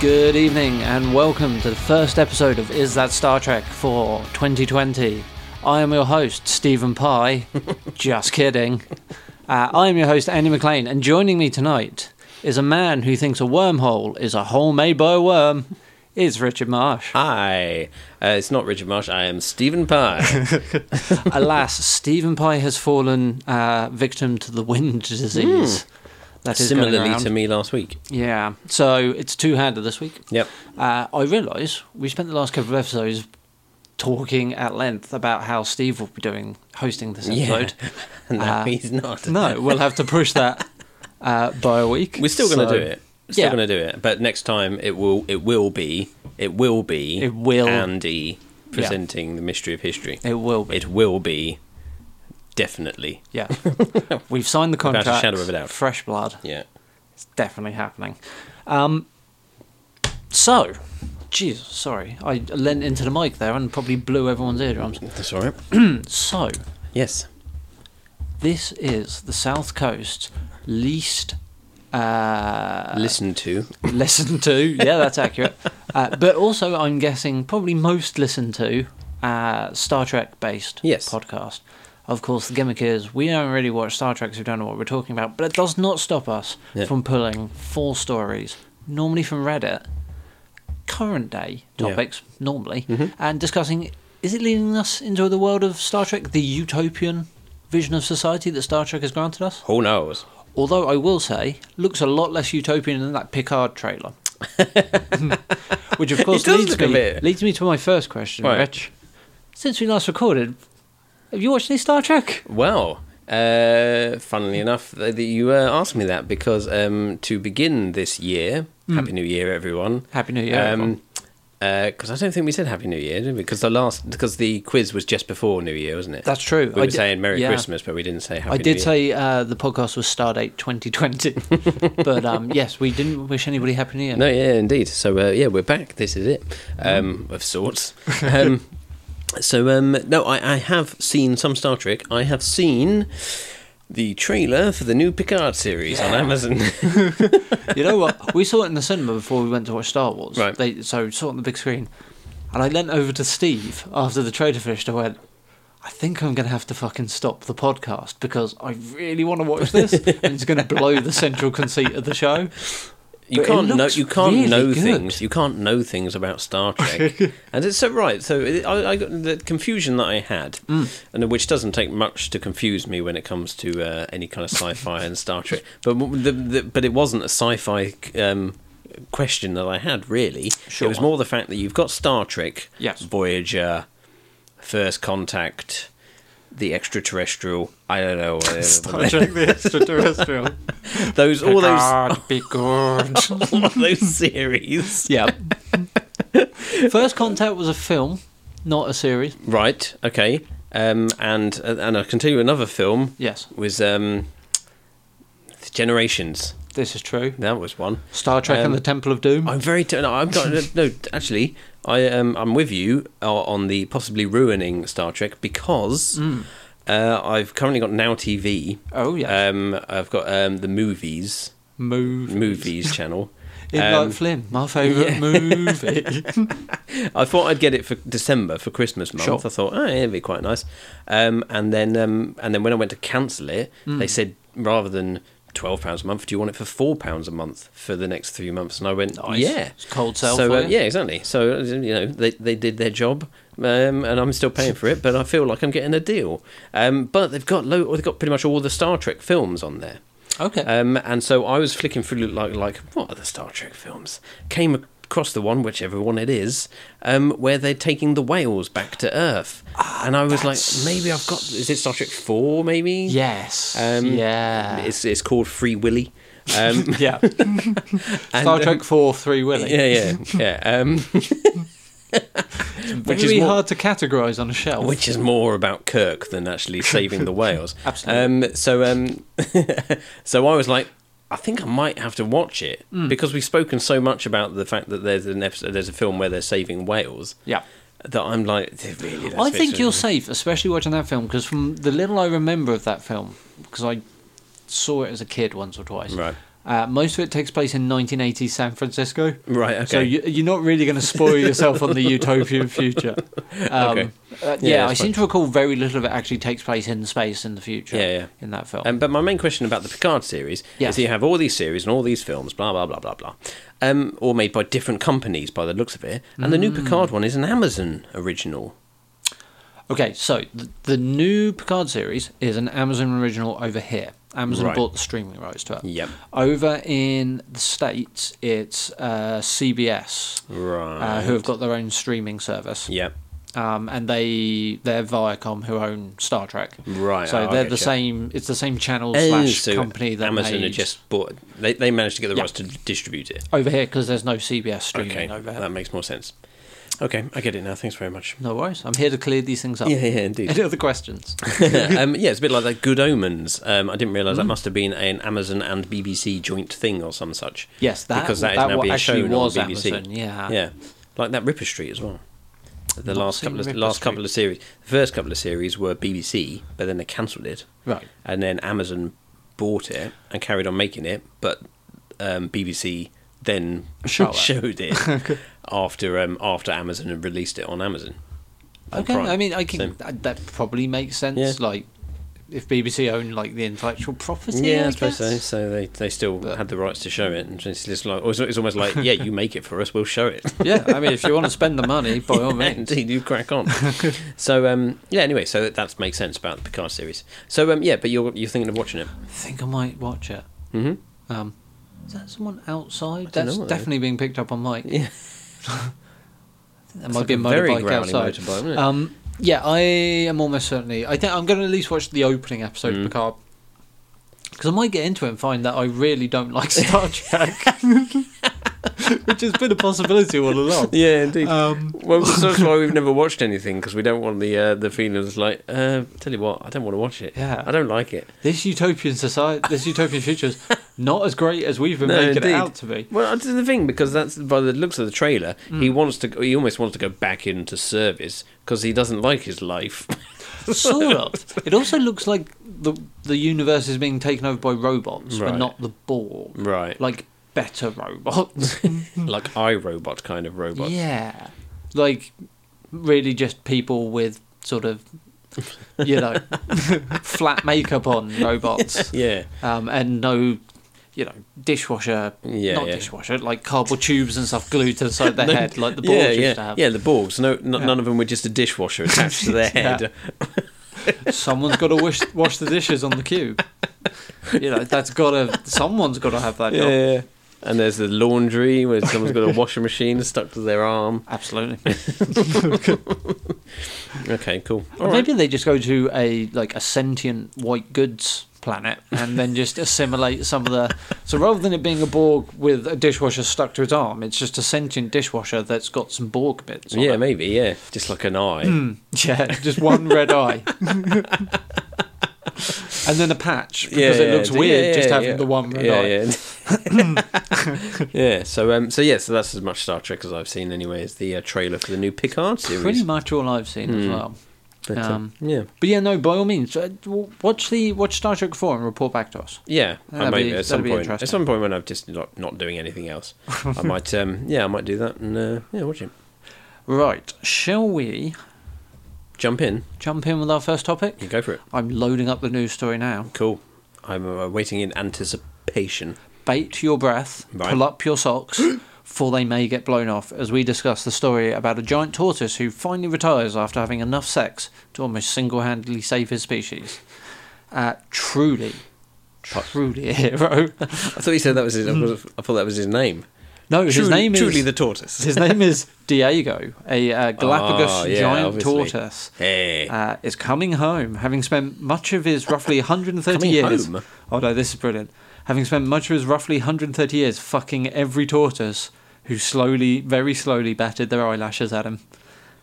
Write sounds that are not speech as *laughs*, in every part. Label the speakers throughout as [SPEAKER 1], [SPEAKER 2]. [SPEAKER 1] Good evening and welcome to the first episode of Is That Star Trek for 2020. I am your host, Stephen Pye.
[SPEAKER 2] *laughs*
[SPEAKER 1] Just kidding. Uh, I am your host, Andy McLean, and joining me tonight is a man who thinks a wormhole is a hole made by a worm. Is
[SPEAKER 2] *laughs*
[SPEAKER 1] Richard Marsh.
[SPEAKER 2] Hi, uh, it's not Richard Marsh. I am Stephen
[SPEAKER 1] *laughs*
[SPEAKER 2] Pye.
[SPEAKER 1] Alas, Stephen Pye has fallen uh, victim to the wind disease. That is going
[SPEAKER 2] Hmm. Similarly
[SPEAKER 1] around.
[SPEAKER 2] to me last week.
[SPEAKER 1] Yeah, so it's two handed this week.
[SPEAKER 2] Yep.
[SPEAKER 1] Uh, I realise we spent the last couple of episodes talking at length about how Steve will be doing hosting this episode.
[SPEAKER 2] *laughs* no,
[SPEAKER 1] Uh,
[SPEAKER 2] he's not.
[SPEAKER 1] no, we'll have to push that uh, by a week.
[SPEAKER 2] we're still going to
[SPEAKER 1] So
[SPEAKER 2] do it. We're Still
[SPEAKER 1] yeah.
[SPEAKER 2] going to do it. But next time it will. It will be. It will be.
[SPEAKER 1] It will-
[SPEAKER 2] Andy presenting the mystery of history.
[SPEAKER 1] It will be.
[SPEAKER 2] It will be. Definitely. *laughs*
[SPEAKER 1] yeah, we've signed the
[SPEAKER 2] Without a
[SPEAKER 1] contract.
[SPEAKER 2] shadow of a doubt.
[SPEAKER 1] Fresh blood.
[SPEAKER 2] Yeah.
[SPEAKER 1] It's definitely happening. Um, so, Jesus, sorry, I leant into the mic there and probably blew everyone's eardrums.
[SPEAKER 2] That's all right.
[SPEAKER 1] So,
[SPEAKER 2] yes.
[SPEAKER 1] this is the South Coast's least. Uh,
[SPEAKER 2] Listen to.
[SPEAKER 1] listened to. Yeah,
[SPEAKER 2] *laughs*
[SPEAKER 1] that's accurate. Uh, but also, I'm guessing probably most listened to uh, Star Trek based
[SPEAKER 2] Yes.
[SPEAKER 1] podcast. Of course, the gimmick is we don't really watch Star Trek, so we don't know what we're talking about. But it does not stop us
[SPEAKER 2] Yeah.
[SPEAKER 1] from pulling full stories, normally from Reddit, current day
[SPEAKER 2] Yeah. Mm-hmm.
[SPEAKER 1] topics, normally, and discussing is it leading us into the world of Star Trek, the utopian vision of society that Star Trek has granted us?
[SPEAKER 2] Who knows?
[SPEAKER 1] Although I will say, looks a lot less utopian than that
[SPEAKER 2] *laughs*
[SPEAKER 1] Picard trailer. Which of course
[SPEAKER 2] It does
[SPEAKER 1] leads
[SPEAKER 2] look a
[SPEAKER 1] me,
[SPEAKER 2] bit.
[SPEAKER 1] leads me to my first question,
[SPEAKER 2] Right.
[SPEAKER 1] Rich. Since we last recorded, have you watched any Star Trek?
[SPEAKER 2] Well, uh, funnily enough, th- that you uh, asked me that because um, to begin this year,
[SPEAKER 1] Hmm.
[SPEAKER 2] Happy New Year, everyone.
[SPEAKER 1] Happy New Year,
[SPEAKER 2] Um,
[SPEAKER 1] everyone.
[SPEAKER 2] Because I don't think we said Happy New Year, did we? Because the last, because the quiz was just before New Year, wasn't it?
[SPEAKER 1] That's true.
[SPEAKER 2] We
[SPEAKER 1] I
[SPEAKER 2] were
[SPEAKER 1] di-
[SPEAKER 2] saying Merry
[SPEAKER 1] yeah.
[SPEAKER 2] Christmas, but we didn't say Happy.
[SPEAKER 1] I did
[SPEAKER 2] New Year.
[SPEAKER 1] say uh, the podcast was
[SPEAKER 2] *laughs*
[SPEAKER 1] Stardate 2020, but um, yes, we didn't wish anybody Happy New Year.
[SPEAKER 2] No, yeah, indeed. So uh, yeah, we're back. This is it, um,
[SPEAKER 1] Hmm.
[SPEAKER 2] of
[SPEAKER 1] *laughs*
[SPEAKER 2] sorts. Um, so um, no, I, I have seen some Star Trek. I have seen the trailer for the new Picard series on
[SPEAKER 1] Yeah.
[SPEAKER 2] Amazon. *laughs*
[SPEAKER 1] You know what? We saw it in the cinema before we went to watch Star Wars.
[SPEAKER 2] Right.
[SPEAKER 1] They, so saw it on the big screen, and I leant over to Steve after the trailer finished. I went, "I think I'm going to have to fucking stop the podcast because I really want to watch
[SPEAKER 2] *laughs*
[SPEAKER 1] this, and it's going to blow the central conceit of the show."
[SPEAKER 2] You
[SPEAKER 1] But it
[SPEAKER 2] can't know.
[SPEAKER 1] looks
[SPEAKER 2] You can't
[SPEAKER 1] really
[SPEAKER 2] know
[SPEAKER 1] good.
[SPEAKER 2] things. You can't know things about
[SPEAKER 1] *laughs*
[SPEAKER 2] Star Trek, and it's so right. So it, I, I got the confusion that I had,
[SPEAKER 1] Mm.
[SPEAKER 2] and uh, which doesn't take much to confuse me when it comes to uh, any kind of sci-fi and Star Trek. But w- the, the, but it wasn't a sci-fi um, question that I had really. It
[SPEAKER 1] Sure.
[SPEAKER 2] was more the fact that you've got Star Trek,
[SPEAKER 1] Yes.
[SPEAKER 2] Voyager, First Contact, the extraterrestrial. I don't
[SPEAKER 1] *laughs*
[SPEAKER 2] know. uh,
[SPEAKER 1] Trek: The Extraterrestrial.
[SPEAKER 2] *laughs* those all those
[SPEAKER 1] be
[SPEAKER 2] *laughs*
[SPEAKER 1] good.
[SPEAKER 2] all of those series.
[SPEAKER 1] yeah. *laughs* First Contact was a film, not a series.
[SPEAKER 2] Right. Okay. Um, and and I'll continue another film
[SPEAKER 1] Yes,
[SPEAKER 2] was um, Generations.
[SPEAKER 1] this is true.
[SPEAKER 2] That was one.
[SPEAKER 1] Star Trek
[SPEAKER 2] Um,
[SPEAKER 1] and the Temple of Doom.
[SPEAKER 2] I'm very. T- no, I'm not, no. Actually, I um, I'm with you uh, on the possibly ruining Star Trek because uh, I've currently got Now TV.
[SPEAKER 1] Mm. oh yeah,
[SPEAKER 2] Um, I've got um, the movies
[SPEAKER 1] move.
[SPEAKER 2] movies
[SPEAKER 1] *laughs*
[SPEAKER 2] channel.
[SPEAKER 1] In
[SPEAKER 2] Um,
[SPEAKER 1] like Flynn, my favourite
[SPEAKER 2] *laughs*
[SPEAKER 1] movie.
[SPEAKER 2] I thought I'd get it for December for Christmas month.
[SPEAKER 1] Sure.
[SPEAKER 2] I thought, oh, yeah, it'd be quite nice. Um, and then, um, and then when I went to cancel it,
[SPEAKER 1] Hmm.
[SPEAKER 2] they said rather than twelve pounds a month, do you want it for four pounds a month for the next three months? And I went,
[SPEAKER 1] Nice.
[SPEAKER 2] yeah,
[SPEAKER 1] It's cold sale
[SPEAKER 2] So
[SPEAKER 1] for
[SPEAKER 2] uh,
[SPEAKER 1] you.
[SPEAKER 2] yeah, exactly. So uh, you know, they they did their job, um, and I'm still paying for it, but I feel like I'm getting a deal. Um, but they've got low, they've got pretty much all the Star Trek films on there.
[SPEAKER 1] okay.
[SPEAKER 2] Um, and so I was flicking through like like what are the Star Trek films? Came across the one, whichever one it is, um, where they're taking the whales back to Earth, and I was
[SPEAKER 1] Ah, that's-
[SPEAKER 2] like, maybe I've got is it Star Trek Four? Maybe
[SPEAKER 1] yes.
[SPEAKER 2] Um,
[SPEAKER 1] yeah.
[SPEAKER 2] It's it's called Free Willy. Um, *laughs*
[SPEAKER 1] yeah.
[SPEAKER 2] and,
[SPEAKER 1] *laughs* Star
[SPEAKER 2] um,
[SPEAKER 1] Trek 4 Three Willy.
[SPEAKER 2] yeah, yeah, yeah.
[SPEAKER 1] *laughs*
[SPEAKER 2] Um,
[SPEAKER 1] which is
[SPEAKER 2] very
[SPEAKER 1] hard to categorise on a shelf.
[SPEAKER 2] which is more about Kirk than actually saving
[SPEAKER 1] *laughs*
[SPEAKER 2] the whales.
[SPEAKER 1] Absolutely.
[SPEAKER 2] Um, so, um, *laughs* so I was like, I think I might have to watch it
[SPEAKER 1] Hmm.
[SPEAKER 2] because we've spoken so much about the fact that there's an episode, there's a film where they're saving whales.
[SPEAKER 1] yeah.
[SPEAKER 2] That I'm like, really. that's
[SPEAKER 1] I think
[SPEAKER 2] it.
[SPEAKER 1] you're safe, especially watching that film, because from the little I remember of that film, because I saw it as a kid once or twice,
[SPEAKER 2] Right.
[SPEAKER 1] Uh, most of it takes place in 1980s San Francisco.
[SPEAKER 2] Right. Okay.
[SPEAKER 1] So you, you're not really going to spoil
[SPEAKER 2] *laughs*
[SPEAKER 1] yourself on the utopian future. Um,
[SPEAKER 2] Okay.
[SPEAKER 1] uh, yeah,
[SPEAKER 2] Yeah,
[SPEAKER 1] I
[SPEAKER 2] that's
[SPEAKER 1] seem
[SPEAKER 2] fine.
[SPEAKER 1] to recall very little of it actually takes place in space in the future.
[SPEAKER 2] Yeah, yeah.
[SPEAKER 1] In that film.
[SPEAKER 2] Um, but my main question about the Picard series
[SPEAKER 1] Yes.
[SPEAKER 2] is that you have all these series and all these films, blah blah blah blah blah, um, all made by different companies by the looks of it, and the new
[SPEAKER 1] Hmm.
[SPEAKER 2] Picard one is an Amazon original.
[SPEAKER 1] okay, so the, the new Picard series is an Amazon original over here. Amazon
[SPEAKER 2] Right.
[SPEAKER 1] bought the streaming rights to it.
[SPEAKER 2] Yep.
[SPEAKER 1] Over in the States, it's uh, CBS,
[SPEAKER 2] Right.
[SPEAKER 1] uh, who have got their own streaming service.
[SPEAKER 2] Yep.
[SPEAKER 1] um, and they they're Viacom who own Star Trek.
[SPEAKER 2] Right,
[SPEAKER 1] So
[SPEAKER 2] I
[SPEAKER 1] they're
[SPEAKER 2] get you.
[SPEAKER 1] the same. It's the same channel
[SPEAKER 2] Oh,
[SPEAKER 1] slash
[SPEAKER 2] so
[SPEAKER 1] company that
[SPEAKER 2] Amazon
[SPEAKER 1] made
[SPEAKER 2] had just bought. They, they managed to get the
[SPEAKER 1] Yeah.
[SPEAKER 2] rights to distribute it.
[SPEAKER 1] over here because there's no CBS streaming
[SPEAKER 2] Okay,
[SPEAKER 1] over here.
[SPEAKER 2] that makes more sense. Okay, I get it now. Thanks very
[SPEAKER 1] *laughs*
[SPEAKER 2] much.
[SPEAKER 1] No worries. I'm here to clear these things up.
[SPEAKER 2] Yeah, yeah, indeed.
[SPEAKER 1] *laughs* Any other questions?
[SPEAKER 2] *laughs* um, yeah, it's a bit like that Good Omens. Um, I didn't realise
[SPEAKER 1] Mm.
[SPEAKER 2] that must have been an Amazon and BBC joint thing or some such.
[SPEAKER 1] Yes, that-
[SPEAKER 2] because that is
[SPEAKER 1] that
[SPEAKER 2] now
[SPEAKER 1] wa-
[SPEAKER 2] being
[SPEAKER 1] actually
[SPEAKER 2] shown
[SPEAKER 1] was
[SPEAKER 2] on BBC.
[SPEAKER 1] Amazon, yeah.
[SPEAKER 2] yeah, like that Ripper Street as well. The
[SPEAKER 1] Not
[SPEAKER 2] last
[SPEAKER 1] seen
[SPEAKER 2] couple of
[SPEAKER 1] Ripper
[SPEAKER 2] last
[SPEAKER 1] Street.
[SPEAKER 2] couple of series, the first couple of series were BBC, but then they cancelled it,
[SPEAKER 1] Right.
[SPEAKER 2] and then Amazon bought it and carried on making it, but um, BBC then *laughs*
[SPEAKER 1] Show it.
[SPEAKER 2] showed
[SPEAKER 1] *laughs*
[SPEAKER 2] it after um, after Amazon had released it on Amazon. on
[SPEAKER 1] Okay.
[SPEAKER 2] Prime.
[SPEAKER 1] I mean, I can
[SPEAKER 2] So-
[SPEAKER 1] that, that probably makes sense.
[SPEAKER 2] Yeah.
[SPEAKER 1] Like if BBC owned like the intellectual property.
[SPEAKER 2] Yeah, I,
[SPEAKER 1] I
[SPEAKER 2] suppose so.
[SPEAKER 1] guess?
[SPEAKER 2] So they, they still
[SPEAKER 1] But-
[SPEAKER 2] had the rights to show it, and it's just like it's, it's almost like yeah, you make it for us, we'll show it.
[SPEAKER 1] yeah, I mean, if you want to spend the money, by
[SPEAKER 2] *laughs*
[SPEAKER 1] all means.
[SPEAKER 2] Indeed, you crack
[SPEAKER 1] *laughs*
[SPEAKER 2] on. so um, yeah, anyway, so that, that makes sense about the Picard series. So um, yeah, but you're you're thinking of watching it.
[SPEAKER 1] I think I might watch it.
[SPEAKER 2] hmm
[SPEAKER 1] Um, is that someone outside?
[SPEAKER 2] don't
[SPEAKER 1] That's
[SPEAKER 2] know what that is.
[SPEAKER 1] definitely being picked up on mic. *laughs*
[SPEAKER 2] Yeah,
[SPEAKER 1] There
[SPEAKER 2] It's
[SPEAKER 1] might
[SPEAKER 2] like
[SPEAKER 1] be a
[SPEAKER 2] a very
[SPEAKER 1] motorbike
[SPEAKER 2] growly
[SPEAKER 1] outside.
[SPEAKER 2] motorbike, isn't it?
[SPEAKER 1] um, yeah, I am almost certainly. I think I'm going to at least watch the opening episode
[SPEAKER 2] Mm.
[SPEAKER 1] of Picard because I might get into it and find that I really
[SPEAKER 2] *laughs*
[SPEAKER 1] don't like Star Trek, *laughs* which has been a possibility all along.
[SPEAKER 2] *laughs* yeah, indeed.
[SPEAKER 1] Um,
[SPEAKER 2] well, so that's why
[SPEAKER 1] *laughs*
[SPEAKER 2] we've never watched anything because we don't want the uh, the feeling of like, uh, tell you what, I don't want to watch it.
[SPEAKER 1] Yeah.
[SPEAKER 2] I don't like it.
[SPEAKER 1] this utopian society, this utopian future, is not as great as we've been
[SPEAKER 2] No,
[SPEAKER 1] making
[SPEAKER 2] indeed.
[SPEAKER 1] it out to be.
[SPEAKER 2] Well, that's the thing because that's by the looks of the trailer,
[SPEAKER 1] Mm.
[SPEAKER 2] he wants to, he almost wants to go back into service because he doesn't like his life.
[SPEAKER 1] *laughs* sort of. It also looks like the the universe is being taken over by robots,
[SPEAKER 2] Right.
[SPEAKER 1] but not the Borg.
[SPEAKER 2] Right.
[SPEAKER 1] Like better robots.
[SPEAKER 2] like iRobot kind of robots.
[SPEAKER 1] Mm. yeah. Like really just people with sort of you know *laughs* flat makeup on robots.
[SPEAKER 2] Yeah.
[SPEAKER 1] Um, and no you know, dishwasher
[SPEAKER 2] Yeah,
[SPEAKER 1] not
[SPEAKER 2] yeah.
[SPEAKER 1] dishwasher, like cardboard tubes and stuff glued to the
[SPEAKER 2] *laughs*
[SPEAKER 1] side of their head like the Borg
[SPEAKER 2] yeah,
[SPEAKER 1] used
[SPEAKER 2] yeah.
[SPEAKER 1] to have.
[SPEAKER 2] Yeah, the Borgs. No, no
[SPEAKER 1] Yeah.
[SPEAKER 2] none of them were just a dishwasher attached to their
[SPEAKER 1] *laughs* Yeah.
[SPEAKER 2] head.
[SPEAKER 1] Someone's gotta wash wash the dishes on the
[SPEAKER 2] *laughs*
[SPEAKER 1] cube. You know, that's gotta someone's gotta have *laughs* that
[SPEAKER 2] Yeah.
[SPEAKER 1] job.
[SPEAKER 2] yeah. And there's the laundry where someone's got a washing machine stuck to their arm.
[SPEAKER 1] Absolutely.
[SPEAKER 2] Okay, cool. *laughs* All right.
[SPEAKER 1] Maybe they just go to a like a sentient white goods planet and then just assimilate some of the. So rather than it being a Borg with a dishwasher stuck to its arm, it's just a sentient dishwasher that's got some Borg bits. On
[SPEAKER 2] Yeah,
[SPEAKER 1] it.
[SPEAKER 2] maybe. Yeah, just like an eye.
[SPEAKER 1] *laughs* Hmm. yeah, just one red eye. *laughs* and then a patch
[SPEAKER 2] Yeah,
[SPEAKER 1] because it
[SPEAKER 2] yeah,
[SPEAKER 1] looks
[SPEAKER 2] yeah,
[SPEAKER 1] weird
[SPEAKER 2] yeah,
[SPEAKER 1] just
[SPEAKER 2] yeah,
[SPEAKER 1] having
[SPEAKER 2] yeah.
[SPEAKER 1] the one red eye.
[SPEAKER 2] yeah, yeah.
[SPEAKER 1] *laughs*
[SPEAKER 2] *laughs* yeah. So, um, so yeah. So that's as much Star Trek as I've seen, anyway. Is the uh, trailer for the new Picard series?
[SPEAKER 1] Pretty much all I've seen
[SPEAKER 2] Hmm.
[SPEAKER 1] as well.
[SPEAKER 2] But, uh,
[SPEAKER 1] um,
[SPEAKER 2] yeah,
[SPEAKER 1] But yeah, no, by all means, uh, w- watch the watch Star Trek Four and report back to us.
[SPEAKER 2] yeah. I
[SPEAKER 1] that'd
[SPEAKER 2] maybe
[SPEAKER 1] be-
[SPEAKER 2] at
[SPEAKER 1] that'd
[SPEAKER 2] some
[SPEAKER 1] be
[SPEAKER 2] point,
[SPEAKER 1] interesting.
[SPEAKER 2] at some point when I'm just not not doing anything else,
[SPEAKER 1] *laughs*
[SPEAKER 2] I might. Um, yeah, I might do that and uh, yeah, watch it.
[SPEAKER 1] Right, shall we
[SPEAKER 2] Jump in.
[SPEAKER 1] jump in with our first topic?
[SPEAKER 2] You go for it.
[SPEAKER 1] I'm loading up the news story now.
[SPEAKER 2] Cool. I'm uh, waiting in anticipation.
[SPEAKER 1] Bait your breath,
[SPEAKER 2] Right.
[SPEAKER 1] pull up
[SPEAKER 2] *gasps*
[SPEAKER 1] your socks, for they may get blown off as we discuss the story about a giant tortoise who finally retires after having enough sex to almost single handedly save his species. Uh, truly,
[SPEAKER 2] Pu-
[SPEAKER 1] truly a hero. *laughs*
[SPEAKER 2] I thought you said that was his. I thought- I thought that was his name.
[SPEAKER 1] No, Hmm. his
[SPEAKER 2] Truly-
[SPEAKER 1] name is.
[SPEAKER 2] truly the tortoise.
[SPEAKER 1] *laughs* his name is Diego, a uh, Galapagos
[SPEAKER 2] Oh, yeah,
[SPEAKER 1] giant
[SPEAKER 2] obviously.
[SPEAKER 1] tortoise.
[SPEAKER 2] Hey.
[SPEAKER 1] uh, is coming home, having spent much of his roughly 130
[SPEAKER 2] Coming
[SPEAKER 1] years.
[SPEAKER 2] home?
[SPEAKER 1] Oh no, this is brilliant. Having spent much of his roughly 130 years fucking every tortoise who slowly, very slowly batted their eyelashes at him.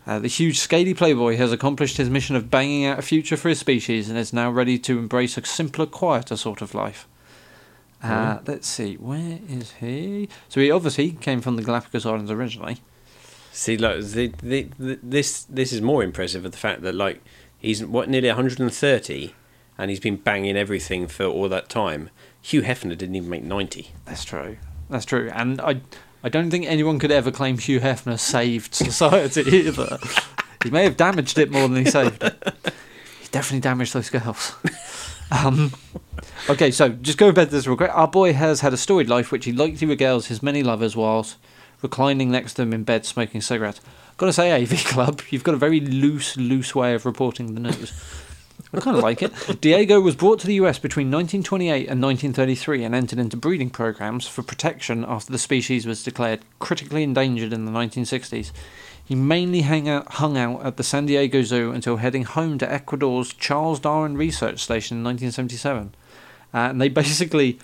[SPEAKER 1] Uh, the huge, scaly playboy has accomplished his mission of banging out a future for his species and is now ready to embrace a simpler, quieter sort of life. Uh, Let's see, where is he? So he obviously came from the Galapagos Islands originally.
[SPEAKER 2] See, like the, the, the, this this is more impressive of the fact that like he's what nearly 130, and he's been banging everything for all that time. Hugh Hefner didn't even make 90.
[SPEAKER 1] That's true. That's true. And I, I don't think anyone could ever claim Hugh Hefner saved *laughs* society either. he may have damaged it more than he saved it. He definitely damaged those girls. *laughs* Um, okay, so just go back to this real quick. Our boy has had a storied life, which he likely regales his many lovers whilst reclining next to them in bed smoking cigarettes. Gotta say, AV Club, you've got a very loose, loose way of reporting the news. I kind of like it. *laughs* Diego was brought to the US between 1928 and 1933 and entered into breeding programs for protection after the species was declared critically endangered in the 1960s. He mainly hang out, hung out at the San Diego Zoo until heading home to Ecuador's Charles Darwin Research Station in 1977. Uh, and they *laughs* basically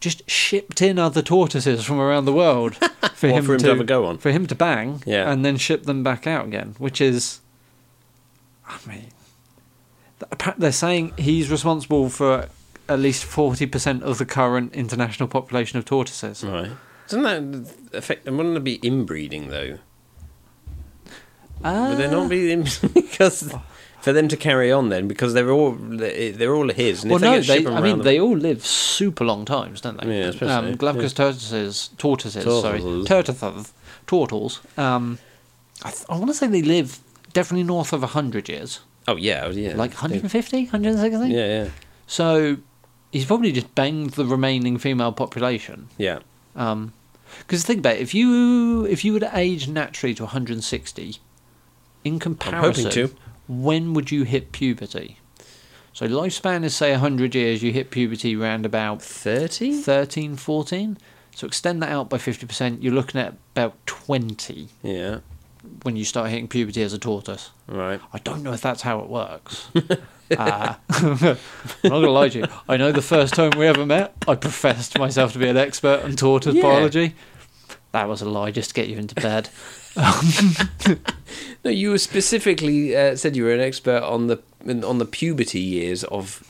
[SPEAKER 1] just shipped in other tortoises from around
[SPEAKER 2] *laughs*
[SPEAKER 1] the world for,
[SPEAKER 2] Or for him to have a go on.
[SPEAKER 1] for him to bang
[SPEAKER 2] Yeah.
[SPEAKER 1] and then ship them back out again, which is, I mean, th- appa- they're saying he's responsible for at least 40% of the current international population of tortoises.
[SPEAKER 2] Right. Doesn't that affect them? Wouldn't it be inbreeding, though? Would there
[SPEAKER 1] Ah.
[SPEAKER 2] not be in- *laughs* because for them to carry on then because they're all they're all his and
[SPEAKER 1] well,
[SPEAKER 2] if they
[SPEAKER 1] no,
[SPEAKER 2] can ship
[SPEAKER 1] they,
[SPEAKER 2] them
[SPEAKER 1] I
[SPEAKER 2] around
[SPEAKER 1] mean,
[SPEAKER 2] the-
[SPEAKER 1] they all live super long times, don't they?
[SPEAKER 2] Yeah, I suppose so.
[SPEAKER 1] um, Galapagos tortoises, tortoises, sorry,
[SPEAKER 2] Turtles.
[SPEAKER 1] turtles, turtles. Um, I, th- I want to say they live definitely north of 100 years,
[SPEAKER 2] oh yeah yeah
[SPEAKER 1] like
[SPEAKER 2] They-
[SPEAKER 1] 150, 160?
[SPEAKER 2] yeah yeah
[SPEAKER 1] So he's probably just banged the remaining female population.
[SPEAKER 2] yeah
[SPEAKER 1] Because Um, think about it, if you if you were to age naturally to 160, in comparison,
[SPEAKER 2] to.
[SPEAKER 1] when would you hit puberty? So lifespan is say 100 years. You hit puberty round about
[SPEAKER 2] thirty
[SPEAKER 1] 13, 14. So extend that out by 50%. You're looking at about 20
[SPEAKER 2] yeah
[SPEAKER 1] when you start hitting puberty as a tortoise.
[SPEAKER 2] right
[SPEAKER 1] I don't know if that's how it works. *laughs* uh, *laughs* I'm not gonna lie to you. I know the first time we ever met, I professed myself to be an expert on tortoise
[SPEAKER 2] Yeah.
[SPEAKER 1] biology. That was a lie, just to get you
[SPEAKER 2] *laughs*
[SPEAKER 1] into bed.
[SPEAKER 2] no you were specifically uh, said you were an expert on the in- on the puberty years of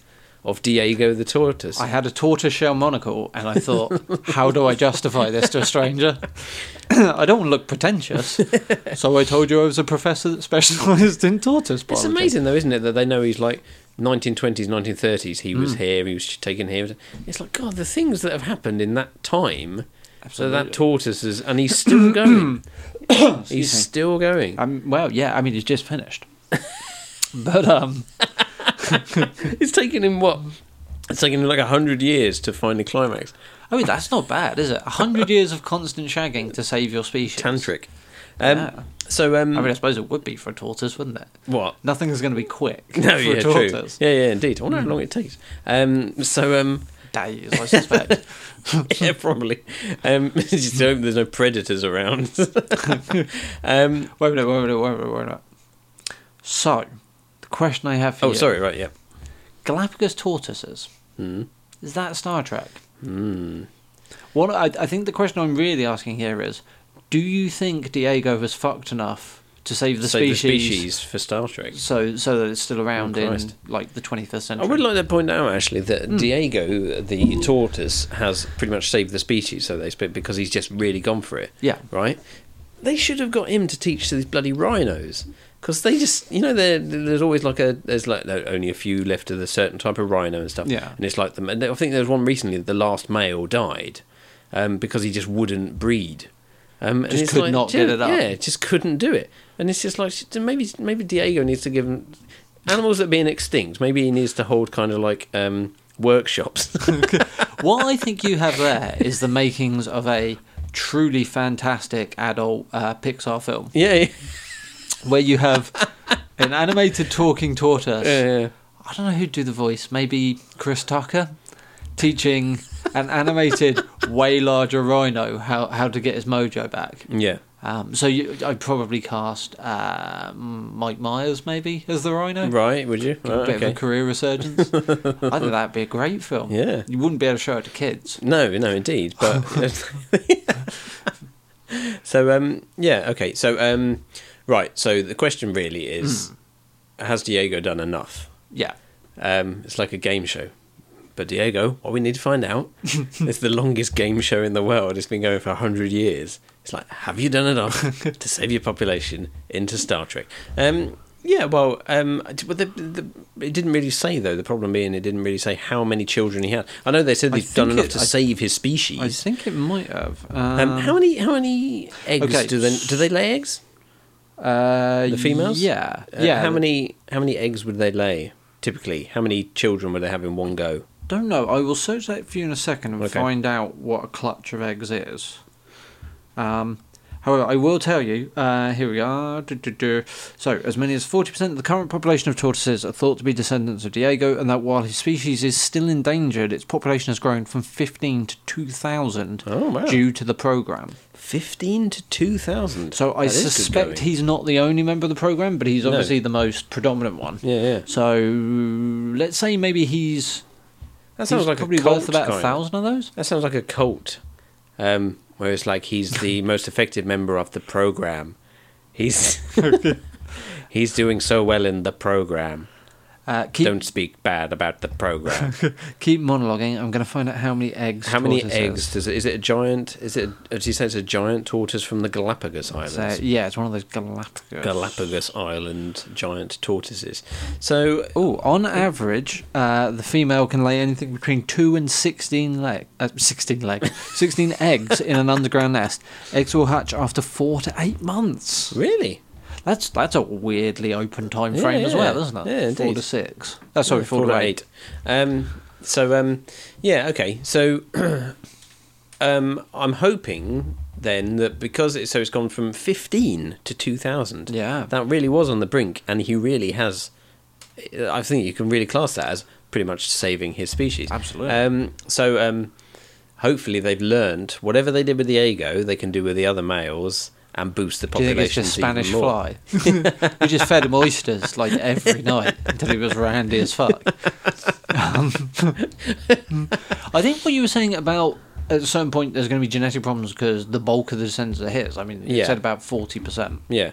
[SPEAKER 2] of Diego the tortoise
[SPEAKER 1] I had a tortoise shell monocle, and I thought, how do I justify this to a stranger? *coughs* I don't want to look
[SPEAKER 2] *laughs*
[SPEAKER 1] pretentious, so I told you I was a professor that specialised in tortoise
[SPEAKER 2] it's
[SPEAKER 1] biology.
[SPEAKER 2] amazing though isn't it that they know he's like 1920s 1930s he
[SPEAKER 1] Hmm.
[SPEAKER 2] was here he was taken here it's like god the things that have happened in that time so
[SPEAKER 1] Absolutely.
[SPEAKER 2] that tortoise is and he's
[SPEAKER 1] *coughs*
[SPEAKER 2] still going he's
[SPEAKER 1] Excuse me.
[SPEAKER 2] still going
[SPEAKER 1] Um, well, yeah, I mean, he's just finished, *laughs* but um.
[SPEAKER 2] It's taken him what? It's taken him like hundred years to finally climax.
[SPEAKER 1] I mean, that's not bad, is it? A hundred years of constant shagging to save your species.
[SPEAKER 2] Tantric. Um,
[SPEAKER 1] Yeah.
[SPEAKER 2] So um,
[SPEAKER 1] I mean, I suppose it would be for a tortoise, wouldn't it?
[SPEAKER 2] what?
[SPEAKER 1] Nothing's going to be quick
[SPEAKER 2] *laughs* No,
[SPEAKER 1] *laughs* for Hmm.
[SPEAKER 2] yeah,
[SPEAKER 1] a
[SPEAKER 2] true.
[SPEAKER 1] tortoise.
[SPEAKER 2] Yeah, yeah, indeed. I wonder how long it takes. Um, so
[SPEAKER 1] *laughs*
[SPEAKER 2] um, *laughs*
[SPEAKER 1] Days, I suspect.
[SPEAKER 2] yeah, probably. Um, *laughs* just hope there's no predators around. *laughs* um,
[SPEAKER 1] wait a minute, wait a minute, wait a minute, wait a minute. So, the question I have for
[SPEAKER 2] oh,
[SPEAKER 1] you:
[SPEAKER 2] sorry. Right. Yeah.
[SPEAKER 1] Galapagos tortoises.
[SPEAKER 2] Mm.
[SPEAKER 1] Is that Star Trek?
[SPEAKER 2] Mm.
[SPEAKER 1] What I, I think the question I'm really asking here is: Do you think Diego has fucked enough to save the,
[SPEAKER 2] Save
[SPEAKER 1] species,
[SPEAKER 2] species for Star Trek.
[SPEAKER 1] so so that it's still around in
[SPEAKER 2] Christ.
[SPEAKER 1] like the 21st
[SPEAKER 2] I
[SPEAKER 1] century?
[SPEAKER 2] would like to point out actually that
[SPEAKER 1] Hmm.
[SPEAKER 2] Diego the tortoise has pretty much saved the species, so they speak, because he's just really gone for it.
[SPEAKER 1] Yeah.
[SPEAKER 2] right? They should have got him to teach to these bloody rhinos because they just, you know, there there's always like a there's like no, only a few left of the certain type of rhino and stuff.
[SPEAKER 1] Yeah.
[SPEAKER 2] and it's like them. And I think there was one recently. The last male died um, because he just wouldn't breed. Um, and
[SPEAKER 1] Just
[SPEAKER 2] it's
[SPEAKER 1] could
[SPEAKER 2] like,
[SPEAKER 1] not
[SPEAKER 2] dude,
[SPEAKER 1] get it up.
[SPEAKER 2] Yeah, just couldn't do it. And it's just like maybe maybe Diego needs to give him animals that are being extinct. Maybe he needs to hold kind of like um, workshops. *laughs*
[SPEAKER 1] *laughs* what I think you have there is the makings of a truly fantastic adult uh, Pixar film
[SPEAKER 2] yeah, yeah,
[SPEAKER 1] where you have an animated talking tortoise.
[SPEAKER 2] yeah, yeah.
[SPEAKER 1] I don't know who'd do the voice, maybe Chris Tucker teaching an animated, way larger rhino how, how to get his mojo back.
[SPEAKER 2] Uh, yeah.
[SPEAKER 1] Um, so you, I'd probably cast uh, Mike Myers maybe as the rhino.
[SPEAKER 2] Right? Would you?
[SPEAKER 1] A
[SPEAKER 2] Right,
[SPEAKER 1] bit
[SPEAKER 2] okay.
[SPEAKER 1] of a career resurgence. I think that'd be a great
[SPEAKER 2] *laughs*
[SPEAKER 1] film.
[SPEAKER 2] Yeah.
[SPEAKER 1] You wouldn't be able to show it to kids.
[SPEAKER 2] No, no, indeed. But
[SPEAKER 1] *laughs*
[SPEAKER 2] *laughs* so, um, yeah, okay. So, um, right. So the question really is:
[SPEAKER 1] Hmm.
[SPEAKER 2] Has Diego done enough?
[SPEAKER 1] Yeah.
[SPEAKER 2] Um, it's like a game show. But Diego, what we need to find
[SPEAKER 1] *laughs*
[SPEAKER 2] out is the longest game show in the world. It's been going for hundred
[SPEAKER 1] *laughs*
[SPEAKER 2] years. It's like, have you done enough to save your population into Star Trek? Um, Yeah, well, um, t- but the, the, it didn't really say though. The problem being, it didn't really say how many children he had. I know they said
[SPEAKER 1] I
[SPEAKER 2] they've done
[SPEAKER 1] think
[SPEAKER 2] enough
[SPEAKER 1] it-
[SPEAKER 2] to
[SPEAKER 1] I-
[SPEAKER 2] save his
[SPEAKER 1] I
[SPEAKER 2] species.
[SPEAKER 1] think it might have.
[SPEAKER 2] um,
[SPEAKER 1] Um,
[SPEAKER 2] how many? How many eggs
[SPEAKER 1] okay.
[SPEAKER 2] do they do they lay eggs?
[SPEAKER 1] Uh,
[SPEAKER 2] The females?
[SPEAKER 1] Yeah.
[SPEAKER 2] Uh,
[SPEAKER 1] yeah.
[SPEAKER 2] How many? How many eggs would they lay typically? How many children would they have in one go?
[SPEAKER 1] Don't know. I will search that for you in a second and
[SPEAKER 2] Okay.
[SPEAKER 1] find out what a clutch of eggs is. Um, however, I will tell you. Uh, here we are. Du- du- du. So, as many as forty percent of the current population of tortoises are thought to be descendants of Diego, and that while his species is still endangered, its population has grown from fifteen to two thousand
[SPEAKER 2] Oh, wow.
[SPEAKER 1] due to the program.
[SPEAKER 2] Fifteen to two thousand.
[SPEAKER 1] So, I suspect he's not the only member of the program, but he's
[SPEAKER 2] No.
[SPEAKER 1] obviously the most predominant one.
[SPEAKER 2] Yeah, yeah.
[SPEAKER 1] So, let's say maybe he's
[SPEAKER 2] That sounds
[SPEAKER 1] he's
[SPEAKER 2] like
[SPEAKER 1] probably
[SPEAKER 2] a cult
[SPEAKER 1] worth about a
[SPEAKER 2] kind.
[SPEAKER 1] thousand of those.
[SPEAKER 2] That sounds like a cult. Um, where it's like he's
[SPEAKER 1] *laughs*
[SPEAKER 2] the most effective member of the program. He's *laughs* he's doing so well in the program.
[SPEAKER 1] Uh, keep
[SPEAKER 2] Don't speak bad about the
[SPEAKER 1] *laughs*
[SPEAKER 2] program.
[SPEAKER 1] keep monologuing. I'm going to find out how many eggs.
[SPEAKER 2] How many
[SPEAKER 1] tortoise
[SPEAKER 2] eggs
[SPEAKER 1] is.
[SPEAKER 2] does it? Is it a giant? Is it? A, do you say it's a giant tortoise from the Galapagos Islands?
[SPEAKER 1] So, yeah, it's one of those Galapagos.
[SPEAKER 2] Galapagos Island giant tortoises. So
[SPEAKER 1] Oh, on average, uh, the female can lay anything between two and sixteen leg, uh, sixteen
[SPEAKER 2] *laughs*
[SPEAKER 1] legs, sixteen eggs in an underground nest. Eggs will hatch after four to eight months.
[SPEAKER 2] really,
[SPEAKER 1] That's that's a weirdly open time frame
[SPEAKER 2] Yeah,
[SPEAKER 1] as well,
[SPEAKER 2] yeah.
[SPEAKER 1] isn't it?
[SPEAKER 2] Yeah,
[SPEAKER 1] four
[SPEAKER 2] indeed.
[SPEAKER 1] to six. Oh, sorry, four, to eight.
[SPEAKER 2] Um, so um, yeah, okay. So *clears throat* um, I'm hoping then that because it, so it's gone from 15 to 2,000.
[SPEAKER 1] Yeah.
[SPEAKER 2] that really was on the brink, and he really has. I think you can really class that as pretty much saving his species.
[SPEAKER 1] Absolutely.
[SPEAKER 2] Um, so um, hopefully they've learned whatever they did with the Ago, they can do with the other males. And boost the
[SPEAKER 1] Do you
[SPEAKER 2] population.
[SPEAKER 1] think it's just
[SPEAKER 2] even
[SPEAKER 1] Spanish
[SPEAKER 2] more.
[SPEAKER 1] fly? *laughs* we just fed him oysters
[SPEAKER 2] *laughs*
[SPEAKER 1] like every night until he was randy as fuck. Um, *laughs* I think what you were saying about at a certain point there's going to be genetic problems because the bulk of the descendants are his. I mean, you
[SPEAKER 2] Yeah.
[SPEAKER 1] said about 40%.
[SPEAKER 2] Yeah.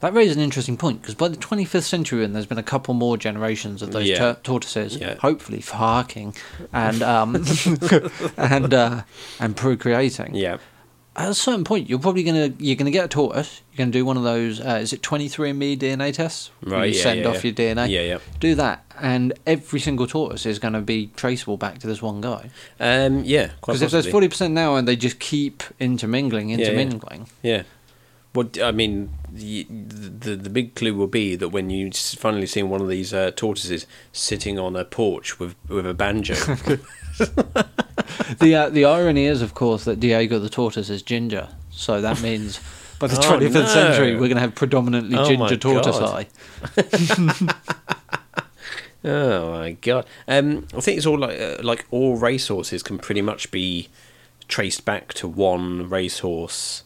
[SPEAKER 1] That raises an interesting point because by the 25th century, and there's been a couple more generations of those
[SPEAKER 2] Yeah.
[SPEAKER 1] tur- tortoises,
[SPEAKER 2] Yeah.
[SPEAKER 1] hopefully fucking and um, *laughs* and uh, and procreating
[SPEAKER 2] Yeah.
[SPEAKER 1] at a certain point, you're probably gonna you're gonna get a tortoise. You're gonna do one of those. Uh, is it 23andMe DNA tests? Where
[SPEAKER 2] Right,
[SPEAKER 1] You
[SPEAKER 2] yeah,
[SPEAKER 1] send
[SPEAKER 2] yeah,
[SPEAKER 1] off
[SPEAKER 2] yeah.
[SPEAKER 1] your DNA.
[SPEAKER 2] Yeah, yeah.
[SPEAKER 1] Do that, and every single tortoise is gonna be traceable back to this one guy.
[SPEAKER 2] Um, yeah. quite
[SPEAKER 1] Because if there's
[SPEAKER 2] possibly.
[SPEAKER 1] forty percent now, and they just keep intermingling,
[SPEAKER 2] yeah.
[SPEAKER 1] intermingling.
[SPEAKER 2] Yeah. What I mean, the, the the big clue will be that when you s- finally see one of these uh, tortoises sitting on a porch with with a banjo,
[SPEAKER 1] *laughs* the uh, the irony is, of course, that Diego the tortoise is ginger. So that means. By
[SPEAKER 2] *laughs*
[SPEAKER 1] the
[SPEAKER 2] Oh,
[SPEAKER 1] 25th
[SPEAKER 2] no.
[SPEAKER 1] century, we're going to have predominantly
[SPEAKER 2] Oh, my
[SPEAKER 1] ginger tortoise
[SPEAKER 2] God.
[SPEAKER 1] eye.
[SPEAKER 2] oh my god! Um, I think it's all like uh, like all racehorses can pretty much be traced back to one racehorse,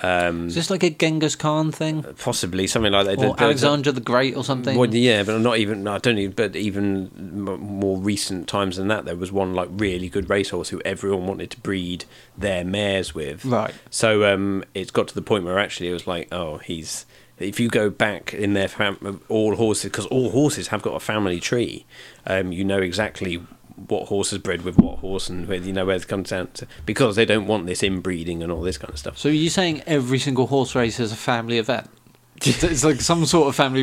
[SPEAKER 2] Mm.
[SPEAKER 1] Is this like a Genghis Khan thing?
[SPEAKER 2] possibly something like that.
[SPEAKER 1] Or
[SPEAKER 2] There's a-
[SPEAKER 1] Alexander the Great or something?
[SPEAKER 2] Well, yeah, but not even. I don't even. But even m- more recent times than that, there was one like really good racehorse who everyone wanted to breed their mares with.
[SPEAKER 1] Right.
[SPEAKER 2] So um, it's got to the point where actually it was like, oh, he's. If you go back in their fam- all horses, because all horses have got a family tree, um, you know exactly what horse is bred with what horse, and where you know where it comes down to because they don't want this inbreeding and all this kind of stuff.
[SPEAKER 1] So are you saying every single horse race is a family event? It's, it's like some sort of family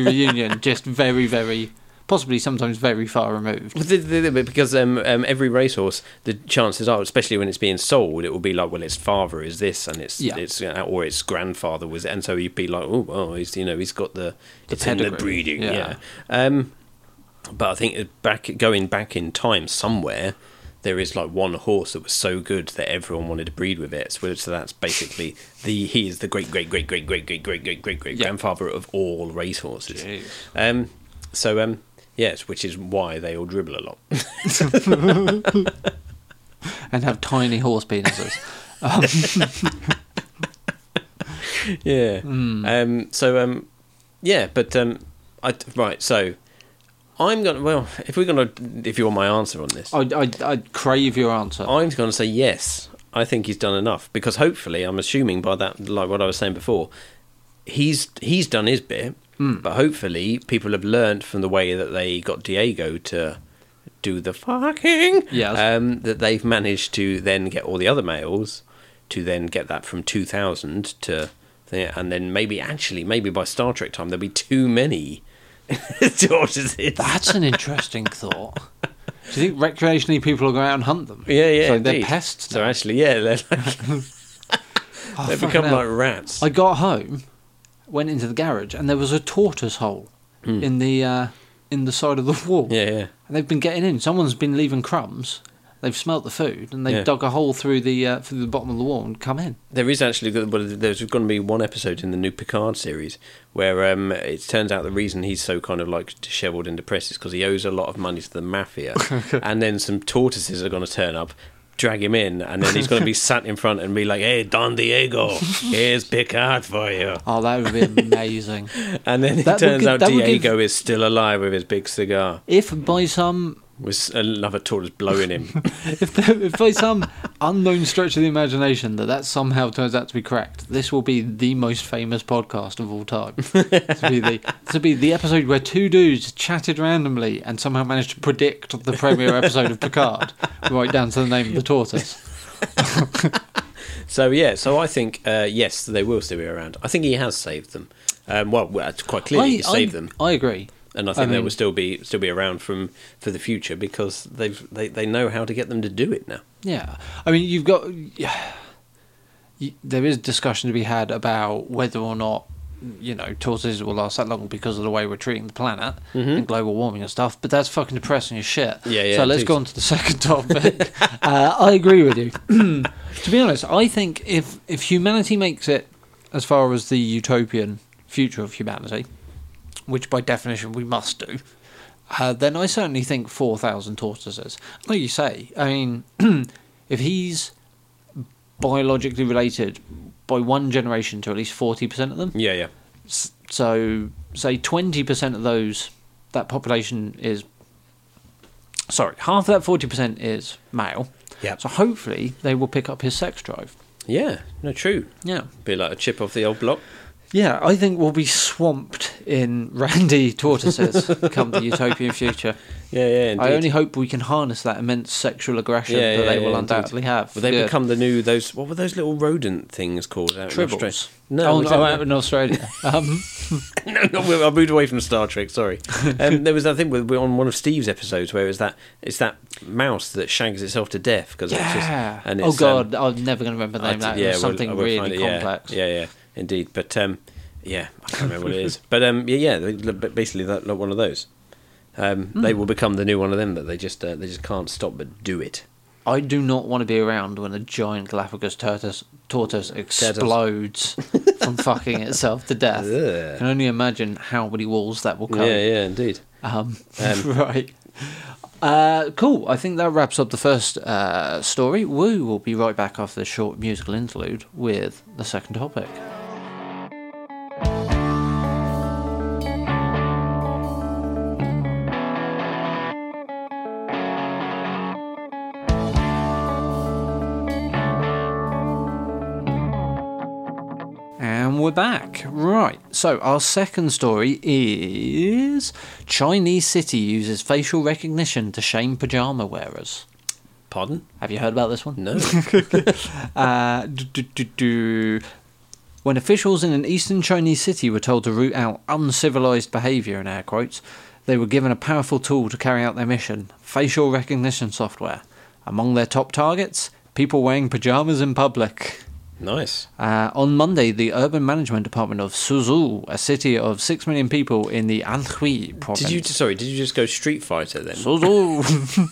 [SPEAKER 2] *laughs*
[SPEAKER 1] reunion, just very, very, possibly sometimes very far
[SPEAKER 2] *laughs*
[SPEAKER 1] removed.
[SPEAKER 2] Well, the- the- the- but because um, um, every racehorse, the chances are, especially when it's being sold, it will be like, well, its father is this, and it's
[SPEAKER 1] Yeah.
[SPEAKER 2] it's uh, or its grandfather was, and so you'd be like, oh, well, he's you know he's got the, it's in the
[SPEAKER 1] pedigree.
[SPEAKER 2] breeding,
[SPEAKER 1] Yeah.
[SPEAKER 2] yeah. Um, but I think it- back going back in time somewhere, there is like one horse that was so good that everyone wanted to breed with it. So, so that's basically the he is the great great great great great great great great great great
[SPEAKER 1] Yeah.
[SPEAKER 2] grandfather of all racehorses.
[SPEAKER 1] Jeez.
[SPEAKER 2] Um, so um, yes, which is why they all dribble a lot. *laughs*
[SPEAKER 1] And have tiny
[SPEAKER 2] *laughs*
[SPEAKER 1] horse penises.
[SPEAKER 2] Yeah.
[SPEAKER 1] Hmm.
[SPEAKER 2] Um, so um, yeah, but um, I right. So I'm gonna. Well, if we're gonna, if you want my answer on this,
[SPEAKER 1] I, I, I crave your answer.
[SPEAKER 2] I'm gonna say yes. I think he's done enough because hopefully, I'm assuming by that, like what I was saying before, he's he's done his bit.
[SPEAKER 1] Hmm.
[SPEAKER 2] But hopefully, people have learnt from the way that they got Diego to do the fucking.
[SPEAKER 1] Yes.
[SPEAKER 2] Um, that they've managed to then get all the other males to then get that from 2,000 to Yeah, and then maybe actually, maybe by Star Trek time, there'll be too many *laughs* tortoises.
[SPEAKER 1] That's an interesting thought. Do you think recreationally people will go out and hunt them?
[SPEAKER 2] Yeah, yeah,
[SPEAKER 1] So they're
[SPEAKER 2] indeed.
[SPEAKER 1] pests.
[SPEAKER 2] So
[SPEAKER 1] Now.
[SPEAKER 2] actually, yeah, they're
[SPEAKER 1] *laughs*
[SPEAKER 2] like,
[SPEAKER 1] Oh,
[SPEAKER 2] they
[SPEAKER 1] fucking
[SPEAKER 2] become
[SPEAKER 1] hell.
[SPEAKER 2] like rats.
[SPEAKER 1] I got home, went into the garage, and there was a tortoise hole
[SPEAKER 2] Hmm.
[SPEAKER 1] in the uh, in the side of the wall.
[SPEAKER 2] yeah, yeah.
[SPEAKER 1] And they've been getting in. Someone's been leaving crumbs. They've smelt the food and they've
[SPEAKER 2] Yeah.
[SPEAKER 1] dug a hole through the uh, through the bottom of the wall and come in.
[SPEAKER 2] There is actually go- well, there's going to be one episode in the new Picard series where um, it turns out the reason he's so kind of like dishevelled and depressed is because he owes a lot of money to the
[SPEAKER 1] *laughs*
[SPEAKER 2] mafia, and then some tortoises are going to turn up, drag him in, and then he's going to be
[SPEAKER 1] *laughs*
[SPEAKER 2] sat in front and be like, "Hey, Don Diego, here's Picard for you,"
[SPEAKER 1] Oh, that would
[SPEAKER 2] *laughs*
[SPEAKER 1] be amazing.
[SPEAKER 2] and then it
[SPEAKER 1] That would
[SPEAKER 2] turns
[SPEAKER 1] give-
[SPEAKER 2] out
[SPEAKER 1] that would give-
[SPEAKER 2] Diego is still alive with his big cigar
[SPEAKER 1] if by some *laughs*
[SPEAKER 2] with s- another tortoise blowing him.
[SPEAKER 1] if, there, if by some unknown stretch of the imagination that that somehow turns out to be correct, this will be the most famous podcast of
[SPEAKER 2] *laughs*
[SPEAKER 1] all time. this, will be the, this will be the episode where two dudes chatted randomly and somehow managed to predict the premiere episode
[SPEAKER 2] *laughs*
[SPEAKER 1] of Picard, right down to the name of the tortoise.
[SPEAKER 2] so yeah, so I think uh, yes, they will still be around. I think he has saved them. Um, well, well, it's quite clearly he
[SPEAKER 1] I, um,
[SPEAKER 2] saved them.
[SPEAKER 1] I agree.
[SPEAKER 2] and I
[SPEAKER 1] I
[SPEAKER 2] think they
[SPEAKER 1] mean-
[SPEAKER 2] will still be still be around from for the future because they've they, they know how to get them to do it now.
[SPEAKER 1] Yeah, I mean, you've got yeah, y- there is discussion to be had about whether or not you know tortoises will last that long because of the way we're treating the planet and global warming and stuff. But that's fucking depressing as shit.
[SPEAKER 2] Mm-hmm. Yeah, yeah,
[SPEAKER 1] So
[SPEAKER 2] it
[SPEAKER 1] let's
[SPEAKER 2] is.
[SPEAKER 1] go on to the second topic. *laughs* uh, I agree with you. *clears throat* to be honest, I think if if humanity makes it as far as the utopian future of humanity, which by definition we must do. Uh, then I certainly think 4,000 tortoises. Like you say, I mean, *clears throat* if he's biologically related by one generation to at least 40% of them,
[SPEAKER 2] Yeah, yeah,
[SPEAKER 1] s- so say 20% of those, that population is, sorry, half of that 40% is male.
[SPEAKER 2] yeah,
[SPEAKER 1] So hopefully they will pick up his sex drive.
[SPEAKER 2] yeah. No, true.
[SPEAKER 1] Yeah.
[SPEAKER 2] Be like a chip off the old block.
[SPEAKER 1] Yeah, I think we'll be swamped in *laughs* randy tortoises come the utopian future.
[SPEAKER 2] Yeah, yeah. Indeed.
[SPEAKER 1] I only hope we can harness that immense sexual aggression
[SPEAKER 2] Yeah,
[SPEAKER 1] that
[SPEAKER 2] yeah,
[SPEAKER 1] they will
[SPEAKER 2] yeah,
[SPEAKER 1] undoubtedly have.
[SPEAKER 2] Well, they
[SPEAKER 1] Yeah.
[SPEAKER 2] become the new those. What were those little rodent things called? Out in
[SPEAKER 1] tribbles.
[SPEAKER 2] Australia? No,
[SPEAKER 1] oh,
[SPEAKER 2] was
[SPEAKER 1] no,
[SPEAKER 2] that-
[SPEAKER 1] out
[SPEAKER 2] *laughs*
[SPEAKER 1] in Australia. Um,
[SPEAKER 2] no, *laughs* no, we- I moved away from Star Trek.
[SPEAKER 1] *laughs*
[SPEAKER 2] Sorry, um, there was that thing with, on one of Steve's episodes where it's that it's that mouse that shags itself to death because it's just
[SPEAKER 1] yeah.
[SPEAKER 2] and
[SPEAKER 1] oh
[SPEAKER 2] it's, um,
[SPEAKER 1] God, I'm never going to remember the
[SPEAKER 2] I
[SPEAKER 1] name. of
[SPEAKER 2] d-
[SPEAKER 1] That
[SPEAKER 2] yeah,
[SPEAKER 1] It was
[SPEAKER 2] we'll-
[SPEAKER 1] something
[SPEAKER 2] I will
[SPEAKER 1] really
[SPEAKER 2] find it, yeah.
[SPEAKER 1] complex.
[SPEAKER 2] Yeah, yeah, indeed. But um, yeah, I can't remember what it is. But um, yeah, yeah, they- but basically that like one of those. Um,
[SPEAKER 1] Hmm.
[SPEAKER 2] They will become the new one of them that they just uh, they just can't stop but do it.
[SPEAKER 1] I do not want to be around when a giant Galapagos tortoise, tortoise explodes from fucking itself
[SPEAKER 2] *laughs*
[SPEAKER 1] to death.
[SPEAKER 2] Ugh.
[SPEAKER 1] I can only imagine how many walls that will cover.
[SPEAKER 2] Yeah, yeah, indeed.
[SPEAKER 1] Um,
[SPEAKER 2] Um,
[SPEAKER 1] *laughs* right. Uh, cool. I think that wraps up the first uh, story. We will be right back after this short musical interlude with the second topic. And we're back. Right. So, our second story is Chinese city uses facial recognition to shame pajama wearers.
[SPEAKER 2] Pardon?
[SPEAKER 1] Have you heard about this one? *laughs*
[SPEAKER 2] No.
[SPEAKER 1] Uh, do, do, do, do. When officials in an eastern Chinese city were told to root out uncivilized behavior, in air quotes, they were given a powerful tool to carry out their mission facial recognition software. Among their top targets, people wearing pajamas in public.
[SPEAKER 2] nice.
[SPEAKER 1] Uh, on Monday, the urban management department of Suzhou, a city of six million people in the Anhui province.
[SPEAKER 2] Did you sorry? Did you just go Street Fighter then?
[SPEAKER 1] Suzhou.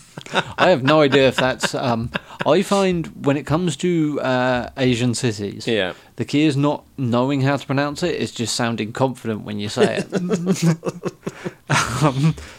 [SPEAKER 1] *laughs* I have no idea if that's. Um, I find when it comes to uh, Asian cities,
[SPEAKER 2] Yeah.
[SPEAKER 1] the key is not knowing how to pronounce it; it's just sounding confident when you
[SPEAKER 2] *laughs*
[SPEAKER 1] say it. um,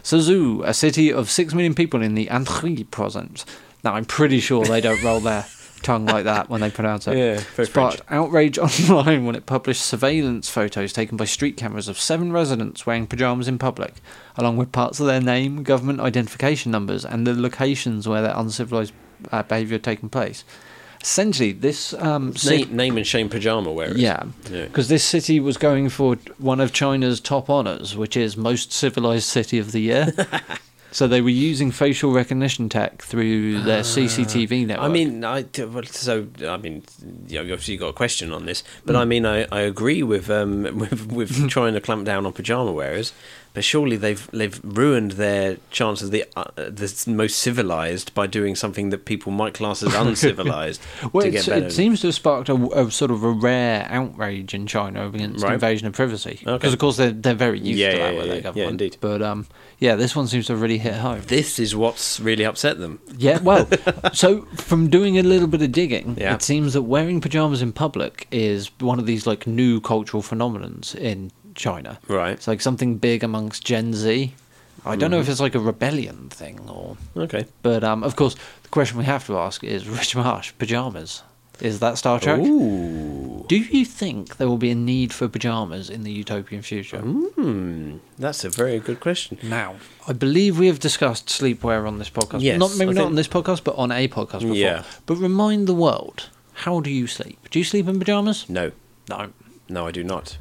[SPEAKER 1] Suzhou, a city of six million people in the Anhui province. Now, I'm pretty sure they don't roll
[SPEAKER 2] *laughs*
[SPEAKER 1] their tongue like that when they pronounce it.
[SPEAKER 2] Yeah, very
[SPEAKER 1] sparked outrage *laughs* online when it published surveillance photos taken by street cameras of seven residents wearing pajamas in public, along with parts of their name, government identification numbers, and the locations where their uncivilized uh, behavior had taken place. Essentially, this um, city.
[SPEAKER 2] Name, name and shame pajama wearers.
[SPEAKER 1] Yeah,
[SPEAKER 2] Yeah.
[SPEAKER 1] because this city was
[SPEAKER 2] *laughs*
[SPEAKER 1] going for one of China's top honours, which is most civilized city of the year. So they were using facial recognition tech through their CCTV network.
[SPEAKER 2] Ah. I mean, I d- well, so I mean, you know, obviously you got a question on this, but I mean, I, I agree with um *laughs* with, with trying to clamp down on pajama wearers, but surely they've they've ruined their chance of the uh, the s- most civilized by doing something that people might class *laughs* as uncivilized
[SPEAKER 1] well,
[SPEAKER 2] to
[SPEAKER 1] it's,
[SPEAKER 2] get better.
[SPEAKER 1] it seems to have sparked a, a sort of a rare outrage in China against
[SPEAKER 2] Right.
[SPEAKER 1] invasion of privacy. Because
[SPEAKER 2] Okay.
[SPEAKER 1] of course they're they're very used
[SPEAKER 2] Yeah,
[SPEAKER 1] to that
[SPEAKER 2] yeah,
[SPEAKER 1] with
[SPEAKER 2] yeah,
[SPEAKER 1] their
[SPEAKER 2] yeah,
[SPEAKER 1] government.
[SPEAKER 2] indeed.
[SPEAKER 1] But um, yeah, this one seems to have really hit home.
[SPEAKER 2] this is what's really upset them.
[SPEAKER 1] Yeah,
[SPEAKER 2] *laughs*
[SPEAKER 1] well, so from doing a little bit of digging,
[SPEAKER 2] Yeah.
[SPEAKER 1] it seems that wearing pajamas in public is one of these like new cultural phenomenons in China.
[SPEAKER 2] Right. Mm-hmm.
[SPEAKER 1] It's like something big amongst Gen Z. I don't know if it's like a rebellion thing or,
[SPEAKER 2] Okay.
[SPEAKER 1] but um, of course, the question we have to ask is: *laughs* Rich Marsh pajamas? Is that Star Trek?
[SPEAKER 2] Ooh.
[SPEAKER 1] Do you think there will be a need for pajamas in the utopian future?
[SPEAKER 2] Hmm. That's a very good question.
[SPEAKER 1] Now, I believe we have discussed sleepwear on this podcast.
[SPEAKER 2] Yes,
[SPEAKER 1] not maybe
[SPEAKER 2] I
[SPEAKER 1] not
[SPEAKER 2] think-
[SPEAKER 1] on this podcast, but on a podcast before.
[SPEAKER 2] Yeah.
[SPEAKER 1] But remind the world, how do you sleep? Do you sleep in pajamas?
[SPEAKER 2] No,
[SPEAKER 1] No.
[SPEAKER 2] no, I do not.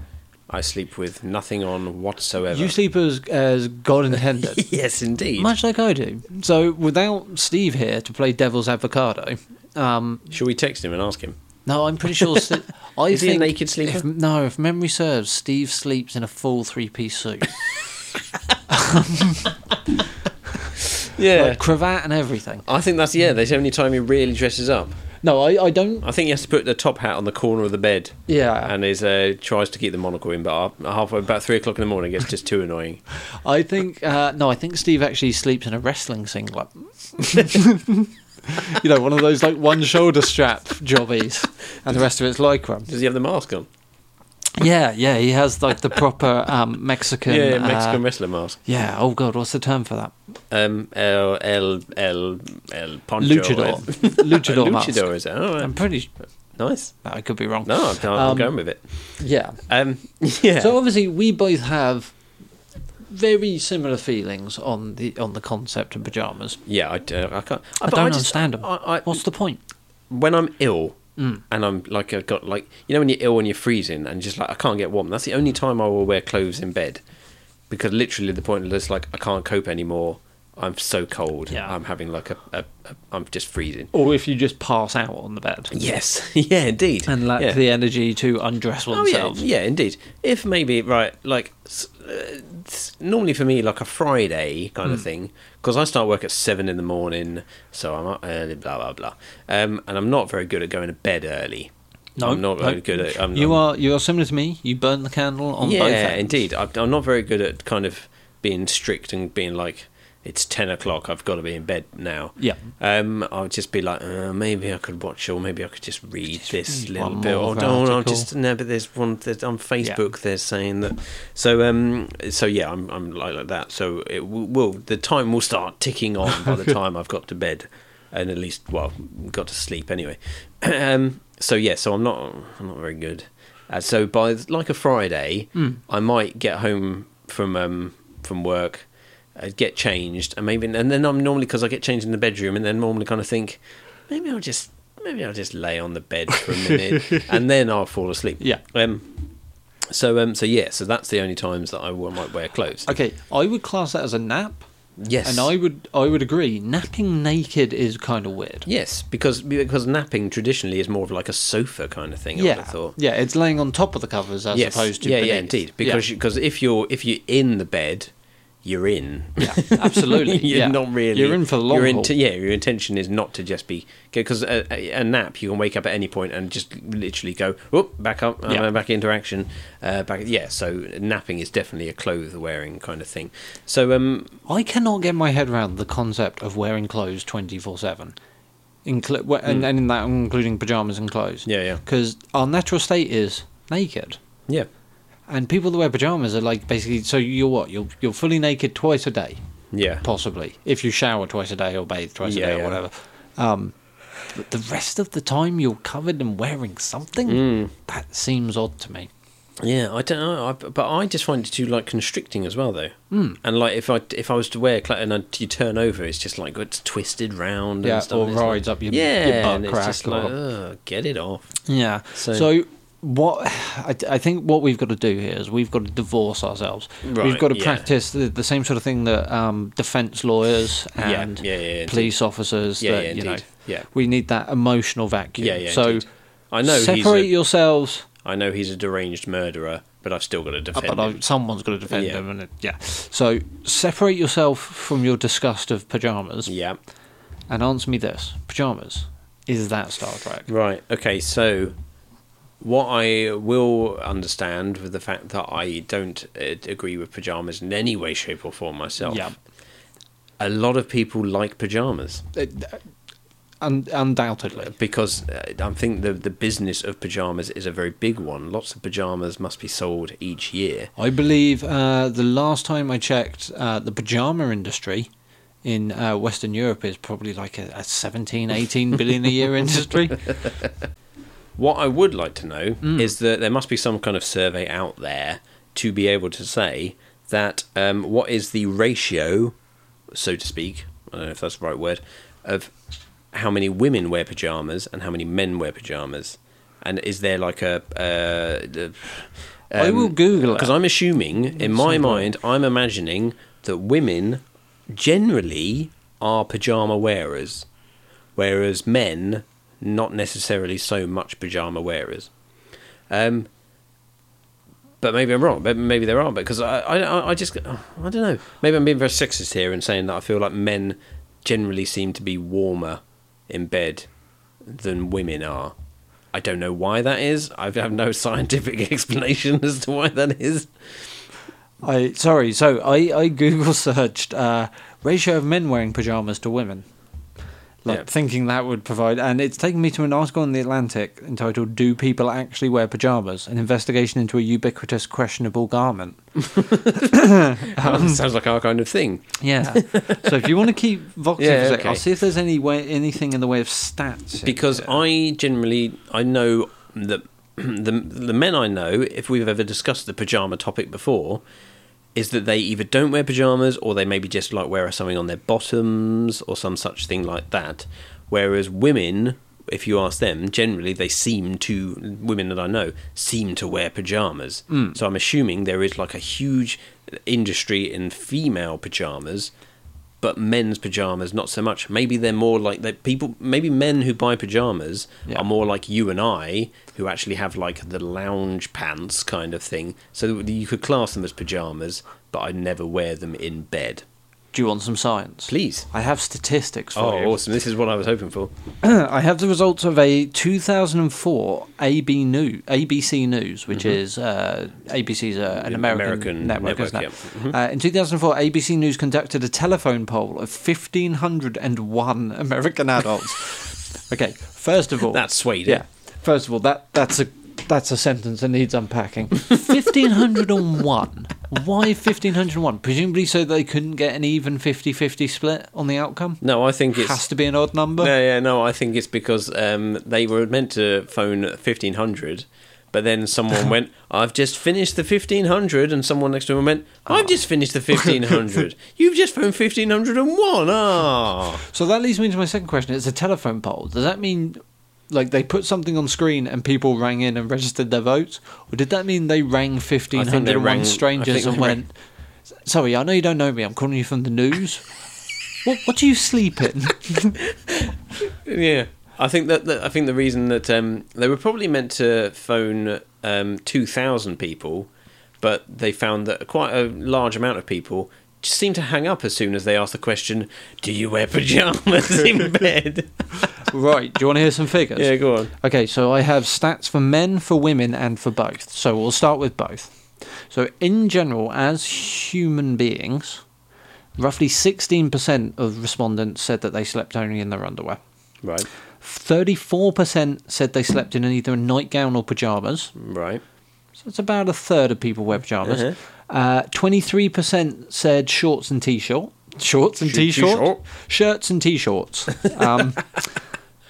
[SPEAKER 2] I sleep with nothing on whatsoever.
[SPEAKER 1] You sleep as as God intended.
[SPEAKER 2] yes, *laughs* indeed.
[SPEAKER 1] Much like I do. So without Steve here to play devil's avocado, um,
[SPEAKER 2] Shall we text him and ask him?
[SPEAKER 1] no, I'm pretty
[SPEAKER 2] *laughs*
[SPEAKER 1] sure. Sti- I
[SPEAKER 2] Is he a
[SPEAKER 1] think
[SPEAKER 2] naked sleeper?
[SPEAKER 1] If, no, if memory serves, Steve sleeps in a full three-piece suit,
[SPEAKER 2] Yeah.
[SPEAKER 1] like cravat and everything.
[SPEAKER 2] I think that's yeah. That's the only time he really dresses up.
[SPEAKER 1] No, I, I don't.
[SPEAKER 2] I think he has to put the top hat on the corner of the bed,
[SPEAKER 1] Yeah,
[SPEAKER 2] and is uh, tries to keep the monocle in. But half- halfway, about three o'clock in the morning, it gets just too annoying.
[SPEAKER 1] I think uh, no, I think Steve actually sleeps in a wrestling singlet. *laughs* you know, one of those like one shoulder strap jobbies, and the rest of it's lycra.
[SPEAKER 2] Does he have the mask on?
[SPEAKER 1] Yeah, yeah, he has like the proper um, Mexican.
[SPEAKER 2] yeah,
[SPEAKER 1] uh,
[SPEAKER 2] Mexican wrestler mask.
[SPEAKER 1] yeah. Oh god, what's the term for that?
[SPEAKER 2] Um, el el el el poncho.
[SPEAKER 1] *laughs* Luchador.
[SPEAKER 2] *laughs*
[SPEAKER 1] Luchador.
[SPEAKER 2] Luchador,
[SPEAKER 1] mask.
[SPEAKER 2] is it? All
[SPEAKER 1] I'm
[SPEAKER 2] right.
[SPEAKER 1] pretty.
[SPEAKER 2] Nice.
[SPEAKER 1] I could be wrong.
[SPEAKER 2] No, I'm, I'm
[SPEAKER 1] Um,
[SPEAKER 2] going with it.
[SPEAKER 1] Yeah.
[SPEAKER 2] Um, *laughs* yeah.
[SPEAKER 1] So obviously, we both have very similar feelings on the on the concept of pajamas.
[SPEAKER 2] yeah, I, d- I can't.
[SPEAKER 1] I
[SPEAKER 2] but
[SPEAKER 1] don't
[SPEAKER 2] just-
[SPEAKER 1] understand Mm. 'em.
[SPEAKER 2] I, I,
[SPEAKER 1] What's the point?
[SPEAKER 2] when I'm ill and I'm like I've got like you know when you're ill and you're freezing and just like I can't get warm. That's the only time I will wear clothes in bed because literally the point is like I can't cope anymore. I'm so cold.
[SPEAKER 1] Yeah.
[SPEAKER 2] I'm having like a, a, a I'm just freezing.
[SPEAKER 1] Or if you just pass out on the bed.
[SPEAKER 2] Yes. *laughs* yeah. Indeed.
[SPEAKER 1] and lack
[SPEAKER 2] yeah.
[SPEAKER 1] the energy to undress
[SPEAKER 2] Oh yeah,
[SPEAKER 1] oneself.
[SPEAKER 2] yeah, indeed. If maybe right, like s- uh, s- normally for me, like a Friday kind
[SPEAKER 1] Hmm.
[SPEAKER 2] of thing, because I start work at seven in the morning, so I'm up early, blah blah blah, um, and I'm not very good at going to bed early. I'm not very good at. I'm,
[SPEAKER 1] you
[SPEAKER 2] I'm-
[SPEAKER 1] are you are similar to me. You burn the candle on
[SPEAKER 2] yeah,
[SPEAKER 1] both ends.
[SPEAKER 2] indeed. I'm, I'm not very good at kind of being strict and being like, it's ten o'clock. I've got to be in bed now.
[SPEAKER 1] Yeah.
[SPEAKER 2] Um, I would just be like, uh, maybe I could watch or maybe I could just read this
[SPEAKER 1] read
[SPEAKER 2] little
[SPEAKER 1] one
[SPEAKER 2] bit.
[SPEAKER 1] more
[SPEAKER 2] Or no, no,
[SPEAKER 1] article.
[SPEAKER 2] just no. But there's one there's, on Facebook. They're saying that. So um, so yeah, I'm I'm like, like that. So it will, will the time will start ticking on by the time I've got to bed, and at least well got to sleep anyway. *clears throat* um, so yeah, so I'm not I'm not very good. Uh, so by like a Friday, I might get home from um from work uh, get changed, and maybe and then I'm normally because I get changed in the bedroom, and then normally kind of think maybe I'll just maybe I'll just lay on the bed for a minute, and then I'll fall asleep.
[SPEAKER 1] Yeah.
[SPEAKER 2] Um. So um. So yeah. So that's the only times that I will- might wear clothes.
[SPEAKER 1] Okay, I would class that as a nap,
[SPEAKER 2] yes.
[SPEAKER 1] and I would I would agree. Napping naked is kind of weird.
[SPEAKER 2] Yes, because because napping traditionally is more of like a sofa kind of thing. I would have
[SPEAKER 1] yeah,
[SPEAKER 2] thought.
[SPEAKER 1] yeah, it's laying on top of the covers as
[SPEAKER 2] yes.
[SPEAKER 1] opposed to
[SPEAKER 2] yeah, yeah,
[SPEAKER 1] beneath.
[SPEAKER 2] indeed. Because
[SPEAKER 1] yeah,
[SPEAKER 2] you, cause if you're if you're in the bed, you're in.
[SPEAKER 1] yeah,
[SPEAKER 2] *laughs*
[SPEAKER 1] absolutely,
[SPEAKER 2] you're
[SPEAKER 1] yeah.
[SPEAKER 2] not really.
[SPEAKER 1] You're in for the long
[SPEAKER 2] your
[SPEAKER 1] haul.
[SPEAKER 2] int- Yeah, your intention is not to just be because a, a, a nap you can wake up at any point and just literally go whoop back up and
[SPEAKER 1] Yeah.
[SPEAKER 2] back into action. Uh, back yeah, so napping is definitely a clothes wearing kind of thing. So um,
[SPEAKER 1] I cannot get my head around the concept of wearing clothes 24 7. Inclu- we- and, and in that, I'm including pajamas and clothes.
[SPEAKER 2] Hmm. Yeah, yeah.
[SPEAKER 1] Because our natural state is naked.
[SPEAKER 2] yeah,
[SPEAKER 1] And people that wear pajamas are like basically, so you're what? You're, you're fully naked twice a day,
[SPEAKER 2] yeah,
[SPEAKER 1] possibly, if you shower twice a day or bathe twice
[SPEAKER 2] Yeah,
[SPEAKER 1] a day or
[SPEAKER 2] yeah.
[SPEAKER 1] whatever. Um, but the rest of the time, you're covered and wearing something?
[SPEAKER 2] Hmm.
[SPEAKER 1] That seems odd to me.
[SPEAKER 2] yeah. I don't know, I, but I just find it too like constricting as well though.
[SPEAKER 1] Hmm.
[SPEAKER 2] Mm. And like if I if I was to wear cl- and I, you turn over, it's just like it's twisted round.
[SPEAKER 1] Yeah,
[SPEAKER 2] and stuff,
[SPEAKER 1] or
[SPEAKER 2] and it's like-
[SPEAKER 1] rides up your-
[SPEAKER 2] yeah,
[SPEAKER 1] your butt
[SPEAKER 2] and
[SPEAKER 1] crack
[SPEAKER 2] It's just
[SPEAKER 1] or-
[SPEAKER 2] like, "Ugh, get it off.
[SPEAKER 1] Yeah.
[SPEAKER 2] So-
[SPEAKER 1] So, what I, I think what we've got to do here is we've got to divorce ourselves. we've
[SPEAKER 2] Right,
[SPEAKER 1] got to
[SPEAKER 2] yeah.
[SPEAKER 1] practice the, the same sort of thing that um, defense lawyers
[SPEAKER 2] Yeah,
[SPEAKER 1] and
[SPEAKER 2] yeah, yeah, indeed.
[SPEAKER 1] police officers.
[SPEAKER 2] Yeah,
[SPEAKER 1] that,
[SPEAKER 2] yeah,
[SPEAKER 1] you know,
[SPEAKER 2] indeed. Yeah.
[SPEAKER 1] we need that emotional vacuum.
[SPEAKER 2] Yeah, yeah.
[SPEAKER 1] so
[SPEAKER 2] indeed. I know he's
[SPEAKER 1] separate
[SPEAKER 2] a,
[SPEAKER 1] yourselves. Uh,
[SPEAKER 2] I know he's a deranged murderer, but I've still got to defend
[SPEAKER 1] Ah, But
[SPEAKER 2] him.
[SPEAKER 1] I, someone's got to defend
[SPEAKER 2] Yeah.
[SPEAKER 1] them, and it, yeah. So separate yourself from your disgust of pajamas
[SPEAKER 2] Yeah.
[SPEAKER 1] and answer me this: pajamas is that Star Trek?
[SPEAKER 2] Right. Okay. So, what I will understand with the fact that I don't uh, agree with pajamas in any way, shape, or form myself.
[SPEAKER 1] Yeah.
[SPEAKER 2] A lot of people like pajamas
[SPEAKER 1] Uh, Un- undoubtedly,
[SPEAKER 2] because uh, I think the the business of pajamas is a very big one. Lots of pajamas must be sold each year.
[SPEAKER 1] I believe uh, the last time I checked, uh, the pajama industry in uh, Western Europe is probably like a, a 17, 18 billion a year industry.
[SPEAKER 2] What I would like to know
[SPEAKER 1] Hmm.
[SPEAKER 2] is that there must be some kind of survey out there to be able to say that um, what is the ratio, so to speak, I don't know if that's the right word, of how many women wear pajamas and how many men wear pajamas, and is there like a? Uh,
[SPEAKER 1] I will
[SPEAKER 2] Um,
[SPEAKER 1] Google it.
[SPEAKER 2] because I'm assuming in my
[SPEAKER 1] Simple.
[SPEAKER 2] mind I'm imagining that women generally are pajama wearers whereas men not necessarily so much pajama wearers. Um, but maybe I'm wrong. But maybe there are because I, I- I, I just oh, I don't know. Maybe I'm being very sexist here and saying that I feel like men generally seem to be warmer in bed than women are. I don't know why that is. I have no *laughs* scientific explanation as to why that is.
[SPEAKER 1] I sorry, so I, I Google searched uh, ratio of men wearing pajamas to women. Like
[SPEAKER 2] Yeah.
[SPEAKER 1] thinking that would provide, and it's taken me to an article in the Atlantic entitled "Do People Actually Wear Pajamas?" An investigation into a ubiquitous questionable garment.
[SPEAKER 2] Well, it *laughs* sounds like our kind of thing.
[SPEAKER 1] Yeah. so if you want to keep Vox in for
[SPEAKER 2] Yeah,
[SPEAKER 1] a sec,
[SPEAKER 2] okay.
[SPEAKER 1] I'll see if there's any way anything in the way of stats. in
[SPEAKER 2] because
[SPEAKER 1] here.
[SPEAKER 2] I generally I know that *clears throat* the the men I know, if we've ever discussed the pajama topic before, is that they either don't wear pajamas or they maybe just like wear something on their bottoms or some such thing like that. Whereas women, if you ask them, generally they seem to women that I know seem to wear pajamas. So I'm assuming there is like a huge industry in female pajamas but men's pajamas not so much. Maybe they're more like that. People, maybe men who buy pajamas
[SPEAKER 1] Yeah.
[SPEAKER 2] are more like you and I, who actually have like the lounge pants kind of thing. So you could class them as pajamas, but I never wear them in bed.
[SPEAKER 1] do you want some science?
[SPEAKER 2] Please.
[SPEAKER 1] I have statistics for
[SPEAKER 2] Oh,
[SPEAKER 1] you.
[SPEAKER 2] awesome! This is what I was hoping for.
[SPEAKER 1] *clears throat* I have the results of a 2004 AB New, ABC News, which is uh, ABC's uh, an
[SPEAKER 2] An
[SPEAKER 1] American,
[SPEAKER 2] Mm-hmm. American network,
[SPEAKER 1] network,
[SPEAKER 2] Mm-hmm.
[SPEAKER 1] isn't it? Uh, in 2004, ABC News conducted a telephone poll of 1,501 American
[SPEAKER 2] *laughs*
[SPEAKER 1] adults. okay, first of all,
[SPEAKER 2] That's eh? sweet.
[SPEAKER 1] yeah. First of all, that that's a that's a sentence that needs
[SPEAKER 2] *laughs*
[SPEAKER 1] unpacking. 1,501. Why 1,501? Presumably so they couldn't get an even 50-50 split on the outcome.
[SPEAKER 2] No, I think
[SPEAKER 1] Has
[SPEAKER 2] it's.
[SPEAKER 1] to be an odd number.
[SPEAKER 2] No, yeah, no. I think it's because um, they were meant to phone fifteen hundred, but then someone *laughs* went, "I've just finished the fifteen hundred," and someone next to him went, "I've just finished the fifteen *laughs* hundred. You've just phoned fifteen hundred and one. Ah,
[SPEAKER 1] So that leads me to my second question. It's a telephone poll. Does that mean like they put something on screen and people rang in and registered their votes? Or did that mean they rang fifteen hundred and
[SPEAKER 2] rang-
[SPEAKER 1] one
[SPEAKER 2] I
[SPEAKER 1] strangers
[SPEAKER 2] think
[SPEAKER 1] and
[SPEAKER 2] they rang-
[SPEAKER 1] went Sorry, I know you don't know me, I'm calling you from the
[SPEAKER 2] *laughs*
[SPEAKER 1] news. what what do you sleep in?
[SPEAKER 2] yeah." I think that, that I think the reason that um, they were probably meant to phone um, two thousand people, but they found that quite a large amount of people. just seemed to hang up as soon as they asked the question, "Do you wear pajamas *laughs* in bed?"
[SPEAKER 1] right, do you want to hear some figures?
[SPEAKER 2] yeah, go on.
[SPEAKER 1] Okay, so I have stats for men, for women, and for both. So we'll start with both. So, in general, as human beings, roughly 16% of respondents said that they slept only in their underwear.
[SPEAKER 2] *laughs* Right,
[SPEAKER 1] 34% said they slept in either a nightgown or pajamas.
[SPEAKER 2] right.
[SPEAKER 1] So, it's about a third of people wear pajamas. uh
[SPEAKER 2] Uh-huh.
[SPEAKER 1] 23% said shorts and t shirt. Shorts and
[SPEAKER 2] Sh-
[SPEAKER 1] t shirt.
[SPEAKER 2] t-shirt.
[SPEAKER 1] Shirts and t shirts.
[SPEAKER 2] *laughs*
[SPEAKER 1] Um,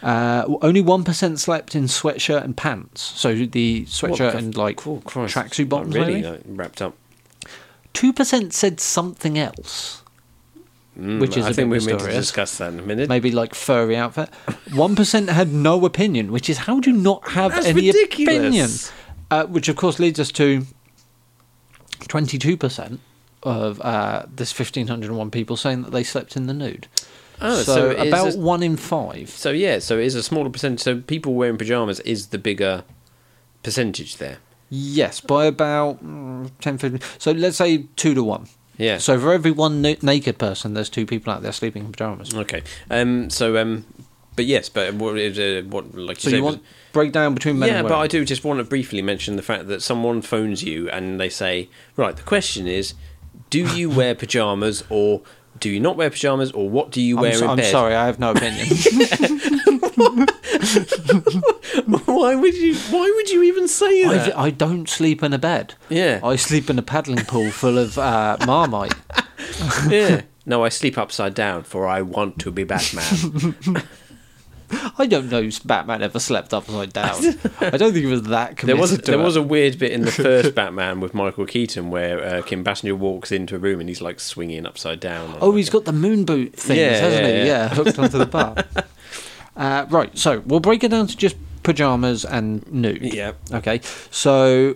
[SPEAKER 1] Uh, only one percent slept in sweatshirt and pants, so the sweatshirt
[SPEAKER 2] the
[SPEAKER 1] and like
[SPEAKER 2] Cool, Christ. Not
[SPEAKER 1] tracksuit bottoms.
[SPEAKER 2] really
[SPEAKER 1] Really,
[SPEAKER 2] like, wrapped up.
[SPEAKER 1] two percent said something else, which
[SPEAKER 2] Mm,
[SPEAKER 1] is
[SPEAKER 2] I
[SPEAKER 1] a bit
[SPEAKER 2] think we're meant to
[SPEAKER 1] mysterious.
[SPEAKER 2] discuss that in a minute.
[SPEAKER 1] Maybe like furry outfit. One percent had no opinion, which is how do you not have
[SPEAKER 2] That's
[SPEAKER 1] any
[SPEAKER 2] ridiculous.
[SPEAKER 1] opinion? Uh, which, of course, leads us to 22% of uh, this 1,501 people saying that they slept in the nude.
[SPEAKER 2] Oh,
[SPEAKER 1] so,
[SPEAKER 2] so, it is
[SPEAKER 1] about
[SPEAKER 2] a-
[SPEAKER 1] one in five.
[SPEAKER 2] so yeah, so it is a smaller percentage. So people wearing pajamas is the bigger percentage there.
[SPEAKER 1] Yes, by about mm, 10, 15. So let's say two to one.
[SPEAKER 2] Yeah.
[SPEAKER 1] So for every one na- naked person, there's two people out there sleeping in pajamas.
[SPEAKER 2] okay. Um. So um. But yes, but what is uh, what like you
[SPEAKER 1] So
[SPEAKER 2] say,
[SPEAKER 1] you
[SPEAKER 2] was-
[SPEAKER 1] want breakdown between men
[SPEAKER 2] yeah,
[SPEAKER 1] and
[SPEAKER 2] but
[SPEAKER 1] women.
[SPEAKER 2] I do just want to briefly mention the fact that someone phones you and they say, right, the question is, do
[SPEAKER 1] *laughs*
[SPEAKER 2] you wear pajamas or do you not wear pajamas or what do you
[SPEAKER 1] I'm,
[SPEAKER 2] wear
[SPEAKER 1] s-
[SPEAKER 2] in
[SPEAKER 1] I'm
[SPEAKER 2] bed?
[SPEAKER 1] sorry, I have no opinion.
[SPEAKER 2] *laughs* why would you? Why would you even say that?
[SPEAKER 1] I, I don't sleep in a bed.
[SPEAKER 2] Yeah.
[SPEAKER 1] I sleep in a paddling pool full of uh, *laughs* marmite.
[SPEAKER 2] yeah. *laughs* No, I sleep upside down for I want to be
[SPEAKER 1] *laughs*
[SPEAKER 2] Batman.
[SPEAKER 1] I don't know if Batman ever slept upside
[SPEAKER 2] *laughs*
[SPEAKER 1] down. I don't think he was that committed
[SPEAKER 2] there was a,
[SPEAKER 1] to
[SPEAKER 2] there
[SPEAKER 1] it.
[SPEAKER 2] was a weird bit in the
[SPEAKER 1] *laughs*
[SPEAKER 2] first Batman with Michael Keaton where uh, Kim Basinger walks into a room and he's like swinging upside down.
[SPEAKER 1] Oh, he's got the moon boot things,
[SPEAKER 2] Yeah,
[SPEAKER 1] hasn't
[SPEAKER 2] yeah,
[SPEAKER 1] he?
[SPEAKER 2] yeah.
[SPEAKER 1] Yeah, hooked onto
[SPEAKER 2] *laughs*
[SPEAKER 1] the bar. uh, right, so we'll break it down to just pajamas and nude.
[SPEAKER 2] Yeah.
[SPEAKER 1] Okay, so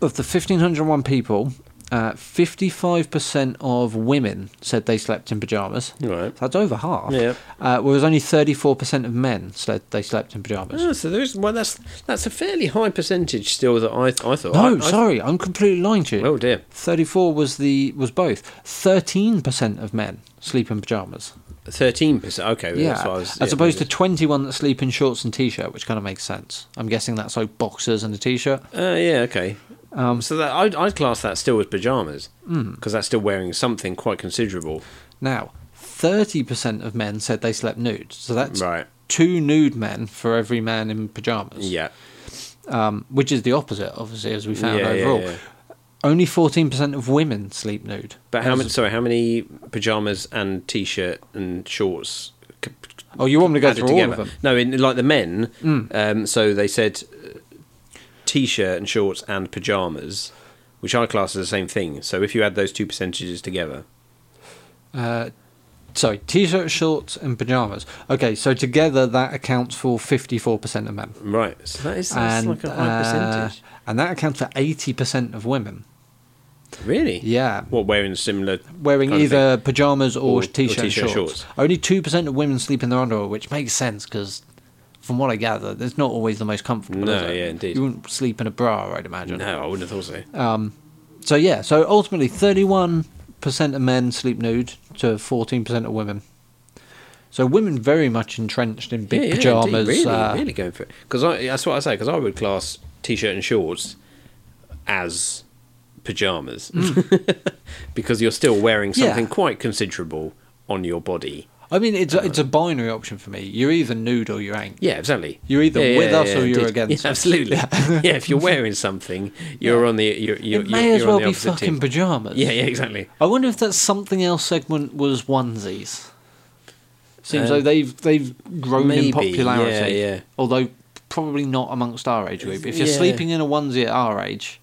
[SPEAKER 1] of the 1,501 people, uh, 55% of women said they slept in pajamas.
[SPEAKER 2] right.
[SPEAKER 1] That's over half.
[SPEAKER 2] Yeah.
[SPEAKER 1] Uh, whereas only 34% of men said they slept in pajamas.
[SPEAKER 2] Oh, so there's well, that's that's a fairly high percentage still that I I thought.
[SPEAKER 1] No,
[SPEAKER 2] I, I-
[SPEAKER 1] sorry, I'm completely lying to you.
[SPEAKER 2] Oh dear.
[SPEAKER 1] 34 was the was both. 13% of men sleep in pajamas.
[SPEAKER 2] Thirteen percent. Okay, well,
[SPEAKER 1] yeah,
[SPEAKER 2] that's what I was,
[SPEAKER 1] as
[SPEAKER 2] yeah,
[SPEAKER 1] opposed to
[SPEAKER 2] maybe
[SPEAKER 1] 21 that sleep in shorts and t-shirt, which kind of makes sense. I'm guessing that's like boxers and a t-shirt.
[SPEAKER 2] it's- Uh, yeah, okay. Um, so that I'd, I'd class that still as pajamas
[SPEAKER 1] Hmm.
[SPEAKER 2] because that's still wearing something quite considerable.
[SPEAKER 1] Now, 30% of men said they slept nude, so that's
[SPEAKER 2] Right.
[SPEAKER 1] two nude men for every man in pajamas.
[SPEAKER 2] Yeah.
[SPEAKER 1] um, which is the opposite, obviously, as we found
[SPEAKER 2] Yeah, yeah,
[SPEAKER 1] overall.
[SPEAKER 2] yeah.
[SPEAKER 1] Only 14% of women sleep nude.
[SPEAKER 2] But how
[SPEAKER 1] As-
[SPEAKER 2] many? Sorry, how many pajamas and t-shirt and shorts? c-
[SPEAKER 1] Oh, you want me to go
[SPEAKER 2] added
[SPEAKER 1] through all
[SPEAKER 2] together?
[SPEAKER 1] of them?
[SPEAKER 2] No, in like the men. Um, so they said uh, t-shirt and shorts and pajamas, which I class as the same thing. So if you add those two percentages together,
[SPEAKER 1] Uh, sorry, t-shirt, shorts, and pajamas. Okay, so together that accounts for fifty-four percent of men,
[SPEAKER 2] right? So that is that's
[SPEAKER 1] and
[SPEAKER 2] like a high
[SPEAKER 1] uh,
[SPEAKER 2] percentage.
[SPEAKER 1] and that accounts for eighty percent of women.
[SPEAKER 2] Really?
[SPEAKER 1] Yeah,
[SPEAKER 2] What wearing similar?
[SPEAKER 1] wearing
[SPEAKER 2] kind of thing?
[SPEAKER 1] either pajamas or,
[SPEAKER 2] Or- or
[SPEAKER 1] t-shirt, and
[SPEAKER 2] t-shirt,
[SPEAKER 1] shorts.
[SPEAKER 2] shorts.
[SPEAKER 1] Only two percent of women sleep in their underwear, which makes sense because. From what I gather, it's not always the most comfortable.
[SPEAKER 2] No,
[SPEAKER 1] is it?
[SPEAKER 2] yeah, indeed.
[SPEAKER 1] You wouldn't sleep in a bra, I'd imagine.
[SPEAKER 2] No, I wouldn't have thought so.
[SPEAKER 1] So yeah, so ultimately, thirty-one percent of men sleep nude to fourteen percent of women. So women very much entrenched in big
[SPEAKER 2] Yeah, yeah, indeed,
[SPEAKER 1] pajamas.
[SPEAKER 2] really,
[SPEAKER 1] uh,
[SPEAKER 2] really going for it. Because that's what I say. Because I would class t-shirt and shorts as pajamas, *laughs*
[SPEAKER 1] *laughs*
[SPEAKER 2] because you're still wearing
[SPEAKER 1] Mm. Yeah.
[SPEAKER 2] something quite considerable on your body.
[SPEAKER 1] I mean, it's a, it's a binary option for me. You're either nude or you ain't.
[SPEAKER 2] Yeah, exactly.
[SPEAKER 1] You're either
[SPEAKER 2] Yeah,
[SPEAKER 1] with
[SPEAKER 2] yeah,
[SPEAKER 1] us
[SPEAKER 2] yeah, *laughs*
[SPEAKER 1] or you're
[SPEAKER 2] indeed.
[SPEAKER 1] against
[SPEAKER 2] Yeah,
[SPEAKER 1] us. *laughs*
[SPEAKER 2] absolutely. Yeah. if you're wearing something, you're on the you're, you're, you're,
[SPEAKER 1] it may as
[SPEAKER 2] you're on
[SPEAKER 1] well
[SPEAKER 2] the
[SPEAKER 1] be
[SPEAKER 2] opposite
[SPEAKER 1] fucking
[SPEAKER 2] team.
[SPEAKER 1] pajamas.
[SPEAKER 2] Yeah, yeah, exactly.
[SPEAKER 1] I wonder if that something else segment was onesies. Seems
[SPEAKER 2] Uh,
[SPEAKER 1] like they've they've grown
[SPEAKER 2] maybe,
[SPEAKER 1] in popularity.
[SPEAKER 2] yeah, yeah.
[SPEAKER 1] Although probably not amongst our age group. If you're
[SPEAKER 2] Yeah.
[SPEAKER 1] sleeping in a onesie at our age,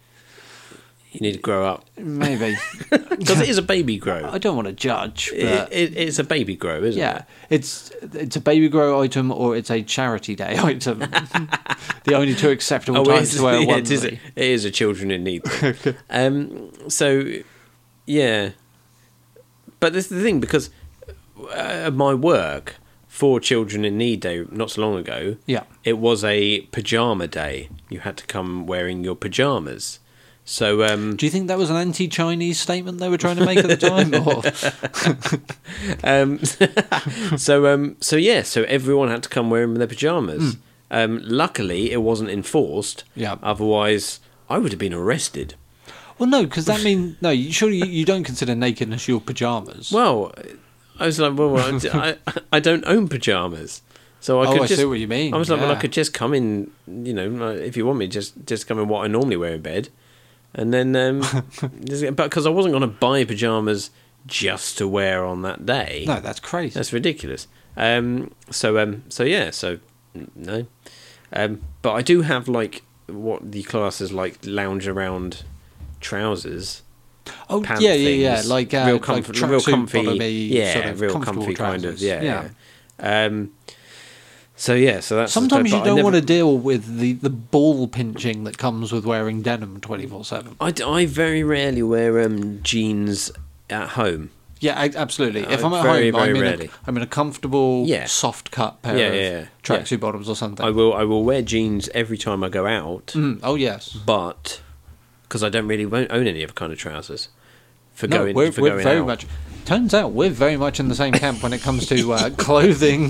[SPEAKER 2] You need to grow
[SPEAKER 1] *laughs*
[SPEAKER 2] up *laughs*
[SPEAKER 1] maybe.
[SPEAKER 2] because it is a baby grow.
[SPEAKER 1] *laughs* I don't want to judge,
[SPEAKER 2] It,
[SPEAKER 1] but
[SPEAKER 2] it, it's a baby grow, isn't it?
[SPEAKER 1] yeah, it's it's a baby grow item or it's a charity day *laughs* item. the only two
[SPEAKER 2] *laughs*
[SPEAKER 1] acceptable
[SPEAKER 2] Oh, it
[SPEAKER 1] times
[SPEAKER 2] is-
[SPEAKER 1] to wear a
[SPEAKER 2] yeah, it, is,
[SPEAKER 1] onesie.
[SPEAKER 2] it is a children in need.
[SPEAKER 1] *laughs*
[SPEAKER 2] thing. um, so, yeah. But this is the thing because uh, at my work for Children in Need Day not so long ago,
[SPEAKER 1] Yeah.
[SPEAKER 2] it was a pajama day. You had to come wearing your pajamas. So,
[SPEAKER 1] *laughs*
[SPEAKER 2] um,
[SPEAKER 1] Do you think that was an anti-Chinese statement they were trying to make at the time?
[SPEAKER 2] *laughs*
[SPEAKER 1] Or
[SPEAKER 2] um, *laughs* so, um, so yeah. So everyone had to come wearing their pajamas. Um, luckily, it wasn't enforced.
[SPEAKER 1] Hmm. Yeah.
[SPEAKER 2] Otherwise, I would have been arrested.
[SPEAKER 1] well, no, because that means no. You, surely you, you don't consider nakedness your pajamas.
[SPEAKER 2] Well, I was like, well, well,
[SPEAKER 1] *laughs*
[SPEAKER 2] I, I don't own pajamas, so I
[SPEAKER 1] Oh,
[SPEAKER 2] could
[SPEAKER 1] I see
[SPEAKER 2] just.
[SPEAKER 1] what you mean,
[SPEAKER 2] I was like, well, I
[SPEAKER 1] yeah.
[SPEAKER 2] could just come in, you know, like, if you want me, just just come in what I normally wear in bed, and then, um,
[SPEAKER 1] *laughs*
[SPEAKER 2] just- but because I wasn't going to buy pajamas just to wear on that day,
[SPEAKER 1] no, that's crazy.
[SPEAKER 2] that's ridiculous. Um, so um, so yeah, so n- no, um, but I do have like what the class is like lounge around trousers
[SPEAKER 1] oh,
[SPEAKER 2] pant
[SPEAKER 1] yeah, yeah,
[SPEAKER 2] things,
[SPEAKER 1] yeah. Like uh,
[SPEAKER 2] real, comf-
[SPEAKER 1] like
[SPEAKER 2] real
[SPEAKER 1] tracksuit
[SPEAKER 2] comfy,
[SPEAKER 1] bottomy,
[SPEAKER 2] yeah,
[SPEAKER 1] sort of
[SPEAKER 2] real
[SPEAKER 1] comfortable
[SPEAKER 2] comfy kind of,
[SPEAKER 1] trousers.
[SPEAKER 2] yeah, yeah. Um, So yeah, so that's the
[SPEAKER 1] Sometimes
[SPEAKER 2] type-
[SPEAKER 1] you
[SPEAKER 2] but I
[SPEAKER 1] don't
[SPEAKER 2] never-
[SPEAKER 1] want to deal with the, the ball pinching that comes with wearing denim 24 7.
[SPEAKER 2] I, d- I very rarely wear um, jeans at home.
[SPEAKER 1] Yeah, a- absolutely. if
[SPEAKER 2] Uh,
[SPEAKER 1] I'm at
[SPEAKER 2] very,
[SPEAKER 1] home, I'm
[SPEAKER 2] very
[SPEAKER 1] in, a,
[SPEAKER 2] rarely.
[SPEAKER 1] I'm in a comfortable,
[SPEAKER 2] Yeah.
[SPEAKER 1] soft cut pair
[SPEAKER 2] Yeah,
[SPEAKER 1] of
[SPEAKER 2] yeah, yeah.
[SPEAKER 1] tracksuit bottoms or something.
[SPEAKER 2] I will I will wear jeans every time I go out,
[SPEAKER 1] Mm, oh, yes.
[SPEAKER 2] but because I don't really won't own any other kind of trousers for
[SPEAKER 1] No,
[SPEAKER 2] going
[SPEAKER 1] we're,
[SPEAKER 2] for
[SPEAKER 1] we're
[SPEAKER 2] going
[SPEAKER 1] very
[SPEAKER 2] out.
[SPEAKER 1] much. Turns out we're very much in the same camp when it comes
[SPEAKER 2] *laughs*
[SPEAKER 1] to uh, clothing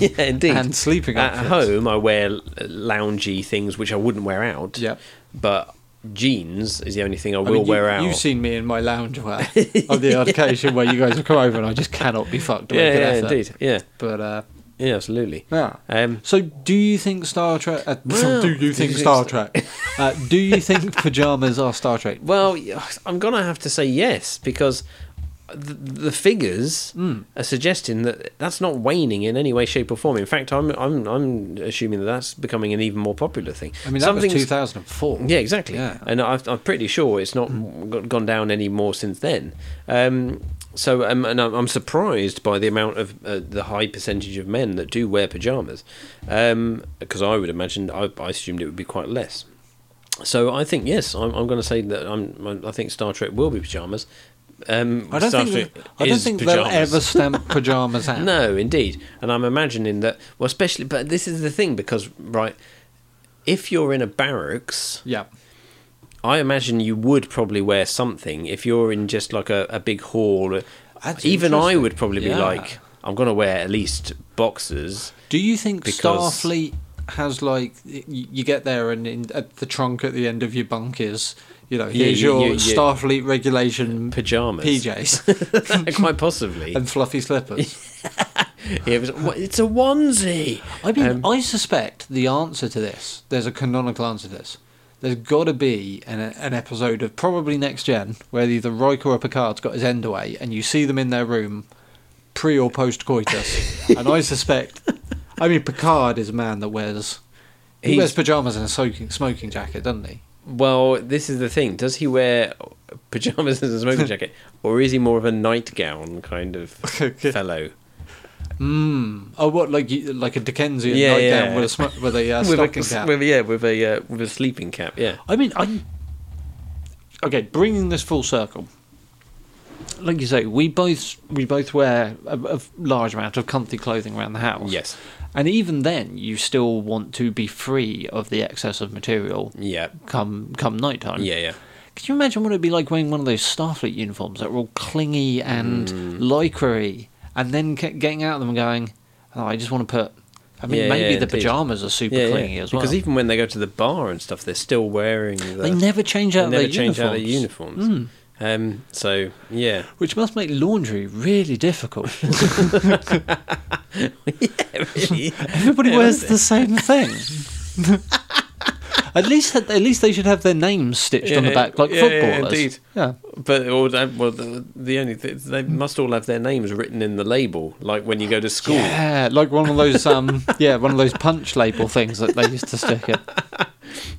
[SPEAKER 2] *laughs* yeah, indeed.
[SPEAKER 1] and sleeping
[SPEAKER 2] at
[SPEAKER 1] outfits.
[SPEAKER 2] home, I wear l- loungy things which I wouldn't wear out.
[SPEAKER 1] Yep.
[SPEAKER 2] But jeans is the only thing I
[SPEAKER 1] I
[SPEAKER 2] will
[SPEAKER 1] mean, you,
[SPEAKER 2] wear out.
[SPEAKER 1] You've seen me in my
[SPEAKER 2] *laughs*
[SPEAKER 1] loungewear on the odd occasion where you guys have come over and I just cannot be fucked. to
[SPEAKER 2] yeah,
[SPEAKER 1] make an
[SPEAKER 2] yeah,
[SPEAKER 1] effort.
[SPEAKER 2] indeed. Yeah,
[SPEAKER 1] But uh,
[SPEAKER 2] yeah, absolutely.
[SPEAKER 1] yeah.
[SPEAKER 2] Um,
[SPEAKER 1] So, do you think Star Trek? Uh, *laughs*
[SPEAKER 2] Well,
[SPEAKER 1] do you think Star Trek? Uh, do you think *laughs* pajamas are Star Trek?
[SPEAKER 2] Well, I'm going to have to say yes because the, the figures
[SPEAKER 1] Hmm.
[SPEAKER 2] are suggesting that that's not waning in any way, shape, or form. In fact, I'm I'm I'm assuming that that's becoming an even more popular thing.
[SPEAKER 1] I mean, that was
[SPEAKER 2] Something's-
[SPEAKER 1] 2004.
[SPEAKER 2] Yeah, exactly.
[SPEAKER 1] Yeah. Hmm.
[SPEAKER 2] And I've, I'm pretty sure it's not got- gone down any more since then. Um, so, um, and I'm, I'm surprised by the amount of uh, the high percentage of men that do wear pajamas, because I would imagine I, I assumed it would be quite less. So I think yes, I'm, I'm going to say that I'm, I think Star Trek will be pajamas. Um,
[SPEAKER 1] I don't
[SPEAKER 2] Star
[SPEAKER 1] think
[SPEAKER 2] Trek
[SPEAKER 1] I don't
[SPEAKER 2] is
[SPEAKER 1] think they'll
[SPEAKER 2] pajamas. *laughs*
[SPEAKER 1] ever stamp pajamas out.
[SPEAKER 2] No, indeed. And I'm imagining that, well, especially, but this is the thing because, right, if you're in a barracks,
[SPEAKER 1] Yeah.
[SPEAKER 2] I imagine you would probably wear something if you're in just like a, a big hall.
[SPEAKER 1] That's
[SPEAKER 2] Even I
[SPEAKER 1] interesting.
[SPEAKER 2] would probably be
[SPEAKER 1] Yeah.
[SPEAKER 2] like, I'm going to wear at least boxers.
[SPEAKER 1] Do you think
[SPEAKER 2] Because-
[SPEAKER 1] Starfleet has like y- you get there and in, at the trunk at the end of your bunk is you know
[SPEAKER 2] Yeah,
[SPEAKER 1] here's
[SPEAKER 2] you-
[SPEAKER 1] your
[SPEAKER 2] you- you-
[SPEAKER 1] Starfleet regulation
[SPEAKER 2] Pajamas. *laughs*
[SPEAKER 1] PJs *laughs*
[SPEAKER 2] Quite possibly.
[SPEAKER 1] and fluffy slippers.
[SPEAKER 2] Yeah, it was- "What- it's a onesie.
[SPEAKER 1] *laughs* I mean,
[SPEAKER 2] Um,
[SPEAKER 1] I suspect the answer to this. There's a canonical answer to this. There's got to be an, an episode of probably Next Gen where either Riker or Picard's got his end away, and you see them in their room, pre or post *laughs* coitus, and I suspect. I mean, Picard is a man that wears. He
[SPEAKER 2] He's-
[SPEAKER 1] wears pajamas and a soaking, smoking jacket, doesn't he?
[SPEAKER 2] Well, this is the thing. Does he wear pajamas and a
[SPEAKER 1] *laughs*
[SPEAKER 2] smoking jacket? Or is he more of a nightgown kind of
[SPEAKER 1] Okay.
[SPEAKER 2] fellow?
[SPEAKER 1] Mm. Oh, what like you, like a Dickensian
[SPEAKER 2] Yeah,
[SPEAKER 1] nightgown
[SPEAKER 2] yeah.
[SPEAKER 1] with a sm- *laughs* with a uh, stocking
[SPEAKER 2] with a,
[SPEAKER 1] cap.
[SPEAKER 2] with, yeah, with a, uh, with a sleeping cap, yeah.
[SPEAKER 1] I mean, I. Okay, bringing this full circle. Like you say, we both we both wear a, a large amount of comfy clothing around the house.
[SPEAKER 2] Yes.
[SPEAKER 1] and even then, you still want to be free of the excess of material
[SPEAKER 2] Yeah.
[SPEAKER 1] come come nighttime.
[SPEAKER 2] Yeah, yeah.
[SPEAKER 1] Could you imagine what it'd be like wearing one of those Starfleet uniforms that were all clingy and
[SPEAKER 2] Mm.
[SPEAKER 1] lycra-y, and then ke- getting out of them and going, "Oh, I just want to put." I mean,
[SPEAKER 2] Yeah,
[SPEAKER 1] maybe
[SPEAKER 2] yeah,
[SPEAKER 1] the
[SPEAKER 2] indeed.
[SPEAKER 1] pajamas are super
[SPEAKER 2] yeah,
[SPEAKER 1] clingy as well.
[SPEAKER 2] Because even when they go to the bar and stuff, they're still wearing. The,
[SPEAKER 1] they never change
[SPEAKER 2] they
[SPEAKER 1] out
[SPEAKER 2] never
[SPEAKER 1] their
[SPEAKER 2] change out their
[SPEAKER 1] uniforms.
[SPEAKER 2] uniforms. Um, so *laughs* yeah,
[SPEAKER 1] Which must make laundry really
[SPEAKER 2] *laughs*
[SPEAKER 1] difficult. Everybody
[SPEAKER 2] Yeah,
[SPEAKER 1] wears
[SPEAKER 2] doesn't
[SPEAKER 1] the same thing. at least, at least they should have their names stitched on the
[SPEAKER 2] Yeah,
[SPEAKER 1] back like
[SPEAKER 2] yeah, yeah,
[SPEAKER 1] footballers.
[SPEAKER 2] indeed.
[SPEAKER 1] Yeah.
[SPEAKER 2] *laughs* but all that, well, the, the only th- they must all have their names written in the label, like when you go to school.
[SPEAKER 1] Yeah, like one of those, um, yeah, one of those punch label things that they used to stick in.
[SPEAKER 2] *laughs*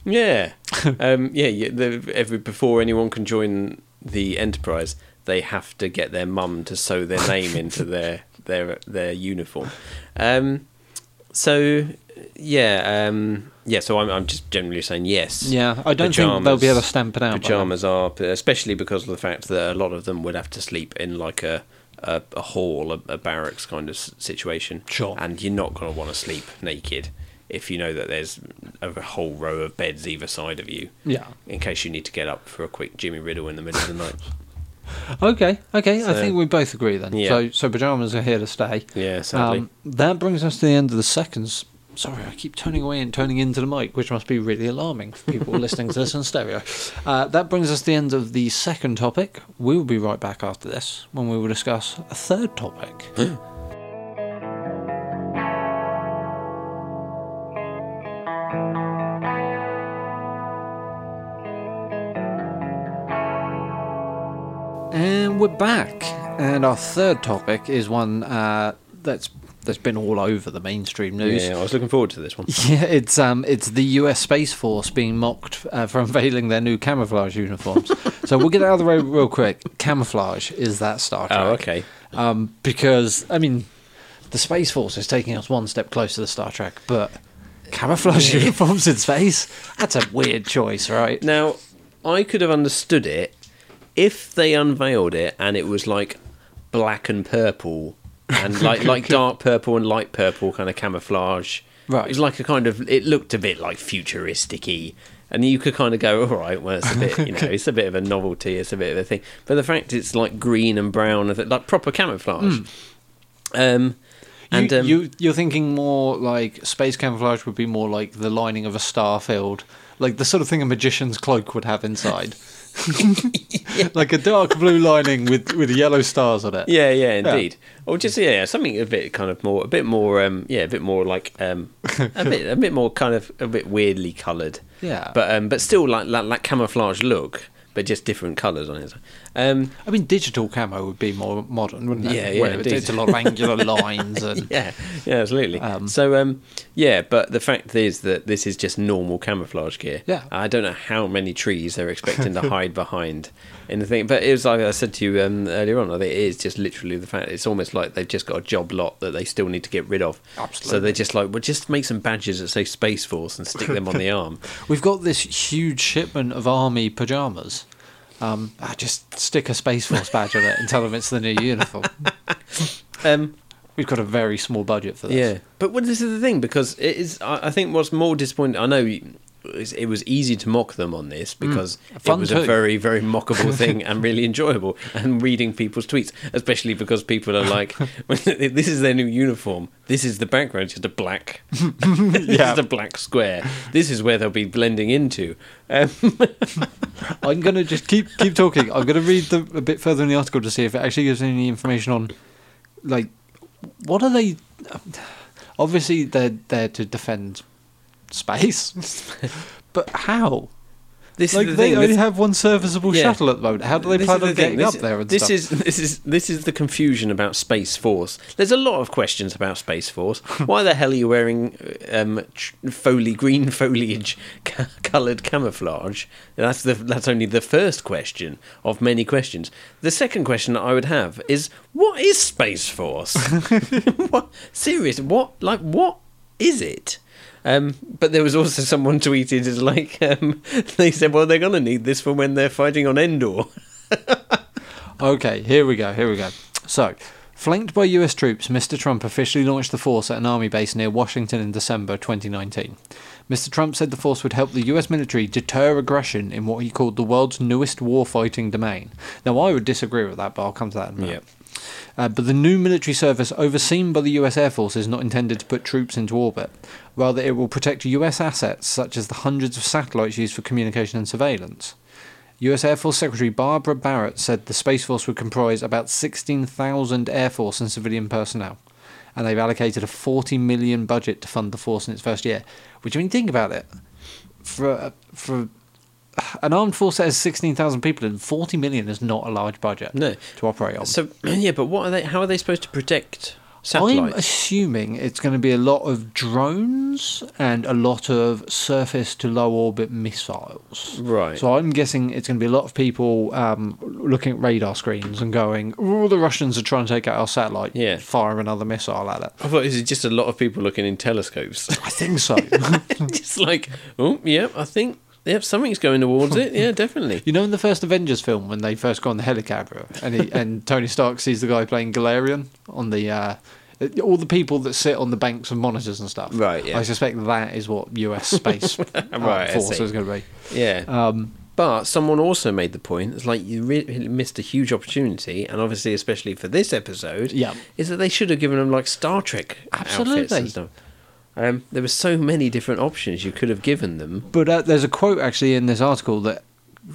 [SPEAKER 2] Yeah, um, yeah. yeah the, every before anyone can join the enterprise, they have to get their mum to sew their *laughs* name into their their their uniform. Um, so yeah, um, yeah. So I'm I'm just generally saying yes.
[SPEAKER 1] Yeah, I don't think they'll be able to stamp it out. by
[SPEAKER 2] Pajamas are especially because of the fact that a lot of them would have to sleep in like a. A, a hall, a, a barracks kind of s- situation.
[SPEAKER 1] Sure.
[SPEAKER 2] And you're not going to want to sleep naked if you know that there's a whole row of beds either side of you
[SPEAKER 1] then. Yeah.
[SPEAKER 2] in case you need to get up for a quick Jimmy Riddle in the middle of the
[SPEAKER 1] *laughs*
[SPEAKER 2] night.
[SPEAKER 1] Okay. Okay.
[SPEAKER 2] So-
[SPEAKER 1] I think we both agree then.
[SPEAKER 2] Yeah.
[SPEAKER 1] So, so pajamas are here to stay.
[SPEAKER 2] Yeah, sadly.
[SPEAKER 1] Um, that brings us to the end of the second. s- Sorry, I keep turning away and turning into the mic, which must be really alarming for people *laughs* listening to this in stereo. Uh, that brings us to the end of the second topic. We will be right back after this when we will discuss a third topic. And we're back. And our third topic is one uh, that's that's been all over the mainstream news.
[SPEAKER 2] Yeah, I was looking forward to
[SPEAKER 1] *laughs*
[SPEAKER 2] this one.
[SPEAKER 1] Yeah, it's um, it's the U.S. Space Force being mocked uh, for unveiling their new camouflage uniforms. so we'll get out of the way real quick. Camouflage is that Star Trek?
[SPEAKER 2] Oh, okay.
[SPEAKER 1] Um, because I mean, the Space Force is taking us one step closer to Star Trek, but camouflage uniforms in space? That's a weird choice, right?
[SPEAKER 2] Now, I could have understood it if they unveiled it and it was like black and purple
[SPEAKER 1] *laughs*
[SPEAKER 2] and like like dark purple and light purple kind of camouflage.
[SPEAKER 1] Right.
[SPEAKER 2] It was like a kind of it looked a bit like futuristic y and you could kind of go, all right, well, it's a bit,
[SPEAKER 1] *laughs*
[SPEAKER 2] you know, it's a bit of a novelty, it's a bit of a thing. But the fact it's like green and brown, and th- like proper camouflage. Um, and
[SPEAKER 1] Hmm. you,
[SPEAKER 2] um,
[SPEAKER 1] you, you're thinking more like space camouflage would be more like the lining of a star field, like the sort of thing a magician's cloak would
[SPEAKER 2] *laughs*
[SPEAKER 1] have inside, like a dark blue lining with with yellow stars on it.
[SPEAKER 2] Yeah, yeah, indeed. Or just yeah, yeah, something a bit kind of more, a bit more, um, yeah, a bit more like
[SPEAKER 1] *laughs*
[SPEAKER 2] um, a bit, a bit more kind of a bit weirdly coloured.
[SPEAKER 1] Yeah.
[SPEAKER 2] but um, but still like that, that camouflage look, but just different colours on it. Um,
[SPEAKER 1] I mean, digital camo would be more modern, wouldn't it?
[SPEAKER 2] Yeah, yeah,
[SPEAKER 1] Where it-
[SPEAKER 2] indeed.
[SPEAKER 1] it's a lot
[SPEAKER 2] *laughs*
[SPEAKER 1] of angular lines and
[SPEAKER 2] yeah, yeah, absolutely. so um, yeah, but the fact is that this is just normal camouflage gear.
[SPEAKER 1] Yeah.
[SPEAKER 2] I don't know how many trees they're expecting
[SPEAKER 1] *laughs*
[SPEAKER 2] to hide behind in the thing, but it was like I said to you um, earlier on. I think it is just literally the fact. It's almost like they've just got a job lot that they still need to get rid of. So
[SPEAKER 1] Absolutely.
[SPEAKER 2] they're just like, well, just make some badges that say Space Force and stick them on
[SPEAKER 1] *laughs*
[SPEAKER 2] the arm.
[SPEAKER 1] We've got this huge shipment of army pajamas. Um, ah, just stick a Space Force badge on it and tell them it's the new
[SPEAKER 2] *laughs*
[SPEAKER 1] uniform.
[SPEAKER 2] Um,
[SPEAKER 1] We've got a very small budget for this.
[SPEAKER 2] Yeah, but what, this is the thing because it is. I, I think what's more disappointing. I know you- it's- it was easy to mock them on this because it
[SPEAKER 1] Mm. Fun
[SPEAKER 2] was a
[SPEAKER 1] too.
[SPEAKER 2] very, very mockable
[SPEAKER 1] *laughs*
[SPEAKER 2] thing and really enjoyable. And reading people's tweets, especially because people are like, *laughs* "This is their new uniform. This is the background. It's just a
[SPEAKER 1] *laughs*
[SPEAKER 2] black. *laughs* this
[SPEAKER 1] Yeah.
[SPEAKER 2] is a black square. This is where they'll be blending into." Um,
[SPEAKER 1] I'm going to just keep keep talking. I'm going to read the, a bit further in the article to see if it actually gives any information on, like, what are they? Obviously, they're there to defend space, *laughs* but how?
[SPEAKER 2] this
[SPEAKER 1] Like,
[SPEAKER 2] is the
[SPEAKER 1] they
[SPEAKER 2] thing.
[SPEAKER 1] only
[SPEAKER 2] this-
[SPEAKER 1] have one serviceable
[SPEAKER 2] Yeah.
[SPEAKER 1] shuttle at the moment. How do they
[SPEAKER 2] This
[SPEAKER 1] plan
[SPEAKER 2] is
[SPEAKER 1] on
[SPEAKER 2] the thing.
[SPEAKER 1] getting
[SPEAKER 2] This-
[SPEAKER 1] up there and
[SPEAKER 2] this
[SPEAKER 1] stuff?
[SPEAKER 2] is this is this is the confusion about Space Force. There's a lot of questions about Space
[SPEAKER 1] *laughs*
[SPEAKER 2] Force. Why the hell are you wearing um, tr- foley green *laughs* foliage ca- coloured camouflage? That's the that's only the first question of many questions. The second question that I would have is what is Space Force?
[SPEAKER 1] *laughs*
[SPEAKER 2] *laughs* what serious? What like what is it? Um, but there was also someone tweeted is like um, *laughs* they said, well, they're going to need this for when they're fighting on Endor.
[SPEAKER 1] Okay, here we go, here we go. So, flanked by US troops, Mr. Trump officially launched the force at an army base near Washington in December 2019. Mr. Trump said the force would help the US military deter aggression in what he called the world's newest warfighting domain. Now, I would disagree with that, but I'll come to that in a minute.
[SPEAKER 2] Yep.
[SPEAKER 1] Uh, but the new military service overseen by the US Air Force is not intended to put troops into orbit. Rather, it will protect US assets such as the hundreds of satellites used for communication and surveillance. US Air Force Secretary Barbara Barrett said the Space Force would comprise about 16,000 Air Force and civilian personnel. And they've allocated a 40 million budget to fund the force in its first year. Which, when you think about it, for, uh, for an armed force that has 16,000 people in, 40 million is not a large budget
[SPEAKER 2] No.
[SPEAKER 1] to operate on.
[SPEAKER 2] So *clears throat* yeah, but what are they? How are they supposed to protect
[SPEAKER 1] I'm
[SPEAKER 2] satellites?
[SPEAKER 1] assuming it's going to be a lot of drones and a lot of surface to low orbit missiles.
[SPEAKER 2] right.
[SPEAKER 1] So I'm guessing it's going to be a lot of people um, looking at radar screens and going, "Oh, the Russians are trying to take out our satellite.
[SPEAKER 2] Yeah.
[SPEAKER 1] fire another missile at it."
[SPEAKER 2] I thought this is just a lot of people looking in telescopes. *laughs*
[SPEAKER 1] *laughs* I think so.
[SPEAKER 2] just like, oh, yep, I think, yep, something's going towards it. Yeah,
[SPEAKER 1] *laughs*
[SPEAKER 2] definitely.
[SPEAKER 1] you know, in the first Avengers film when they first go on the helicopter and
[SPEAKER 2] *laughs*
[SPEAKER 1] he, and Tony Stark sees the guy playing Galarian on the. Uh, all the people that sit on the banks of monitors and stuff.
[SPEAKER 2] Right, yeah.
[SPEAKER 1] I suspect that is
[SPEAKER 2] *laughs*
[SPEAKER 1] what US space uh,
[SPEAKER 2] Right, I
[SPEAKER 1] force
[SPEAKER 2] see.
[SPEAKER 1] is going to be.
[SPEAKER 2] Yeah.
[SPEAKER 1] Um,
[SPEAKER 2] But someone also made the point. It's like you really missed a huge opportunity, and obviously, especially for this episode,
[SPEAKER 1] Yeah.
[SPEAKER 2] is that they should have given them like Star Trek outfits
[SPEAKER 1] Absolutely.
[SPEAKER 2] and stuff. Um, there were so many different options you could have given them.
[SPEAKER 1] But uh, there's a quote actually in this article that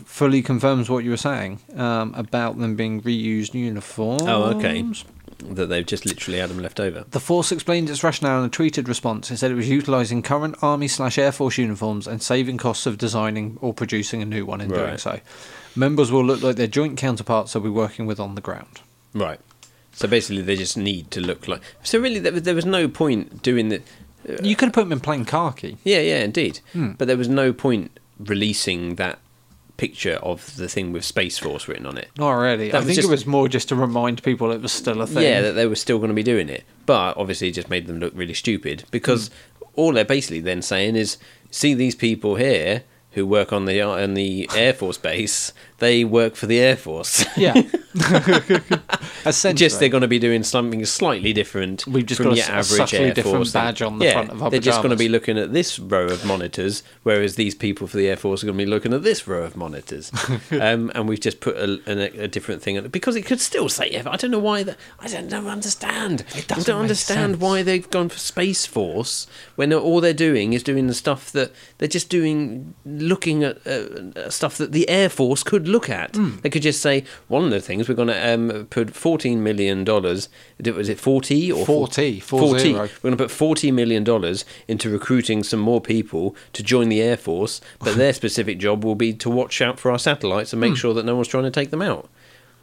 [SPEAKER 1] fully confirms what you were saying um, about them being reused uniforms.
[SPEAKER 2] Oh, okay. That they've just literally had them left over.
[SPEAKER 1] The force explained its rationale in a tweeted response. It said it was utilising current Army slash Air Force uniforms and saving costs of designing or producing a new one in doing
[SPEAKER 2] Right.
[SPEAKER 1] so. Members will look like their joint counterparts they'll be working with on the ground.
[SPEAKER 2] Right. So basically, they just need to look like. So really, there was, there was no point doing that.
[SPEAKER 1] You could have put them in plain khaki.
[SPEAKER 2] Yeah, yeah, indeed. But there was no point releasing that picture of the thing with Space Force written on it.
[SPEAKER 1] Not really.
[SPEAKER 2] That
[SPEAKER 1] I
[SPEAKER 2] was
[SPEAKER 1] think
[SPEAKER 2] just-
[SPEAKER 1] it was more just to remind people it was still a thing.
[SPEAKER 2] Yeah, that they were still going to be doing it, but obviously it just made them look really stupid because
[SPEAKER 1] Hmm.
[SPEAKER 2] all they're basically then saying is, see these people here who work on the on the Air Force base, they work for the Air Force. *laughs*
[SPEAKER 1] yeah. *laughs* Essentially,
[SPEAKER 2] just they're going to be doing something slightly different.
[SPEAKER 1] We've just
[SPEAKER 2] from
[SPEAKER 1] got a
[SPEAKER 2] your
[SPEAKER 1] s- a
[SPEAKER 2] average
[SPEAKER 1] subtly
[SPEAKER 2] Air
[SPEAKER 1] different
[SPEAKER 2] Force thing.
[SPEAKER 1] badge on the
[SPEAKER 2] yeah,
[SPEAKER 1] front of our
[SPEAKER 2] They're just going to
[SPEAKER 1] pyjamas.
[SPEAKER 2] be looking at this row of monitors, whereas these people for the Air Force are going to be looking at this row of
[SPEAKER 1] *laughs*
[SPEAKER 2] monitors. um, and we've just put a, an- a, a different thing on it because it could still say. Air- I don't know why that. I don't know, understand. I
[SPEAKER 1] doesn't
[SPEAKER 2] don't
[SPEAKER 1] make
[SPEAKER 2] understand
[SPEAKER 1] sense.
[SPEAKER 2] why they've gone for Space Force when all they're doing is doing the stuff that they're just doing, looking at uh, stuff that the Air Force could look at.
[SPEAKER 1] Hmm.
[SPEAKER 2] They could just say one of the things we're going to um, put fourteen million dollars. Was it forty or four-
[SPEAKER 1] 40, four
[SPEAKER 2] Forty.
[SPEAKER 1] zero.
[SPEAKER 2] We're going to put forty million dollars into recruiting some more people to join the Air Force, but
[SPEAKER 1] *laughs*
[SPEAKER 2] their specific job will be to watch out for our satellites
[SPEAKER 1] Hmm.
[SPEAKER 2] and make sure that no one's trying to take them out.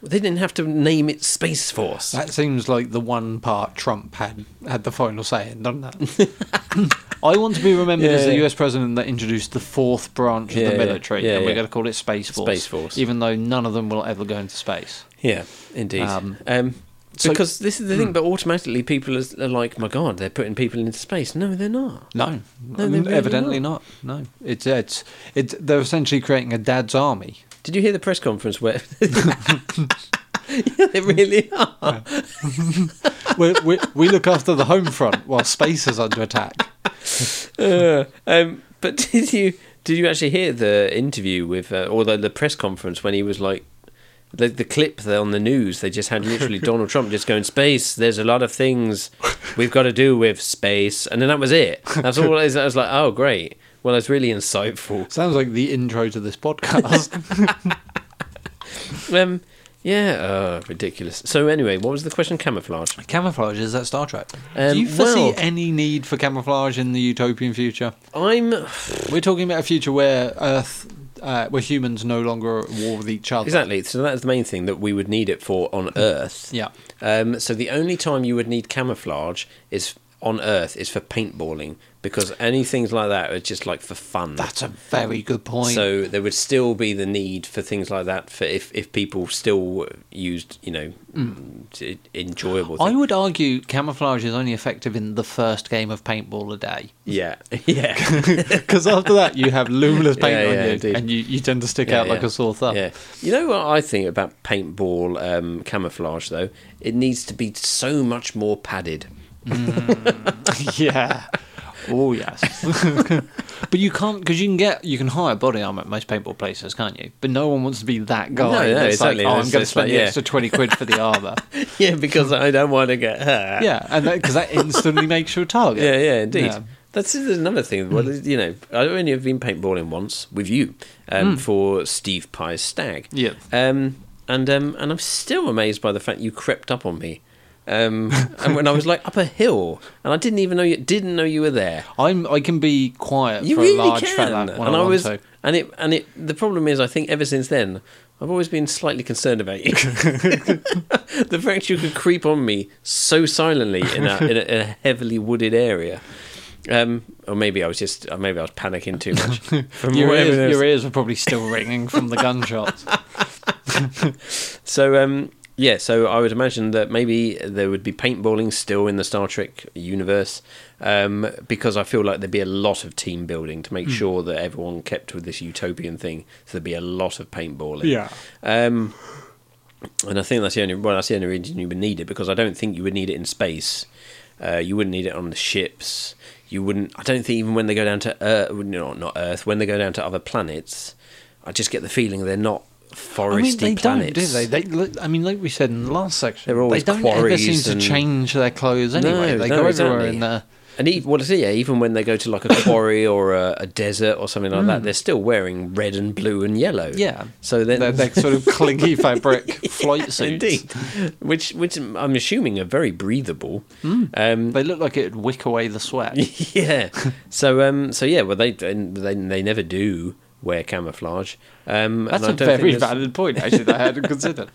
[SPEAKER 2] They didn't have to name it Space Force.
[SPEAKER 1] That seems like the one part Trump had had the final say in, doesn't it? *laughs* I want to be remembered
[SPEAKER 2] Yeah,
[SPEAKER 1] as the
[SPEAKER 2] yeah.
[SPEAKER 1] US president that introduced the fourth branch of
[SPEAKER 2] Yeah,
[SPEAKER 1] the
[SPEAKER 2] yeah,
[SPEAKER 1] military,
[SPEAKER 2] yeah,
[SPEAKER 1] and we're
[SPEAKER 2] yeah.
[SPEAKER 1] going to call it Space Force.
[SPEAKER 2] Space Force.
[SPEAKER 1] Even though none of them will ever go into space.
[SPEAKER 2] Yeah, indeed.
[SPEAKER 1] Um,
[SPEAKER 2] Um,
[SPEAKER 1] so- Hmm.
[SPEAKER 2] because this is the thing, but automatically people is- are like, my God, they're putting people into space. No, they're not.
[SPEAKER 1] No,
[SPEAKER 2] No, they're really
[SPEAKER 1] evidently not. No, it's it's it's they're essentially creating a dad's army.
[SPEAKER 2] Did you hear the press conference
[SPEAKER 1] *laughs*
[SPEAKER 2] where. *laughs* yeah, they really are.
[SPEAKER 1] we we we look after the home front while space is under attack.
[SPEAKER 2] Uh, um, but *laughs* did you did you actually hear the interview with, uh, or the, the press conference when he was like, the, the clip there on the news, they just had literally Donald Trump just going, space, there's a lot of things we've got to do with space. And then that was it. That's all. I was, I was like, oh, great. Well, that's really insightful.
[SPEAKER 1] Sounds like the intro to this podcast.
[SPEAKER 2] Um, yeah, uh, ridiculous. So anyway, what was the question? Camouflage.
[SPEAKER 1] *laughs* camouflage is that Star Trek?
[SPEAKER 2] Um,
[SPEAKER 1] Do you foresee
[SPEAKER 2] well-
[SPEAKER 1] any need for camouflage in the utopian future?
[SPEAKER 2] I'm.
[SPEAKER 1] We're talking about a future where Earth, uh, where humans no longer are at war with each other.
[SPEAKER 2] Exactly. So that's the main thing that we would need it for on Earth.
[SPEAKER 1] Mm. Yeah.
[SPEAKER 2] Um, so the only time you would need camouflage is on Earth is for paintballing because any things like that are just like for fun.
[SPEAKER 1] That's a very good point.
[SPEAKER 2] so there would still be the need for things like that for if, if people still used you know t- enjoyable.
[SPEAKER 1] Mm. I
[SPEAKER 2] thing-
[SPEAKER 1] would argue camouflage is only effective in the first game of paintball
[SPEAKER 2] *laughs*
[SPEAKER 1] a day.
[SPEAKER 2] yeah
[SPEAKER 1] *laughs*
[SPEAKER 2] yeah.
[SPEAKER 1] Because after that, you have luminous paint
[SPEAKER 2] Yeah,
[SPEAKER 1] on
[SPEAKER 2] yeah,
[SPEAKER 1] you,
[SPEAKER 2] indeed.
[SPEAKER 1] and you, you tend to stick
[SPEAKER 2] Yeah,
[SPEAKER 1] out like
[SPEAKER 2] yeah.
[SPEAKER 1] a sore thumb.
[SPEAKER 2] Yeah. *laughs* You know what I think about paintball um, camouflage though? It needs to be so much more padded.
[SPEAKER 1] *laughs* yeah. Oh yes. *laughs* but you can't because you can get you can hire body armor at most paintball places, can't you? But no one wants to be that guy.
[SPEAKER 2] No, no,
[SPEAKER 1] that's
[SPEAKER 2] exactly.
[SPEAKER 1] Like, oh, I'm
[SPEAKER 2] It's
[SPEAKER 1] going to
[SPEAKER 2] just
[SPEAKER 1] spend
[SPEAKER 2] like,
[SPEAKER 1] the
[SPEAKER 2] yeah.
[SPEAKER 1] extra twenty quid for
[SPEAKER 2] *laughs*
[SPEAKER 1] the armor.
[SPEAKER 2] yeah, because I don't want to get hurt.
[SPEAKER 1] yeah, and because that, instantly makes you a target.
[SPEAKER 2] Yeah, yeah, indeed.
[SPEAKER 1] Yeah. Hmm.
[SPEAKER 2] That's another thing. Well, you know, I've only have been paintballing once with you um, for Steve Pye's stag.
[SPEAKER 1] Hmm. Yeah.
[SPEAKER 2] Um, and um, and I'm still amazed by the fact you crept up on me. Um, *laughs* and when I was like up a hill, and I didn't even know you didn't know you were there.
[SPEAKER 1] I'm. I can be quiet
[SPEAKER 2] You
[SPEAKER 1] uh, for
[SPEAKER 2] really
[SPEAKER 1] a large
[SPEAKER 2] can.
[SPEAKER 1] fella
[SPEAKER 2] and
[SPEAKER 1] when I, want
[SPEAKER 2] was,
[SPEAKER 1] to.
[SPEAKER 2] and it, and it. The problem is, I think ever since then, I've always been slightly concerned about
[SPEAKER 1] *laughs*
[SPEAKER 2] you. *laughs* the fact you could creep on me so silently in a, in a, in a heavily wooded area. Um, or maybe I was just, or maybe I was panicking too
[SPEAKER 1] *laughs*
[SPEAKER 2] much. From
[SPEAKER 1] Your
[SPEAKER 2] whatever it
[SPEAKER 1] ears,
[SPEAKER 2] was.
[SPEAKER 1] your ears were probably still ringing from
[SPEAKER 2] *laughs*
[SPEAKER 1] the gunshots.
[SPEAKER 2] So um, yeah, so I would imagine that maybe there would be paintballing still in the Star Trek universe um, because I feel like there'd be a lot of team building to make
[SPEAKER 1] Hmm.
[SPEAKER 2] sure that everyone kept with this utopian thing. So there'd be a lot of paintballing.
[SPEAKER 1] Yeah.
[SPEAKER 2] Um, and I think that's the only well, that's the only reason you would need it because I don't think you would need it in space. Uh, you wouldn't need it on the ships. You wouldn't. I don't think even when they go down to Earth, no, not Earth, when they go down to other planets, I just get the feeling they're not
[SPEAKER 1] I mean,
[SPEAKER 2] foresty
[SPEAKER 1] they don't,
[SPEAKER 2] planets.
[SPEAKER 1] do they? They, look- I mean, like we said in the last section,
[SPEAKER 2] They're always
[SPEAKER 1] they don't ever
[SPEAKER 2] quarries
[SPEAKER 1] seem to
[SPEAKER 2] and-
[SPEAKER 1] change their clothes anyway. they go everywhere
[SPEAKER 2] exactly.
[SPEAKER 1] in their
[SPEAKER 2] And even, what is it? Yeah, even when they go to like
[SPEAKER 1] *coughs*
[SPEAKER 2] a quarry or a, a desert or something like that, they're still wearing red and blue and yellow.
[SPEAKER 1] Mm. Yeah.
[SPEAKER 2] So then,
[SPEAKER 1] their, their sort of clingy fabric flight suits.
[SPEAKER 2] *laughs*
[SPEAKER 1] Mm.
[SPEAKER 2] indeed, which which I'm assuming are very breathable. Um, *laughs*
[SPEAKER 1] They look like it'd wick away the sweat.
[SPEAKER 2] yeah. So um. So yeah. Well, they and they they never do. wear camouflage. Um,
[SPEAKER 1] That's a
[SPEAKER 2] and I don't
[SPEAKER 1] very
[SPEAKER 2] think there's-
[SPEAKER 1] valid point, actually, that I hadn't considered.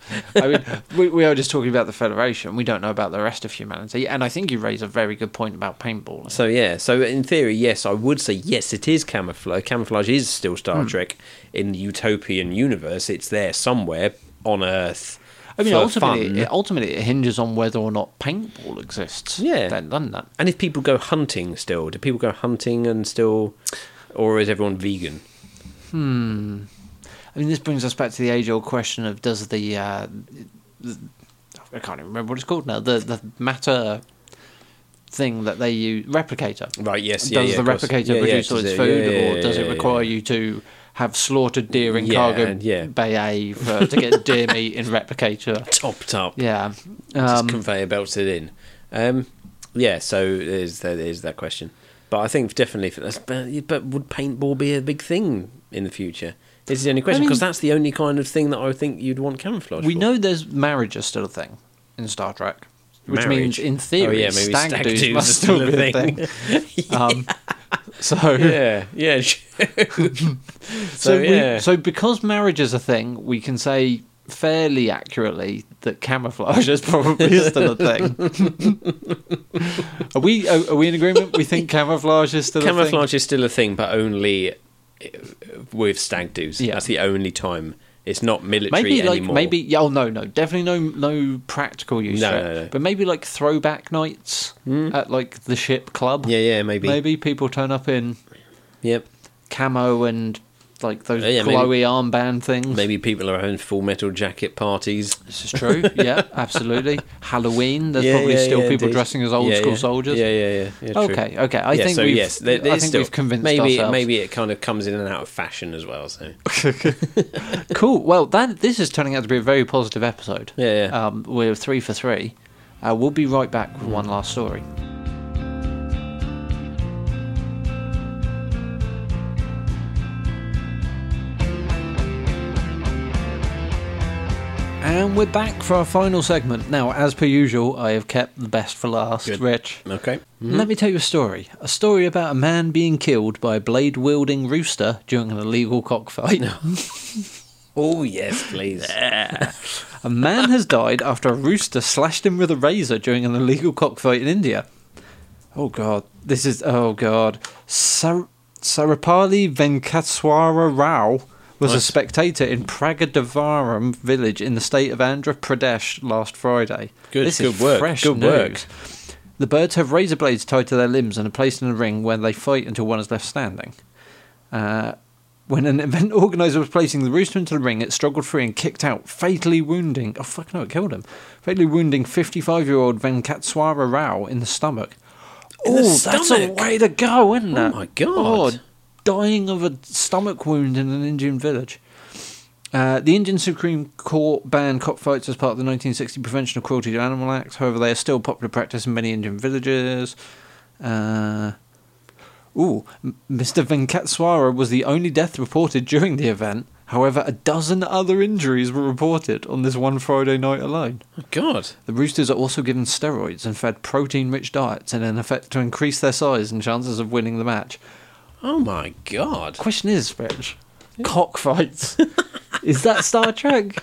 [SPEAKER 2] *laughs*
[SPEAKER 1] I mean, we, we are just talking about the Federation. We don't know about the rest of humanity. And I think you raise a very good point about paintball.
[SPEAKER 2] So yeah, so in theory, yes, I would say yes, it is camouflage. Camouflage is still
[SPEAKER 1] Hmm.
[SPEAKER 2] Star Trek in the utopian universe. It's there somewhere on Earth.
[SPEAKER 1] I mean,
[SPEAKER 2] for
[SPEAKER 1] ultimately,
[SPEAKER 2] fun.
[SPEAKER 1] it, ultimately, it hinges on whether or not paintball exists.
[SPEAKER 2] Yeah.
[SPEAKER 1] Then, doesn't that?
[SPEAKER 2] and if people go hunting still, do people go hunting and still, or is everyone vegan?
[SPEAKER 1] I mean, this brings us back to the age-old question of does the, uh, the I can't even remember what it's called now. The the matter thing that they use replicator.
[SPEAKER 2] Right. Yes.
[SPEAKER 1] Does
[SPEAKER 2] Yeah, yeah,
[SPEAKER 1] the
[SPEAKER 2] of course.
[SPEAKER 1] replicator
[SPEAKER 2] Yeah, yeah,
[SPEAKER 1] produce all
[SPEAKER 2] does
[SPEAKER 1] its
[SPEAKER 2] it-
[SPEAKER 1] food,
[SPEAKER 2] yeah, yeah,
[SPEAKER 1] or does
[SPEAKER 2] yeah,
[SPEAKER 1] it
[SPEAKER 2] yeah,
[SPEAKER 1] require
[SPEAKER 2] yeah.
[SPEAKER 1] you to have slaughtered deer in
[SPEAKER 2] Yeah,
[SPEAKER 1] cargo
[SPEAKER 2] and- yeah.
[SPEAKER 1] bay A for, to get deer meat
[SPEAKER 2] *laughs*
[SPEAKER 1] in replicator?
[SPEAKER 2] topped up?
[SPEAKER 1] Yeah.
[SPEAKER 2] just
[SPEAKER 1] Um,
[SPEAKER 2] conveyor belted in. Um, yeah, so there's that is that question, but I think definitely for this, but, but would paintball be a big thing in the future? Is the only question
[SPEAKER 1] mean-
[SPEAKER 2] because that's the only kind of thing that I think you'd want camouflage.
[SPEAKER 1] we
[SPEAKER 2] for.
[SPEAKER 1] know there's marriage is still a thing in Star Trek, which means
[SPEAKER 2] Marriage?
[SPEAKER 1] in theory,
[SPEAKER 2] Oh, yeah, maybe
[SPEAKER 1] stag,
[SPEAKER 2] stag
[SPEAKER 1] do's
[SPEAKER 2] do's
[SPEAKER 1] must
[SPEAKER 2] is
[SPEAKER 1] still
[SPEAKER 2] still a
[SPEAKER 1] be a
[SPEAKER 2] thing.
[SPEAKER 1] thing.
[SPEAKER 2] *laughs*
[SPEAKER 1] um, so
[SPEAKER 2] *laughs* Yeah,
[SPEAKER 1] *laughs*
[SPEAKER 2] yeah. so,
[SPEAKER 1] So,
[SPEAKER 2] yeah,
[SPEAKER 1] we, so because marriage is a thing, we can say fairly accurately that camouflage is probably *laughs* still a thing.
[SPEAKER 2] *laughs*
[SPEAKER 1] are we are, are we in agreement? We think camouflage is still a thing.
[SPEAKER 2] camouflage is still a thing, but only uh, with stag do's.
[SPEAKER 1] Yeah.
[SPEAKER 2] That's the only time. It's not military
[SPEAKER 1] Maybe like
[SPEAKER 2] anymore.
[SPEAKER 1] maybe yeah, oh no no definitely no no practical use
[SPEAKER 2] No,
[SPEAKER 1] for it.
[SPEAKER 2] no, no. Hmm?
[SPEAKER 1] but maybe like throwback nights at like the ship club
[SPEAKER 2] Yeah, yeah, maybe.
[SPEAKER 1] maybe people turn up in
[SPEAKER 2] Yep.
[SPEAKER 1] camo and like those
[SPEAKER 2] Oh, yeah, maybe.
[SPEAKER 1] glowy armband things
[SPEAKER 2] Maybe people are having full metal jacket parties.
[SPEAKER 1] This is
[SPEAKER 2] *laughs*
[SPEAKER 1] true. Yeah, absolutely. Halloween. There's
[SPEAKER 2] Yeah,
[SPEAKER 1] probably
[SPEAKER 2] yeah,
[SPEAKER 1] still
[SPEAKER 2] yeah,
[SPEAKER 1] people
[SPEAKER 2] indeed.
[SPEAKER 1] dressing as old
[SPEAKER 2] Yeah,
[SPEAKER 1] school
[SPEAKER 2] yeah.
[SPEAKER 1] soldiers.
[SPEAKER 2] Yeah, yeah, yeah. yeah, true.
[SPEAKER 1] Okay, okay. I
[SPEAKER 2] Yeah,
[SPEAKER 1] think
[SPEAKER 2] so
[SPEAKER 1] we've.
[SPEAKER 2] yes, there-
[SPEAKER 1] I
[SPEAKER 2] there's
[SPEAKER 1] think
[SPEAKER 2] still-
[SPEAKER 1] we've convinced
[SPEAKER 2] maybe,
[SPEAKER 1] ourselves.
[SPEAKER 2] Maybe it kind of comes in and out of fashion as well.
[SPEAKER 1] *laughs*
[SPEAKER 2] So
[SPEAKER 1] Cool. Well, that this is turning out to be a very positive episode.
[SPEAKER 2] Yeah, yeah.
[SPEAKER 1] Um, we're three for three. Uh, we'll be right back with
[SPEAKER 2] Mm.
[SPEAKER 1] one last story. And we're back for our final segment. Now, as per usual, I have kept the best for last.
[SPEAKER 2] Good. Mm-hmm.
[SPEAKER 1] Rich,
[SPEAKER 2] okay,
[SPEAKER 1] let me tell you a story. A story about a man being killed by a blade wielding rooster during an illegal cockfight.
[SPEAKER 2] *laughs* oh yes, please.
[SPEAKER 1] A man has died after a rooster slashed him with a razor during an illegal cockfight in India. Oh god, this is oh god. Sar- Sarapali Venkateswara Rao was a
[SPEAKER 2] Nice.
[SPEAKER 1] spectator in Pragadavaram village in the state of Andhra Pradesh last Friday.
[SPEAKER 2] Good-
[SPEAKER 1] this is
[SPEAKER 2] good work,
[SPEAKER 1] Fresh
[SPEAKER 2] good
[SPEAKER 1] news.
[SPEAKER 2] work.
[SPEAKER 1] The birds have razor blades tied to their limbs and are placed in a ring where they fight until one is left standing. Uh, when an event organizer was placing the rooster into the ring, it struggled free and kicked out, fatally wounding. Oh fuck no, it killed him. Fatally wounding 55-year-old Venkateswara Rao in the stomach.
[SPEAKER 2] In the
[SPEAKER 1] oh, that's a
[SPEAKER 2] stomach?
[SPEAKER 1] way to go, isn't
[SPEAKER 2] Oh
[SPEAKER 1] it?
[SPEAKER 2] my God.
[SPEAKER 1] dying of a stomach wound in an Indian village. Uh, the Indian Supreme Court banned cockfights as part of the 1960 Prevention of Cruelty to Animal Act. However, they are still popular practice in many Indian villages. Uh, ooh, M- Mr. Venkateswara was the only death reported during the event. However, a dozen other injuries were reported on this one Friday night alone.
[SPEAKER 2] Oh, *laughs* God,
[SPEAKER 1] The roosters are also given steroids and fed protein-rich diets in an effect to increase their size and chances of winning the match.
[SPEAKER 2] oh my God.
[SPEAKER 1] Question is, Rich,
[SPEAKER 2] *laughs*
[SPEAKER 1] cockfights. is that Star Trek?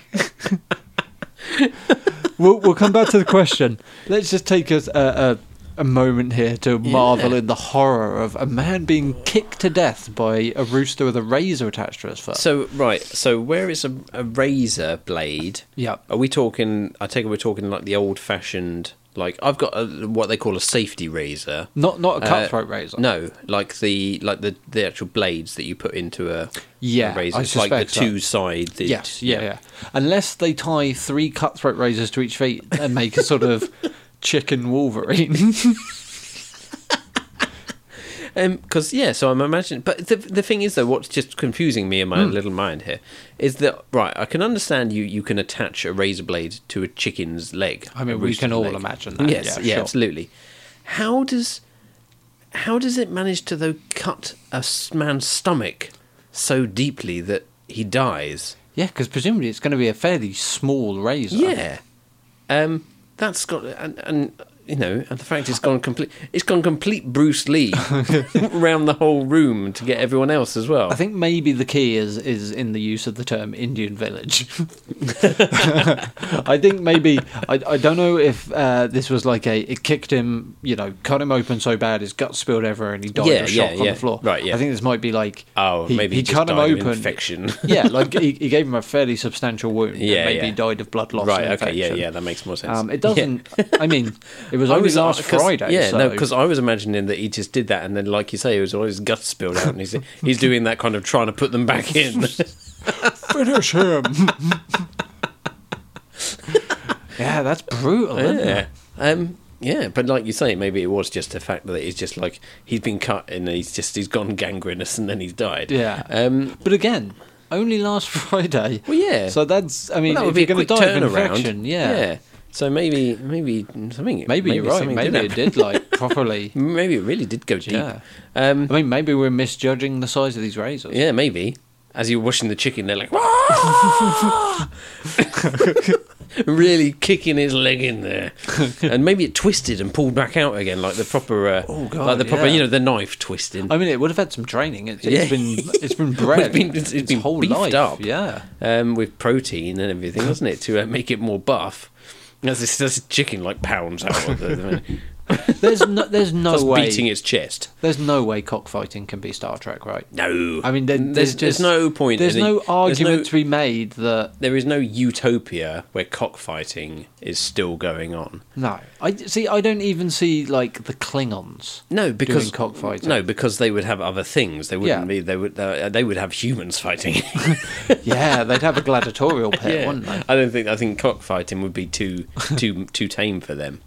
[SPEAKER 1] we'll, we'll come back to the question. Let's just take us a, a, a moment here to marvel in the horror of a man being kicked to death by a rooster with a razor attached to his foot.
[SPEAKER 2] So right, so where is a, a razor blade?
[SPEAKER 1] Yep.
[SPEAKER 2] Are we talking? I take it we're talking like the old-fashioned, like I've got a, what they call a safety razor.
[SPEAKER 1] not not a
[SPEAKER 2] Uh,
[SPEAKER 1] cutthroat razor.
[SPEAKER 2] No, like the like the the actual blades that you put into a
[SPEAKER 1] Yeah,
[SPEAKER 2] a razor.
[SPEAKER 1] I
[SPEAKER 2] it's like the
[SPEAKER 1] suspect so.
[SPEAKER 2] two sided.
[SPEAKER 1] Yes, yeah, yeah. Unless they tie three cutthroat razors to each feet and make a
[SPEAKER 2] *laughs*
[SPEAKER 1] sort of chicken Wolverine.
[SPEAKER 2] Because Um, yeah, so I'm imagining. But the the thing is though, what's just confusing me in my
[SPEAKER 1] Hmm.
[SPEAKER 2] little mind here is that right. I can understand you. You can attach a razor blade to a chicken's leg.
[SPEAKER 1] I mean,
[SPEAKER 2] a
[SPEAKER 1] we
[SPEAKER 2] rooster's
[SPEAKER 1] can all
[SPEAKER 2] leg.
[SPEAKER 1] imagine that,
[SPEAKER 2] Yes,
[SPEAKER 1] yeah,
[SPEAKER 2] yeah,
[SPEAKER 1] sure.
[SPEAKER 2] absolutely. How does how does it manage to though cut a s- man's stomach so deeply that he dies?
[SPEAKER 1] Yeah, because presumably it's going to be a fairly small razor.
[SPEAKER 2] Yeah, um, that's got and, and you know, and the fact it's gone complete, it's gone complete Bruce
[SPEAKER 1] *laughs*
[SPEAKER 2] Lee round the whole room to get everyone else as well.
[SPEAKER 1] I think maybe the key is is in the use of the term Indian
[SPEAKER 2] *laughs*
[SPEAKER 1] village. *laughs* I think maybe I, I don't know if uh, this was like a it kicked him, you know, cut him open so bad his guts spilled everywhere and he died
[SPEAKER 2] Yeah,
[SPEAKER 1] of
[SPEAKER 2] yeah,
[SPEAKER 1] shock on
[SPEAKER 2] yeah.
[SPEAKER 1] the floor.
[SPEAKER 2] Right, yeah.
[SPEAKER 1] I think this might be like
[SPEAKER 2] Oh, maybe he just died of infection. *laughs*
[SPEAKER 1] yeah, like he, he gave him a fairly substantial wound. and
[SPEAKER 2] Yeah,
[SPEAKER 1] maybe
[SPEAKER 2] yeah.
[SPEAKER 1] he died of blood loss.
[SPEAKER 2] right?
[SPEAKER 1] and
[SPEAKER 2] Okay. Yeah.
[SPEAKER 1] infection.
[SPEAKER 2] Yeah. That makes more sense.
[SPEAKER 1] Um, it
[SPEAKER 2] Yeah. uh,
[SPEAKER 1] doesn't. I mean,
[SPEAKER 2] *laughs*
[SPEAKER 1] it was only last
[SPEAKER 2] 'cause-
[SPEAKER 1] Friday.
[SPEAKER 2] Yeah, no,
[SPEAKER 1] so-
[SPEAKER 2] because I was imagining that he just did that, and then, like you say, it was all his guts spilled out, and he's he's doing that kind of trying to put them
[SPEAKER 1] *laughs*
[SPEAKER 2] back in.
[SPEAKER 1] finish him. yeah, that's brutal. Isn't it?
[SPEAKER 2] yeah, um, yeah, but like you say, maybe it was just the fact that it's just like he's been cut and he's just he's gone gangrenous, and then he's died.
[SPEAKER 1] Yeah.
[SPEAKER 2] um,
[SPEAKER 1] But again, only last *laughs* Friday.
[SPEAKER 2] Well, yeah.
[SPEAKER 1] So that's. I mean,
[SPEAKER 2] that would
[SPEAKER 1] if
[SPEAKER 2] be
[SPEAKER 1] you're
[SPEAKER 2] a
[SPEAKER 1] going
[SPEAKER 2] quick
[SPEAKER 1] to die of
[SPEAKER 2] turnaround.
[SPEAKER 1] infection, yeah.
[SPEAKER 2] So maybe, maybe something.
[SPEAKER 1] Maybe, you're right.
[SPEAKER 2] something
[SPEAKER 1] Maybe it
[SPEAKER 2] happen.
[SPEAKER 1] did like
[SPEAKER 2] *laughs*
[SPEAKER 1] properly.
[SPEAKER 2] Maybe it really did go deep.
[SPEAKER 1] Yeah.
[SPEAKER 2] Um,
[SPEAKER 1] I mean, maybe we're misjudging the size of these razors.
[SPEAKER 2] Yeah, maybe. As you're washing the chicken, they're like, "Ah!" *laughs* really kicking his leg in
[SPEAKER 1] *laughs*
[SPEAKER 2] there, and maybe it twisted and pulled back out again, like the proper, uh,
[SPEAKER 1] Oh, God,
[SPEAKER 2] like the proper,
[SPEAKER 1] yeah.
[SPEAKER 2] you know, the knife twisting.
[SPEAKER 1] I mean, it would have had some training. It's,
[SPEAKER 2] Yeah.
[SPEAKER 1] it's been it's
[SPEAKER 2] *laughs*
[SPEAKER 1] been bred.
[SPEAKER 2] It's been- it's- it's been
[SPEAKER 1] whole
[SPEAKER 2] beefed
[SPEAKER 1] life.
[SPEAKER 2] up.
[SPEAKER 1] Yeah.
[SPEAKER 2] um, with protein and everything, wasn't it, to uh, make it more buff? As this, this chicken like pounds out of the,
[SPEAKER 1] There's *laughs* no there's no
[SPEAKER 2] *laughs* plus
[SPEAKER 1] way
[SPEAKER 2] beating its chest.
[SPEAKER 1] there's no way cockfighting can be Star Trek, right?
[SPEAKER 2] No,
[SPEAKER 1] I mean, there- there's,
[SPEAKER 2] there's,
[SPEAKER 1] just
[SPEAKER 2] no point.
[SPEAKER 1] There's
[SPEAKER 2] in it.
[SPEAKER 1] no
[SPEAKER 2] There's no-
[SPEAKER 1] argument to be made that
[SPEAKER 2] there is no utopia where cockfighting is still going on.
[SPEAKER 1] no. I see. I don't even see like the Klingons.
[SPEAKER 2] No, because
[SPEAKER 1] cockfighting.
[SPEAKER 2] No, because they would have other things. They wouldn't
[SPEAKER 1] Yeah.
[SPEAKER 2] be. They would. Uh, they would have humans fighting.
[SPEAKER 1] *laughs*
[SPEAKER 2] *laughs*
[SPEAKER 1] Yeah, they'd have a gladiatorial pit, wouldn't they?
[SPEAKER 2] I don't think. I think cockfighting would be too
[SPEAKER 1] *laughs*
[SPEAKER 2] too too tame for them.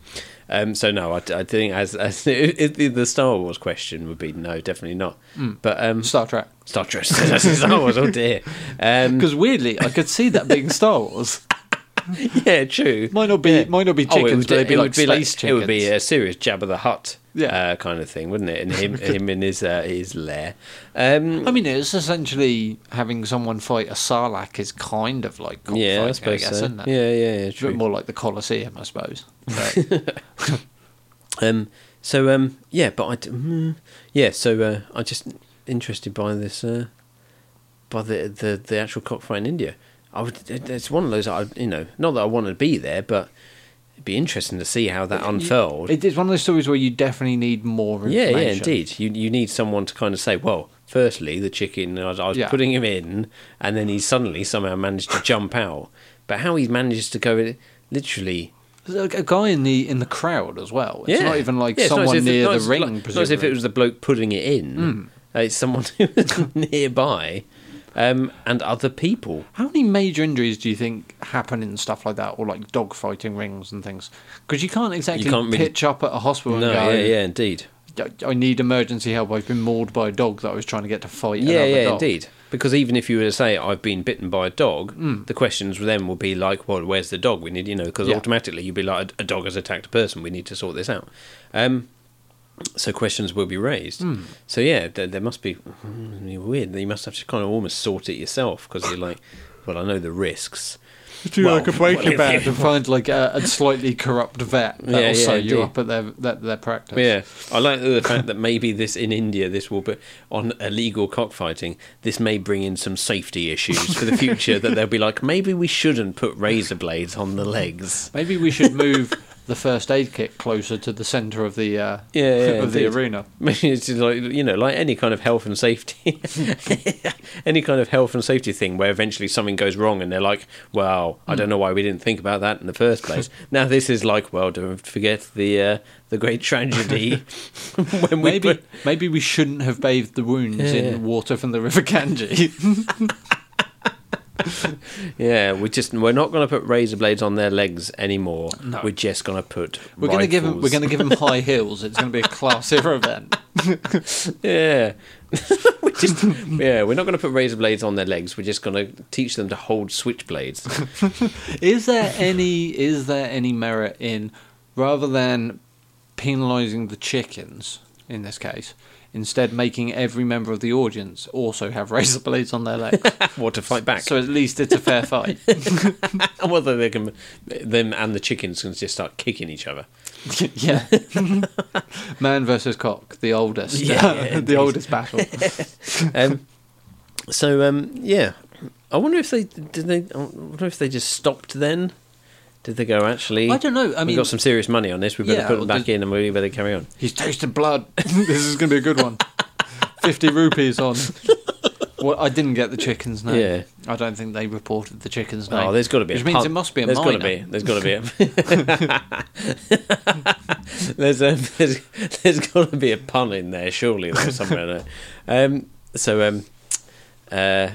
[SPEAKER 2] Um, so no, I, I think as, as *laughs* it, it, the Star Wars question would be no, definitely not.
[SPEAKER 1] Hmm.
[SPEAKER 2] But um,
[SPEAKER 1] Star Trek.
[SPEAKER 2] Star Trek, *laughs* Star Wars, oh dear. Um,
[SPEAKER 1] Because weirdly, I could see that being Star Wars.
[SPEAKER 2] yeah, true.
[SPEAKER 1] Might not be, might not be
[SPEAKER 2] Oh,
[SPEAKER 1] chickens,
[SPEAKER 2] it would,
[SPEAKER 1] but it'd be
[SPEAKER 2] it
[SPEAKER 1] like
[SPEAKER 2] would
[SPEAKER 1] space chickens.
[SPEAKER 2] It would be a serious Jabba the Hutt
[SPEAKER 1] Yeah.
[SPEAKER 2] uh, kind of thing, wouldn't it? And
[SPEAKER 1] *laughs*
[SPEAKER 2] him, him in his uh, his lair. Um,
[SPEAKER 1] I mean, it's essentially having someone fight a Sarlacc is kind of like cockfighting,
[SPEAKER 2] yeah,
[SPEAKER 1] I,
[SPEAKER 2] I suppose
[SPEAKER 1] guess,
[SPEAKER 2] so.
[SPEAKER 1] isn't it?
[SPEAKER 2] Yeah, yeah, yeah.
[SPEAKER 1] It's a bit
[SPEAKER 2] True.
[SPEAKER 1] more like the Colosseum,
[SPEAKER 2] *laughs*
[SPEAKER 1] I suppose.
[SPEAKER 2] Um, so um, yeah, but I d- mm, yeah, so uh, I just interested by this uh, by the, the the actual cockfight in India. I would. it- It's one of those. I you know, not that I want to be there, but it'd be interesting to see how that unfurled.
[SPEAKER 1] It is one of those stories where you definitely need more
[SPEAKER 2] yeah,
[SPEAKER 1] information.
[SPEAKER 2] yeah, indeed. You you need someone to kind of say, well, firstly, the chicken. I was, I was
[SPEAKER 1] Yeah.
[SPEAKER 2] putting him in, and then he suddenly somehow managed to jump out. But how he manages to go, literally.
[SPEAKER 1] There's a a guy in the in the crowd as well. It's not even like
[SPEAKER 2] Yeah, it's not as
[SPEAKER 1] someone
[SPEAKER 2] if-
[SPEAKER 1] near
[SPEAKER 2] not
[SPEAKER 1] the
[SPEAKER 2] as-
[SPEAKER 1] ring.
[SPEAKER 2] like- Not as if
[SPEAKER 1] presumably. Hmm.
[SPEAKER 2] it was the bloke putting it in. Uh, It's someone *laughs* who was nearby, um, and other people.
[SPEAKER 1] How many major injuries do you think happen in stuff like that, or like dog fighting rings and things? Because you can't exactly
[SPEAKER 2] can't really-
[SPEAKER 1] pitch up at a hospital
[SPEAKER 2] No,
[SPEAKER 1] and go,
[SPEAKER 2] yeah, yeah, indeed.
[SPEAKER 1] "I- "I need emergency help. I've been mauled by a dog that I was trying to get to fight."
[SPEAKER 2] Yeah,
[SPEAKER 1] another
[SPEAKER 2] yeah,
[SPEAKER 1] dog."
[SPEAKER 2] indeed. Because even if you were to say I've been bitten by a dog, the questions then will be like, well, where's the dog? We need, you know, because
[SPEAKER 1] Hmm. Yeah.
[SPEAKER 2] automatically you'd be like, a, a dog has attacked a person. We need to sort this out. Um, so questions will be raised.
[SPEAKER 1] Hmm.
[SPEAKER 2] So yeah, there, there must be mm, weird. You must have to kind of almost sort it yourself because you're like, well, I know the risks.
[SPEAKER 1] Do
[SPEAKER 2] you Well, like a Breaking well, if Bad?
[SPEAKER 1] And find like a, a slightly corrupt vet that'll
[SPEAKER 2] Yeah, yeah,
[SPEAKER 1] sew you
[SPEAKER 2] indeed.
[SPEAKER 1] up at their at their practice.
[SPEAKER 2] Yeah, I like the fact that maybe this in India, this will be on illegal cockfighting. This may bring in some safety issues for the future. that they'll be like, maybe we shouldn't put razor blades on the legs. *laughs*
[SPEAKER 1] Maybe we should move the first aid kit closer to the centre of the uh,
[SPEAKER 2] Yeah, yeah,
[SPEAKER 1] of the
[SPEAKER 2] indeed.
[SPEAKER 1] arena.
[SPEAKER 2] Maybe it's just like you know, like any kind of health and safety, *laughs* any kind of health and safety thing where eventually something goes wrong and they're like, "Well, I don't know why we didn't think about that in the first place." now this is like, "Well, don't forget the uh, the great tragedy *laughs* when we
[SPEAKER 1] Maybe
[SPEAKER 2] put-
[SPEAKER 1] maybe we shouldn't have bathed the wounds
[SPEAKER 2] Yeah,
[SPEAKER 1] in
[SPEAKER 2] yeah.
[SPEAKER 1] water from the River Kanji.
[SPEAKER 2] Yeah, we just we're not going to put razor blades on their legs anymore.
[SPEAKER 1] No.
[SPEAKER 2] We're just going to put.
[SPEAKER 1] *laughs* we're going to give him
[SPEAKER 2] rifles.
[SPEAKER 1] we're going to give him *laughs* high heels. It's going to be a *laughs* class era event. *laughs*
[SPEAKER 2] Yeah. we just yeah, we're not going to put razor blades on their legs. We're just going to teach them to hold
[SPEAKER 1] *laughs*
[SPEAKER 2] switchblades.
[SPEAKER 1] Is there any is there any merit in rather than penalising the chickens in this case, instead making every member of the audience also have razor blades on their *laughs* legs?
[SPEAKER 2] or to fight back. *laughs*
[SPEAKER 1] so at least it's a fair fight.
[SPEAKER 2] Whether they can, them and the chickens can just start kicking each other. *laughs*
[SPEAKER 1] yeah. *laughs* Man versus cock, the oldest. *laughs*
[SPEAKER 2] Yeah, yeah, indeed.
[SPEAKER 1] the oldest
[SPEAKER 2] *laughs*
[SPEAKER 1] battle. *laughs*
[SPEAKER 2] Um, so um, yeah, I wonder if they did they. I wonder if they just stopped then. Did they go actually?
[SPEAKER 1] I don't know. I
[SPEAKER 2] we
[SPEAKER 1] mean,
[SPEAKER 2] got some serious money on this. We better
[SPEAKER 1] Yeah,
[SPEAKER 2] put them
[SPEAKER 1] well,
[SPEAKER 2] back in, and we better carry on.
[SPEAKER 1] he's tasted blood. *laughs* this is going to be a good
[SPEAKER 2] *laughs*
[SPEAKER 1] one. 50 rupees on. Well, I didn't get the chicken's name.
[SPEAKER 2] Yeah.
[SPEAKER 1] I don't think they reported the chicken's name.
[SPEAKER 2] Oh, there's got to be.
[SPEAKER 1] Which
[SPEAKER 2] a
[SPEAKER 1] means
[SPEAKER 2] pun.
[SPEAKER 1] it must be a
[SPEAKER 2] There's got to
[SPEAKER 1] minor.
[SPEAKER 2] be. There's got to be. A... *laughs* there's um, there's, there's got to be a pun in there, surely, though, somewhere. there. Um, so um, uh,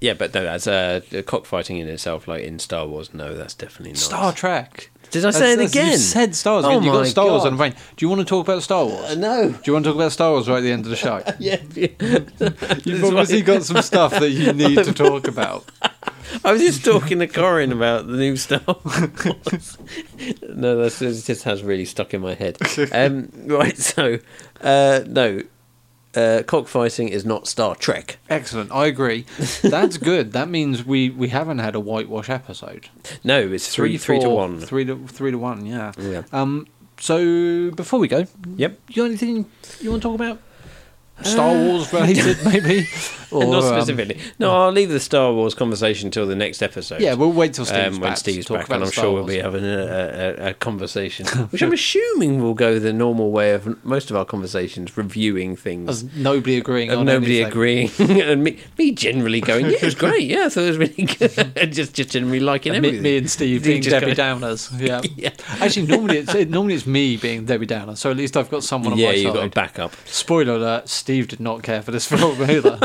[SPEAKER 2] yeah, but no, that's uh, cockfighting in itself, like in Star Wars. No, that's definitely not
[SPEAKER 1] Star Trek.
[SPEAKER 2] Did I
[SPEAKER 1] That's-
[SPEAKER 2] say it
[SPEAKER 1] that's- you
[SPEAKER 2] again?
[SPEAKER 1] said Star Wars.
[SPEAKER 2] Oh
[SPEAKER 1] you
[SPEAKER 2] my
[SPEAKER 1] got Star Wars
[SPEAKER 2] God.
[SPEAKER 1] on the brain. Do you want to talk about Star Wars?
[SPEAKER 2] Uh, no. *laughs*
[SPEAKER 1] Do you want to talk about Star Wars right at the end of the show?
[SPEAKER 2] Yeah.
[SPEAKER 1] *laughs* You've
[SPEAKER 2] That's
[SPEAKER 1] obviously
[SPEAKER 2] right. *laughs*
[SPEAKER 1] got some stuff that you need to talk about.
[SPEAKER 2] I was just talking to Corin about the new Star Wars. no, that's it just has really stuck in my head. Um, right, so uh, no, uh, cockfighting is not Star Trek.
[SPEAKER 1] Excellent.
[SPEAKER 2] *laughs*
[SPEAKER 1] I agree. That's good. That means we, we haven't had a whitewash episode.
[SPEAKER 2] No, it's three, three to
[SPEAKER 1] four,
[SPEAKER 2] one.
[SPEAKER 1] Three to three to one. Yeah.
[SPEAKER 2] Yeah.
[SPEAKER 1] Um. So before we go,
[SPEAKER 2] Yep.
[SPEAKER 1] you got anything you want to talk about? Star Wars related, maybe, or
[SPEAKER 2] Not
[SPEAKER 1] um,
[SPEAKER 2] specifically. no, I'll leave the Star Wars conversation till the next episode.
[SPEAKER 1] yeah, we'll wait till Steve's
[SPEAKER 2] um,
[SPEAKER 1] back.
[SPEAKER 2] when
[SPEAKER 1] to
[SPEAKER 2] Steve's
[SPEAKER 1] talk
[SPEAKER 2] back,
[SPEAKER 1] about
[SPEAKER 2] and I'm
[SPEAKER 1] Star
[SPEAKER 2] sure
[SPEAKER 1] Wars.
[SPEAKER 2] we'll be uh, having a, a, a, a
[SPEAKER 1] *laughs*
[SPEAKER 2] conversation, which I'm assuming will go the normal way of most of our conversations, reviewing things.
[SPEAKER 1] As nobody agreeing.
[SPEAKER 2] and
[SPEAKER 1] on
[SPEAKER 2] nobody
[SPEAKER 1] anything.
[SPEAKER 2] agreeing, *laughs* and me, me generally going, yeah, it was great, yeah, I thought it was really *laughs*
[SPEAKER 1] *laughs*
[SPEAKER 2] good, just just generally liking
[SPEAKER 1] Me,
[SPEAKER 2] everything.
[SPEAKER 1] me and Steve
[SPEAKER 2] You
[SPEAKER 1] being
[SPEAKER 2] just
[SPEAKER 1] Debbie
[SPEAKER 2] go-
[SPEAKER 1] Downers. Yeah.
[SPEAKER 2] *laughs* Yeah.
[SPEAKER 1] Actually, normally it's it, normally it's me being Debbie Downer. So at least I've got someone on
[SPEAKER 2] yeah,
[SPEAKER 1] my
[SPEAKER 2] you've got a
[SPEAKER 1] side.
[SPEAKER 2] backup.
[SPEAKER 1] Spoiler alert: Steve did not care for this film either.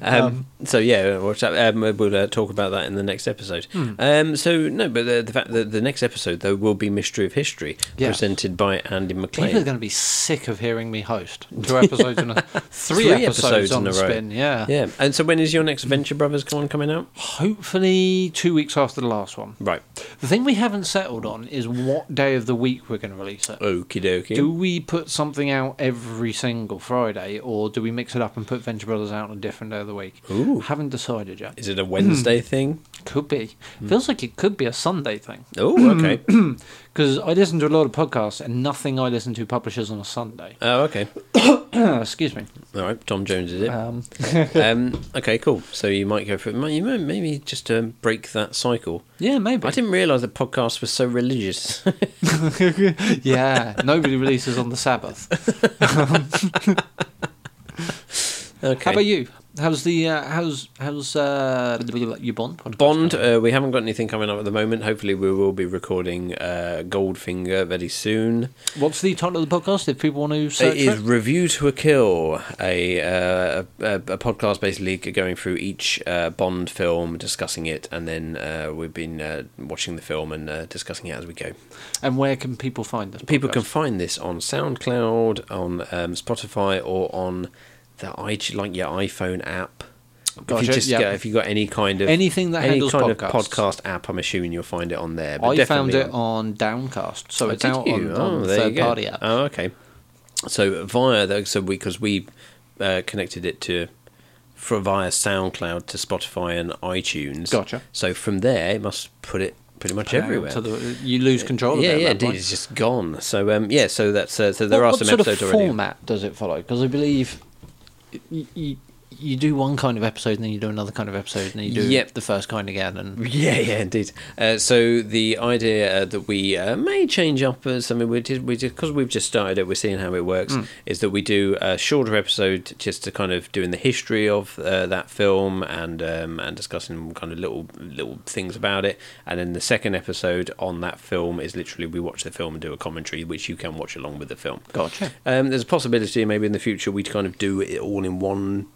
[SPEAKER 2] Um, so yeah, watch that. Um, we'll uh, talk about that in the next episode.
[SPEAKER 1] Hmm.
[SPEAKER 2] Um, so no, but the, the fact that the next episode though will be Mystery of History,
[SPEAKER 1] Yeah.
[SPEAKER 2] presented by Andy
[SPEAKER 1] People are
[SPEAKER 2] McLean.
[SPEAKER 1] going to be sick of hearing me host two
[SPEAKER 2] *laughs*
[SPEAKER 1] episodes in a three, episodes, on
[SPEAKER 2] in a
[SPEAKER 1] the
[SPEAKER 2] row.
[SPEAKER 1] spin. Yeah.
[SPEAKER 2] Yeah, and so when is your next Venture Brothers one coming out?
[SPEAKER 1] hopefully two weeks after the last one.
[SPEAKER 2] Right,
[SPEAKER 1] The thing we haven't settled on is what day of the week we're going to release it.
[SPEAKER 2] okie
[SPEAKER 1] Do
[SPEAKER 2] dokie.
[SPEAKER 1] we put something out every single Friday, or do we mix it up and put Venture Brothers out on a different day of the week?
[SPEAKER 2] Ooh.
[SPEAKER 1] Haven't decided yet.
[SPEAKER 2] Is it a
[SPEAKER 1] Hmm.
[SPEAKER 2] Wednesday thing?
[SPEAKER 1] Could be.
[SPEAKER 2] Hmm.
[SPEAKER 1] Feels like it could be a Sunday thing. *clears throat*
[SPEAKER 2] Oh, okay.
[SPEAKER 1] Because I listen to a lot of podcasts, and nothing I listen to publishes on a Sunday. *clears throat*
[SPEAKER 2] oh, okay.
[SPEAKER 1] Excuse me.
[SPEAKER 2] All right. Tom Jones is it?
[SPEAKER 1] Um,
[SPEAKER 2] um, okay, cool. So you might go for it. You might maybe just um, break that cycle.
[SPEAKER 1] yeah, maybe.
[SPEAKER 2] I didn't realise the podcast was so religious.
[SPEAKER 1] *laughs* yeah, nobody releases on the Sabbath.
[SPEAKER 2] *laughs* okay.
[SPEAKER 1] How about you? How's the uh, how's how's uh, your Bond? podcast
[SPEAKER 2] Bond,
[SPEAKER 1] going?
[SPEAKER 2] uh, we haven't got anything coming up at the moment. Hopefully, we will be recording uh, Goldfinger very soon.
[SPEAKER 1] What's the title of the podcast? If people want to search
[SPEAKER 2] it is
[SPEAKER 1] for it?
[SPEAKER 2] Review to a Kill, a, uh, a, a podcast basically going through each uh, Bond film, discussing it, and then uh, we've been uh, watching the film and uh, discussing it as we go.
[SPEAKER 1] and where can people find us?
[SPEAKER 2] People can find this on SoundCloud, on um, Spotify, or on the i like your iPhone app.
[SPEAKER 1] Gotcha,
[SPEAKER 2] if you just
[SPEAKER 1] yeah.
[SPEAKER 2] go- if you got any kind of
[SPEAKER 1] Anything that
[SPEAKER 2] any
[SPEAKER 1] handles
[SPEAKER 2] kind of
[SPEAKER 1] podcasts.
[SPEAKER 2] podcast app, I'm assuming you'll find it on there. But
[SPEAKER 1] I found
[SPEAKER 2] definitely
[SPEAKER 1] it on Downcast, so
[SPEAKER 2] Oh,
[SPEAKER 1] it's
[SPEAKER 2] did
[SPEAKER 1] out
[SPEAKER 2] you?
[SPEAKER 1] on,
[SPEAKER 2] Oh,
[SPEAKER 1] on
[SPEAKER 2] there you
[SPEAKER 1] third
[SPEAKER 2] go.
[SPEAKER 1] party app.
[SPEAKER 2] Oh, okay. So via the, so because we, 'cause we uh, connected it to for via SoundCloud to Spotify and iTunes.
[SPEAKER 1] Gotcha.
[SPEAKER 2] So from there, it must put it pretty much everywhere.
[SPEAKER 1] So Uh, the, you lose control. of
[SPEAKER 2] yeah,
[SPEAKER 1] it at
[SPEAKER 2] yeah,
[SPEAKER 1] that
[SPEAKER 2] indeed,
[SPEAKER 1] point.
[SPEAKER 2] it's just gone. So um, yeah, so that's uh, so there
[SPEAKER 1] what,
[SPEAKER 2] are
[SPEAKER 1] what
[SPEAKER 2] some
[SPEAKER 1] sort
[SPEAKER 2] episodes
[SPEAKER 1] of
[SPEAKER 2] already.
[SPEAKER 1] format does it follow? Because I believe you, you, you do one kind of episode, and then you do another kind of episode, and then you do
[SPEAKER 2] Yep.
[SPEAKER 1] the first kind again, *laughs* and
[SPEAKER 2] Yeah, yeah, indeed. Uh, so the idea uh, that we uh, may change up as I mean, we did, we did because we've just started it. We're seeing how it works. Is that we do a shorter episode just to kind of doing the history of uh, that film and um, and discussing kind of little little things about it. And then the second episode on that film is literally we watch the film and do a commentary, which you can watch along with the film.
[SPEAKER 1] gotcha.
[SPEAKER 2] Um, there's a possibility maybe in the future we kind of do it all in one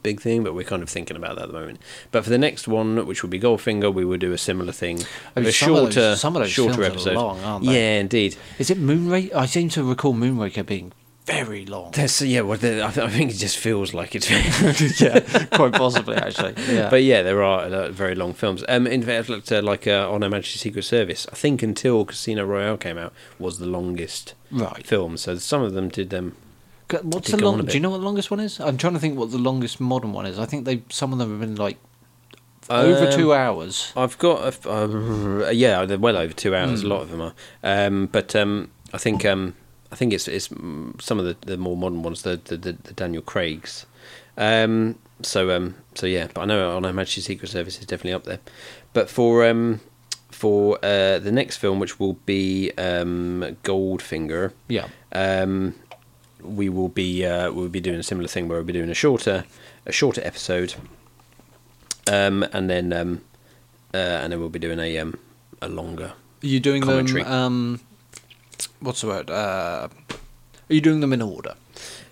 [SPEAKER 2] big thing, but we're kind of thinking about that at the moment. But for the next one, which will be Goldfinger, we will do a similar thing,
[SPEAKER 1] I mean,
[SPEAKER 2] a
[SPEAKER 1] Oh, some of
[SPEAKER 2] shorter,
[SPEAKER 1] those- some of those
[SPEAKER 2] shorter
[SPEAKER 1] films are
[SPEAKER 2] episode.
[SPEAKER 1] long, aren't they?
[SPEAKER 2] Yeah, indeed.
[SPEAKER 1] Is it Moonraker? I seem to recall Moonraker being very long.
[SPEAKER 2] There's, yeah, well, there, I, th- I think it just feels like it's.
[SPEAKER 1] yeah, *laughs* quite possibly actually. Yeah.
[SPEAKER 2] *laughs* But yeah, there are uh, very long films. Um, in fact, like, uh, like uh, on Her Majesty's Secret Service, I think until Casino Royale came out was the longest
[SPEAKER 1] Right.
[SPEAKER 2] film. So some of them did um,
[SPEAKER 1] C- What's
[SPEAKER 2] Did
[SPEAKER 1] the
[SPEAKER 2] go on a
[SPEAKER 1] long?
[SPEAKER 2] bit.
[SPEAKER 1] Do you know what the longest one is? I'm trying to think what the longest modern one is. I think they some of them have been like over
[SPEAKER 2] Um,
[SPEAKER 1] two hours.
[SPEAKER 2] I've got, a, uh, *laughs* yeah, they're well over two hours. A lot of them are, um, but um, I think um, I think it's it's mm, some of the, the more modern ones, the the, the, the Daniel Craig's. Um, so um, so yeah, but I know on Majesty's Secret Service is definitely up there. But for um, for uh, the next film, which will be um, Goldfinger,
[SPEAKER 1] Yeah.
[SPEAKER 2] um, we will be uh, we'll be doing a similar thing where we'll be doing a shorter a shorter episode, um, and then um, uh, and then we'll be doing a um, a longer.
[SPEAKER 1] Are you doing
[SPEAKER 2] Commentary.
[SPEAKER 1] them? Um, what's the word? Uh, are you doing them in order?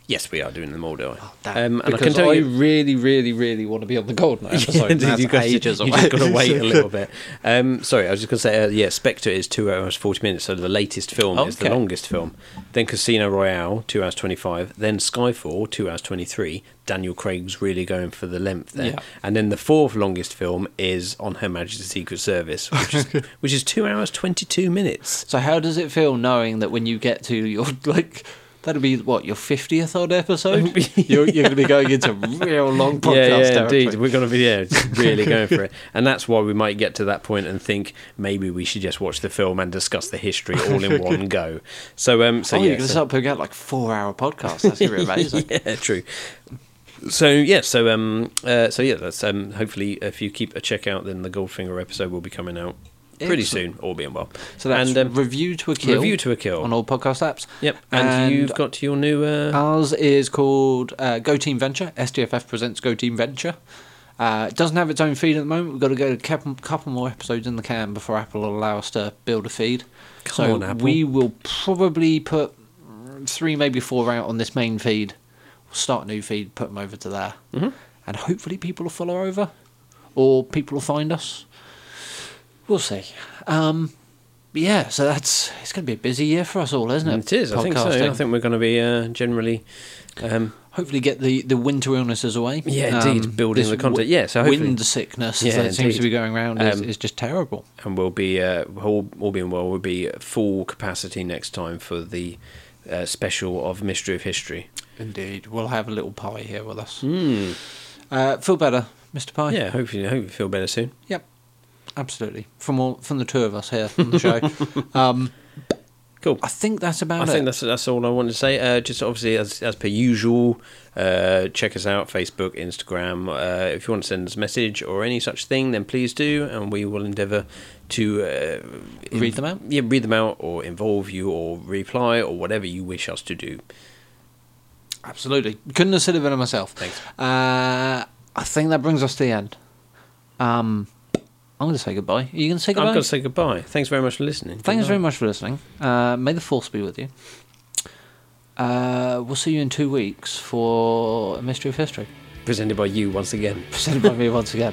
[SPEAKER 2] Yes, we are doing them all, do I?
[SPEAKER 1] Oh, That-
[SPEAKER 2] um, and I
[SPEAKER 1] because
[SPEAKER 2] can tell you.
[SPEAKER 1] really, really, really want to be on the
[SPEAKER 2] *laughs*
[SPEAKER 1] golden *laughs* episode. and that's
[SPEAKER 2] you've got
[SPEAKER 1] ages
[SPEAKER 2] to,
[SPEAKER 1] away.
[SPEAKER 2] you just
[SPEAKER 1] *laughs*
[SPEAKER 2] got to wait a little bit. Um, sorry, I was just going to say, uh, yeah, Spectre is two hours forty minutes, so the latest film is the
[SPEAKER 1] Okay.
[SPEAKER 2] longest film. Then Casino Royale, two hours twenty five. Then Skyfall, two hours twenty three. Daniel Craig's really going for the length there.
[SPEAKER 1] Yeah.
[SPEAKER 2] And then the fourth longest film is on Her Majesty's Secret Service, which
[SPEAKER 1] *laughs*
[SPEAKER 2] is, which is two hours twenty two minutes.
[SPEAKER 1] So how does it feel knowing that when you get to your *laughs* like that'll be what your fiftieth
[SPEAKER 2] *laughs*
[SPEAKER 1] odd episode? you're, you're going to be going into real long podcast. territory.
[SPEAKER 2] indeed. We're going to be
[SPEAKER 1] *laughs*
[SPEAKER 2] yeah, really going for it, and that's why we might get to that point and think maybe we should just watch the film and discuss the history all
[SPEAKER 1] *laughs*
[SPEAKER 2] in one go. So, um, so
[SPEAKER 1] oh,
[SPEAKER 2] yeah,
[SPEAKER 1] you're going to
[SPEAKER 2] so-
[SPEAKER 1] start putting out like four-hour podcasts.
[SPEAKER 2] *laughs*
[SPEAKER 1] That's going to be amazing.
[SPEAKER 2] yeah, true. So yeah, so um, uh, so yeah, that's um. Hopefully, if you keep a check out, then the Goldfinger episode will be coming out pretty
[SPEAKER 1] Excellent.
[SPEAKER 2] soon, all being well.
[SPEAKER 1] So that's
[SPEAKER 2] and um,
[SPEAKER 1] review to a kill.
[SPEAKER 2] Review to a Kill.
[SPEAKER 1] on all podcast apps.
[SPEAKER 2] yep, and,
[SPEAKER 1] and
[SPEAKER 2] you've got your new uh,
[SPEAKER 1] Ours is called uh, Go Team Venture. STFF presents Go Team Venture. Uh, it doesn't have its own feed at the moment. We've got to go a couple, couple more episodes in the can before Apple will allow us to build a feed.
[SPEAKER 2] Come
[SPEAKER 1] so
[SPEAKER 2] on, Apple.
[SPEAKER 1] we will probably put three, maybe four out on this main feed. We'll start a new feed, put them over to there,
[SPEAKER 2] Mm-hmm.
[SPEAKER 1] and hopefully people will follow over, or people will find us. We'll see. Um, yeah, so that's it's going to be a busy year for us all, isn't it?
[SPEAKER 2] it is. I think so. I
[SPEAKER 1] Podcasting
[SPEAKER 2] think we're going to be uh, generally. Um,
[SPEAKER 1] hopefully get the, the winter illnesses away. Um,
[SPEAKER 2] Yeah, indeed, building
[SPEAKER 1] this
[SPEAKER 2] the content.
[SPEAKER 1] wi-
[SPEAKER 2] Yeah, so hopefully-
[SPEAKER 1] wind sickness
[SPEAKER 2] Yeah,
[SPEAKER 1] that seems to
[SPEAKER 2] indeed.
[SPEAKER 1] be going around is,
[SPEAKER 2] Um,
[SPEAKER 1] is just terrible.
[SPEAKER 2] and we'll be uh, all, all being well. We'll be at full capacity next time for the uh, special of Mystery of History.
[SPEAKER 1] Indeed, we'll have a little pie here with us. Uh, feel better, Mr. Pie.
[SPEAKER 2] Mm. Yeah, hopefully, hope you feel better soon.
[SPEAKER 1] Yep. Absolutely. From all from the two of us here
[SPEAKER 2] *laughs*
[SPEAKER 1] on the show. um,
[SPEAKER 2] Cool.
[SPEAKER 1] I think that's about
[SPEAKER 2] I
[SPEAKER 1] it.
[SPEAKER 2] think that's that's all I wanted to say. Uh, just obviously, as as per usual, uh, check us out Facebook, Instagram. Uh, if you want to send us a message or any such thing, then please do, and we will endeavour to uh,
[SPEAKER 1] Read them out?
[SPEAKER 2] Yeah, read them out, or involve you, or reply, or whatever you wish us to do.
[SPEAKER 1] Absolutely. Couldn't have said it better myself.
[SPEAKER 2] Thanks.
[SPEAKER 1] Uh, I think that brings us to the end. Um, I'm going to say goodbye. Are you going to say
[SPEAKER 2] i am
[SPEAKER 1] goodbye?
[SPEAKER 2] going to say goodbye. Thanks very much for listening.
[SPEAKER 1] Thanks
[SPEAKER 2] Goodbye.
[SPEAKER 1] very much for listening. Uh, may the force be with you. Uh, we'll see you in two weeks for a mystery of history,
[SPEAKER 2] Presented by you once again.
[SPEAKER 1] presented by me once again.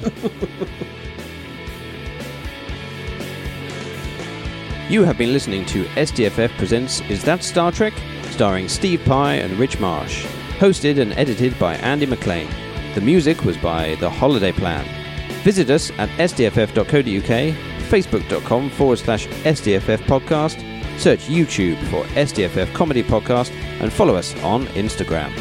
[SPEAKER 3] You have been listening to SDFF Presents Is That Star Trek? starring Steve Pye and Rich Marsh. Hosted and edited by Andy McLean. The music was by The Holiday Plan. Visit us at sdff.co.uk, facebook.com forward slash SDFF podcast, search YouTube for SDFF Comedy Podcast, and follow us on Instagram.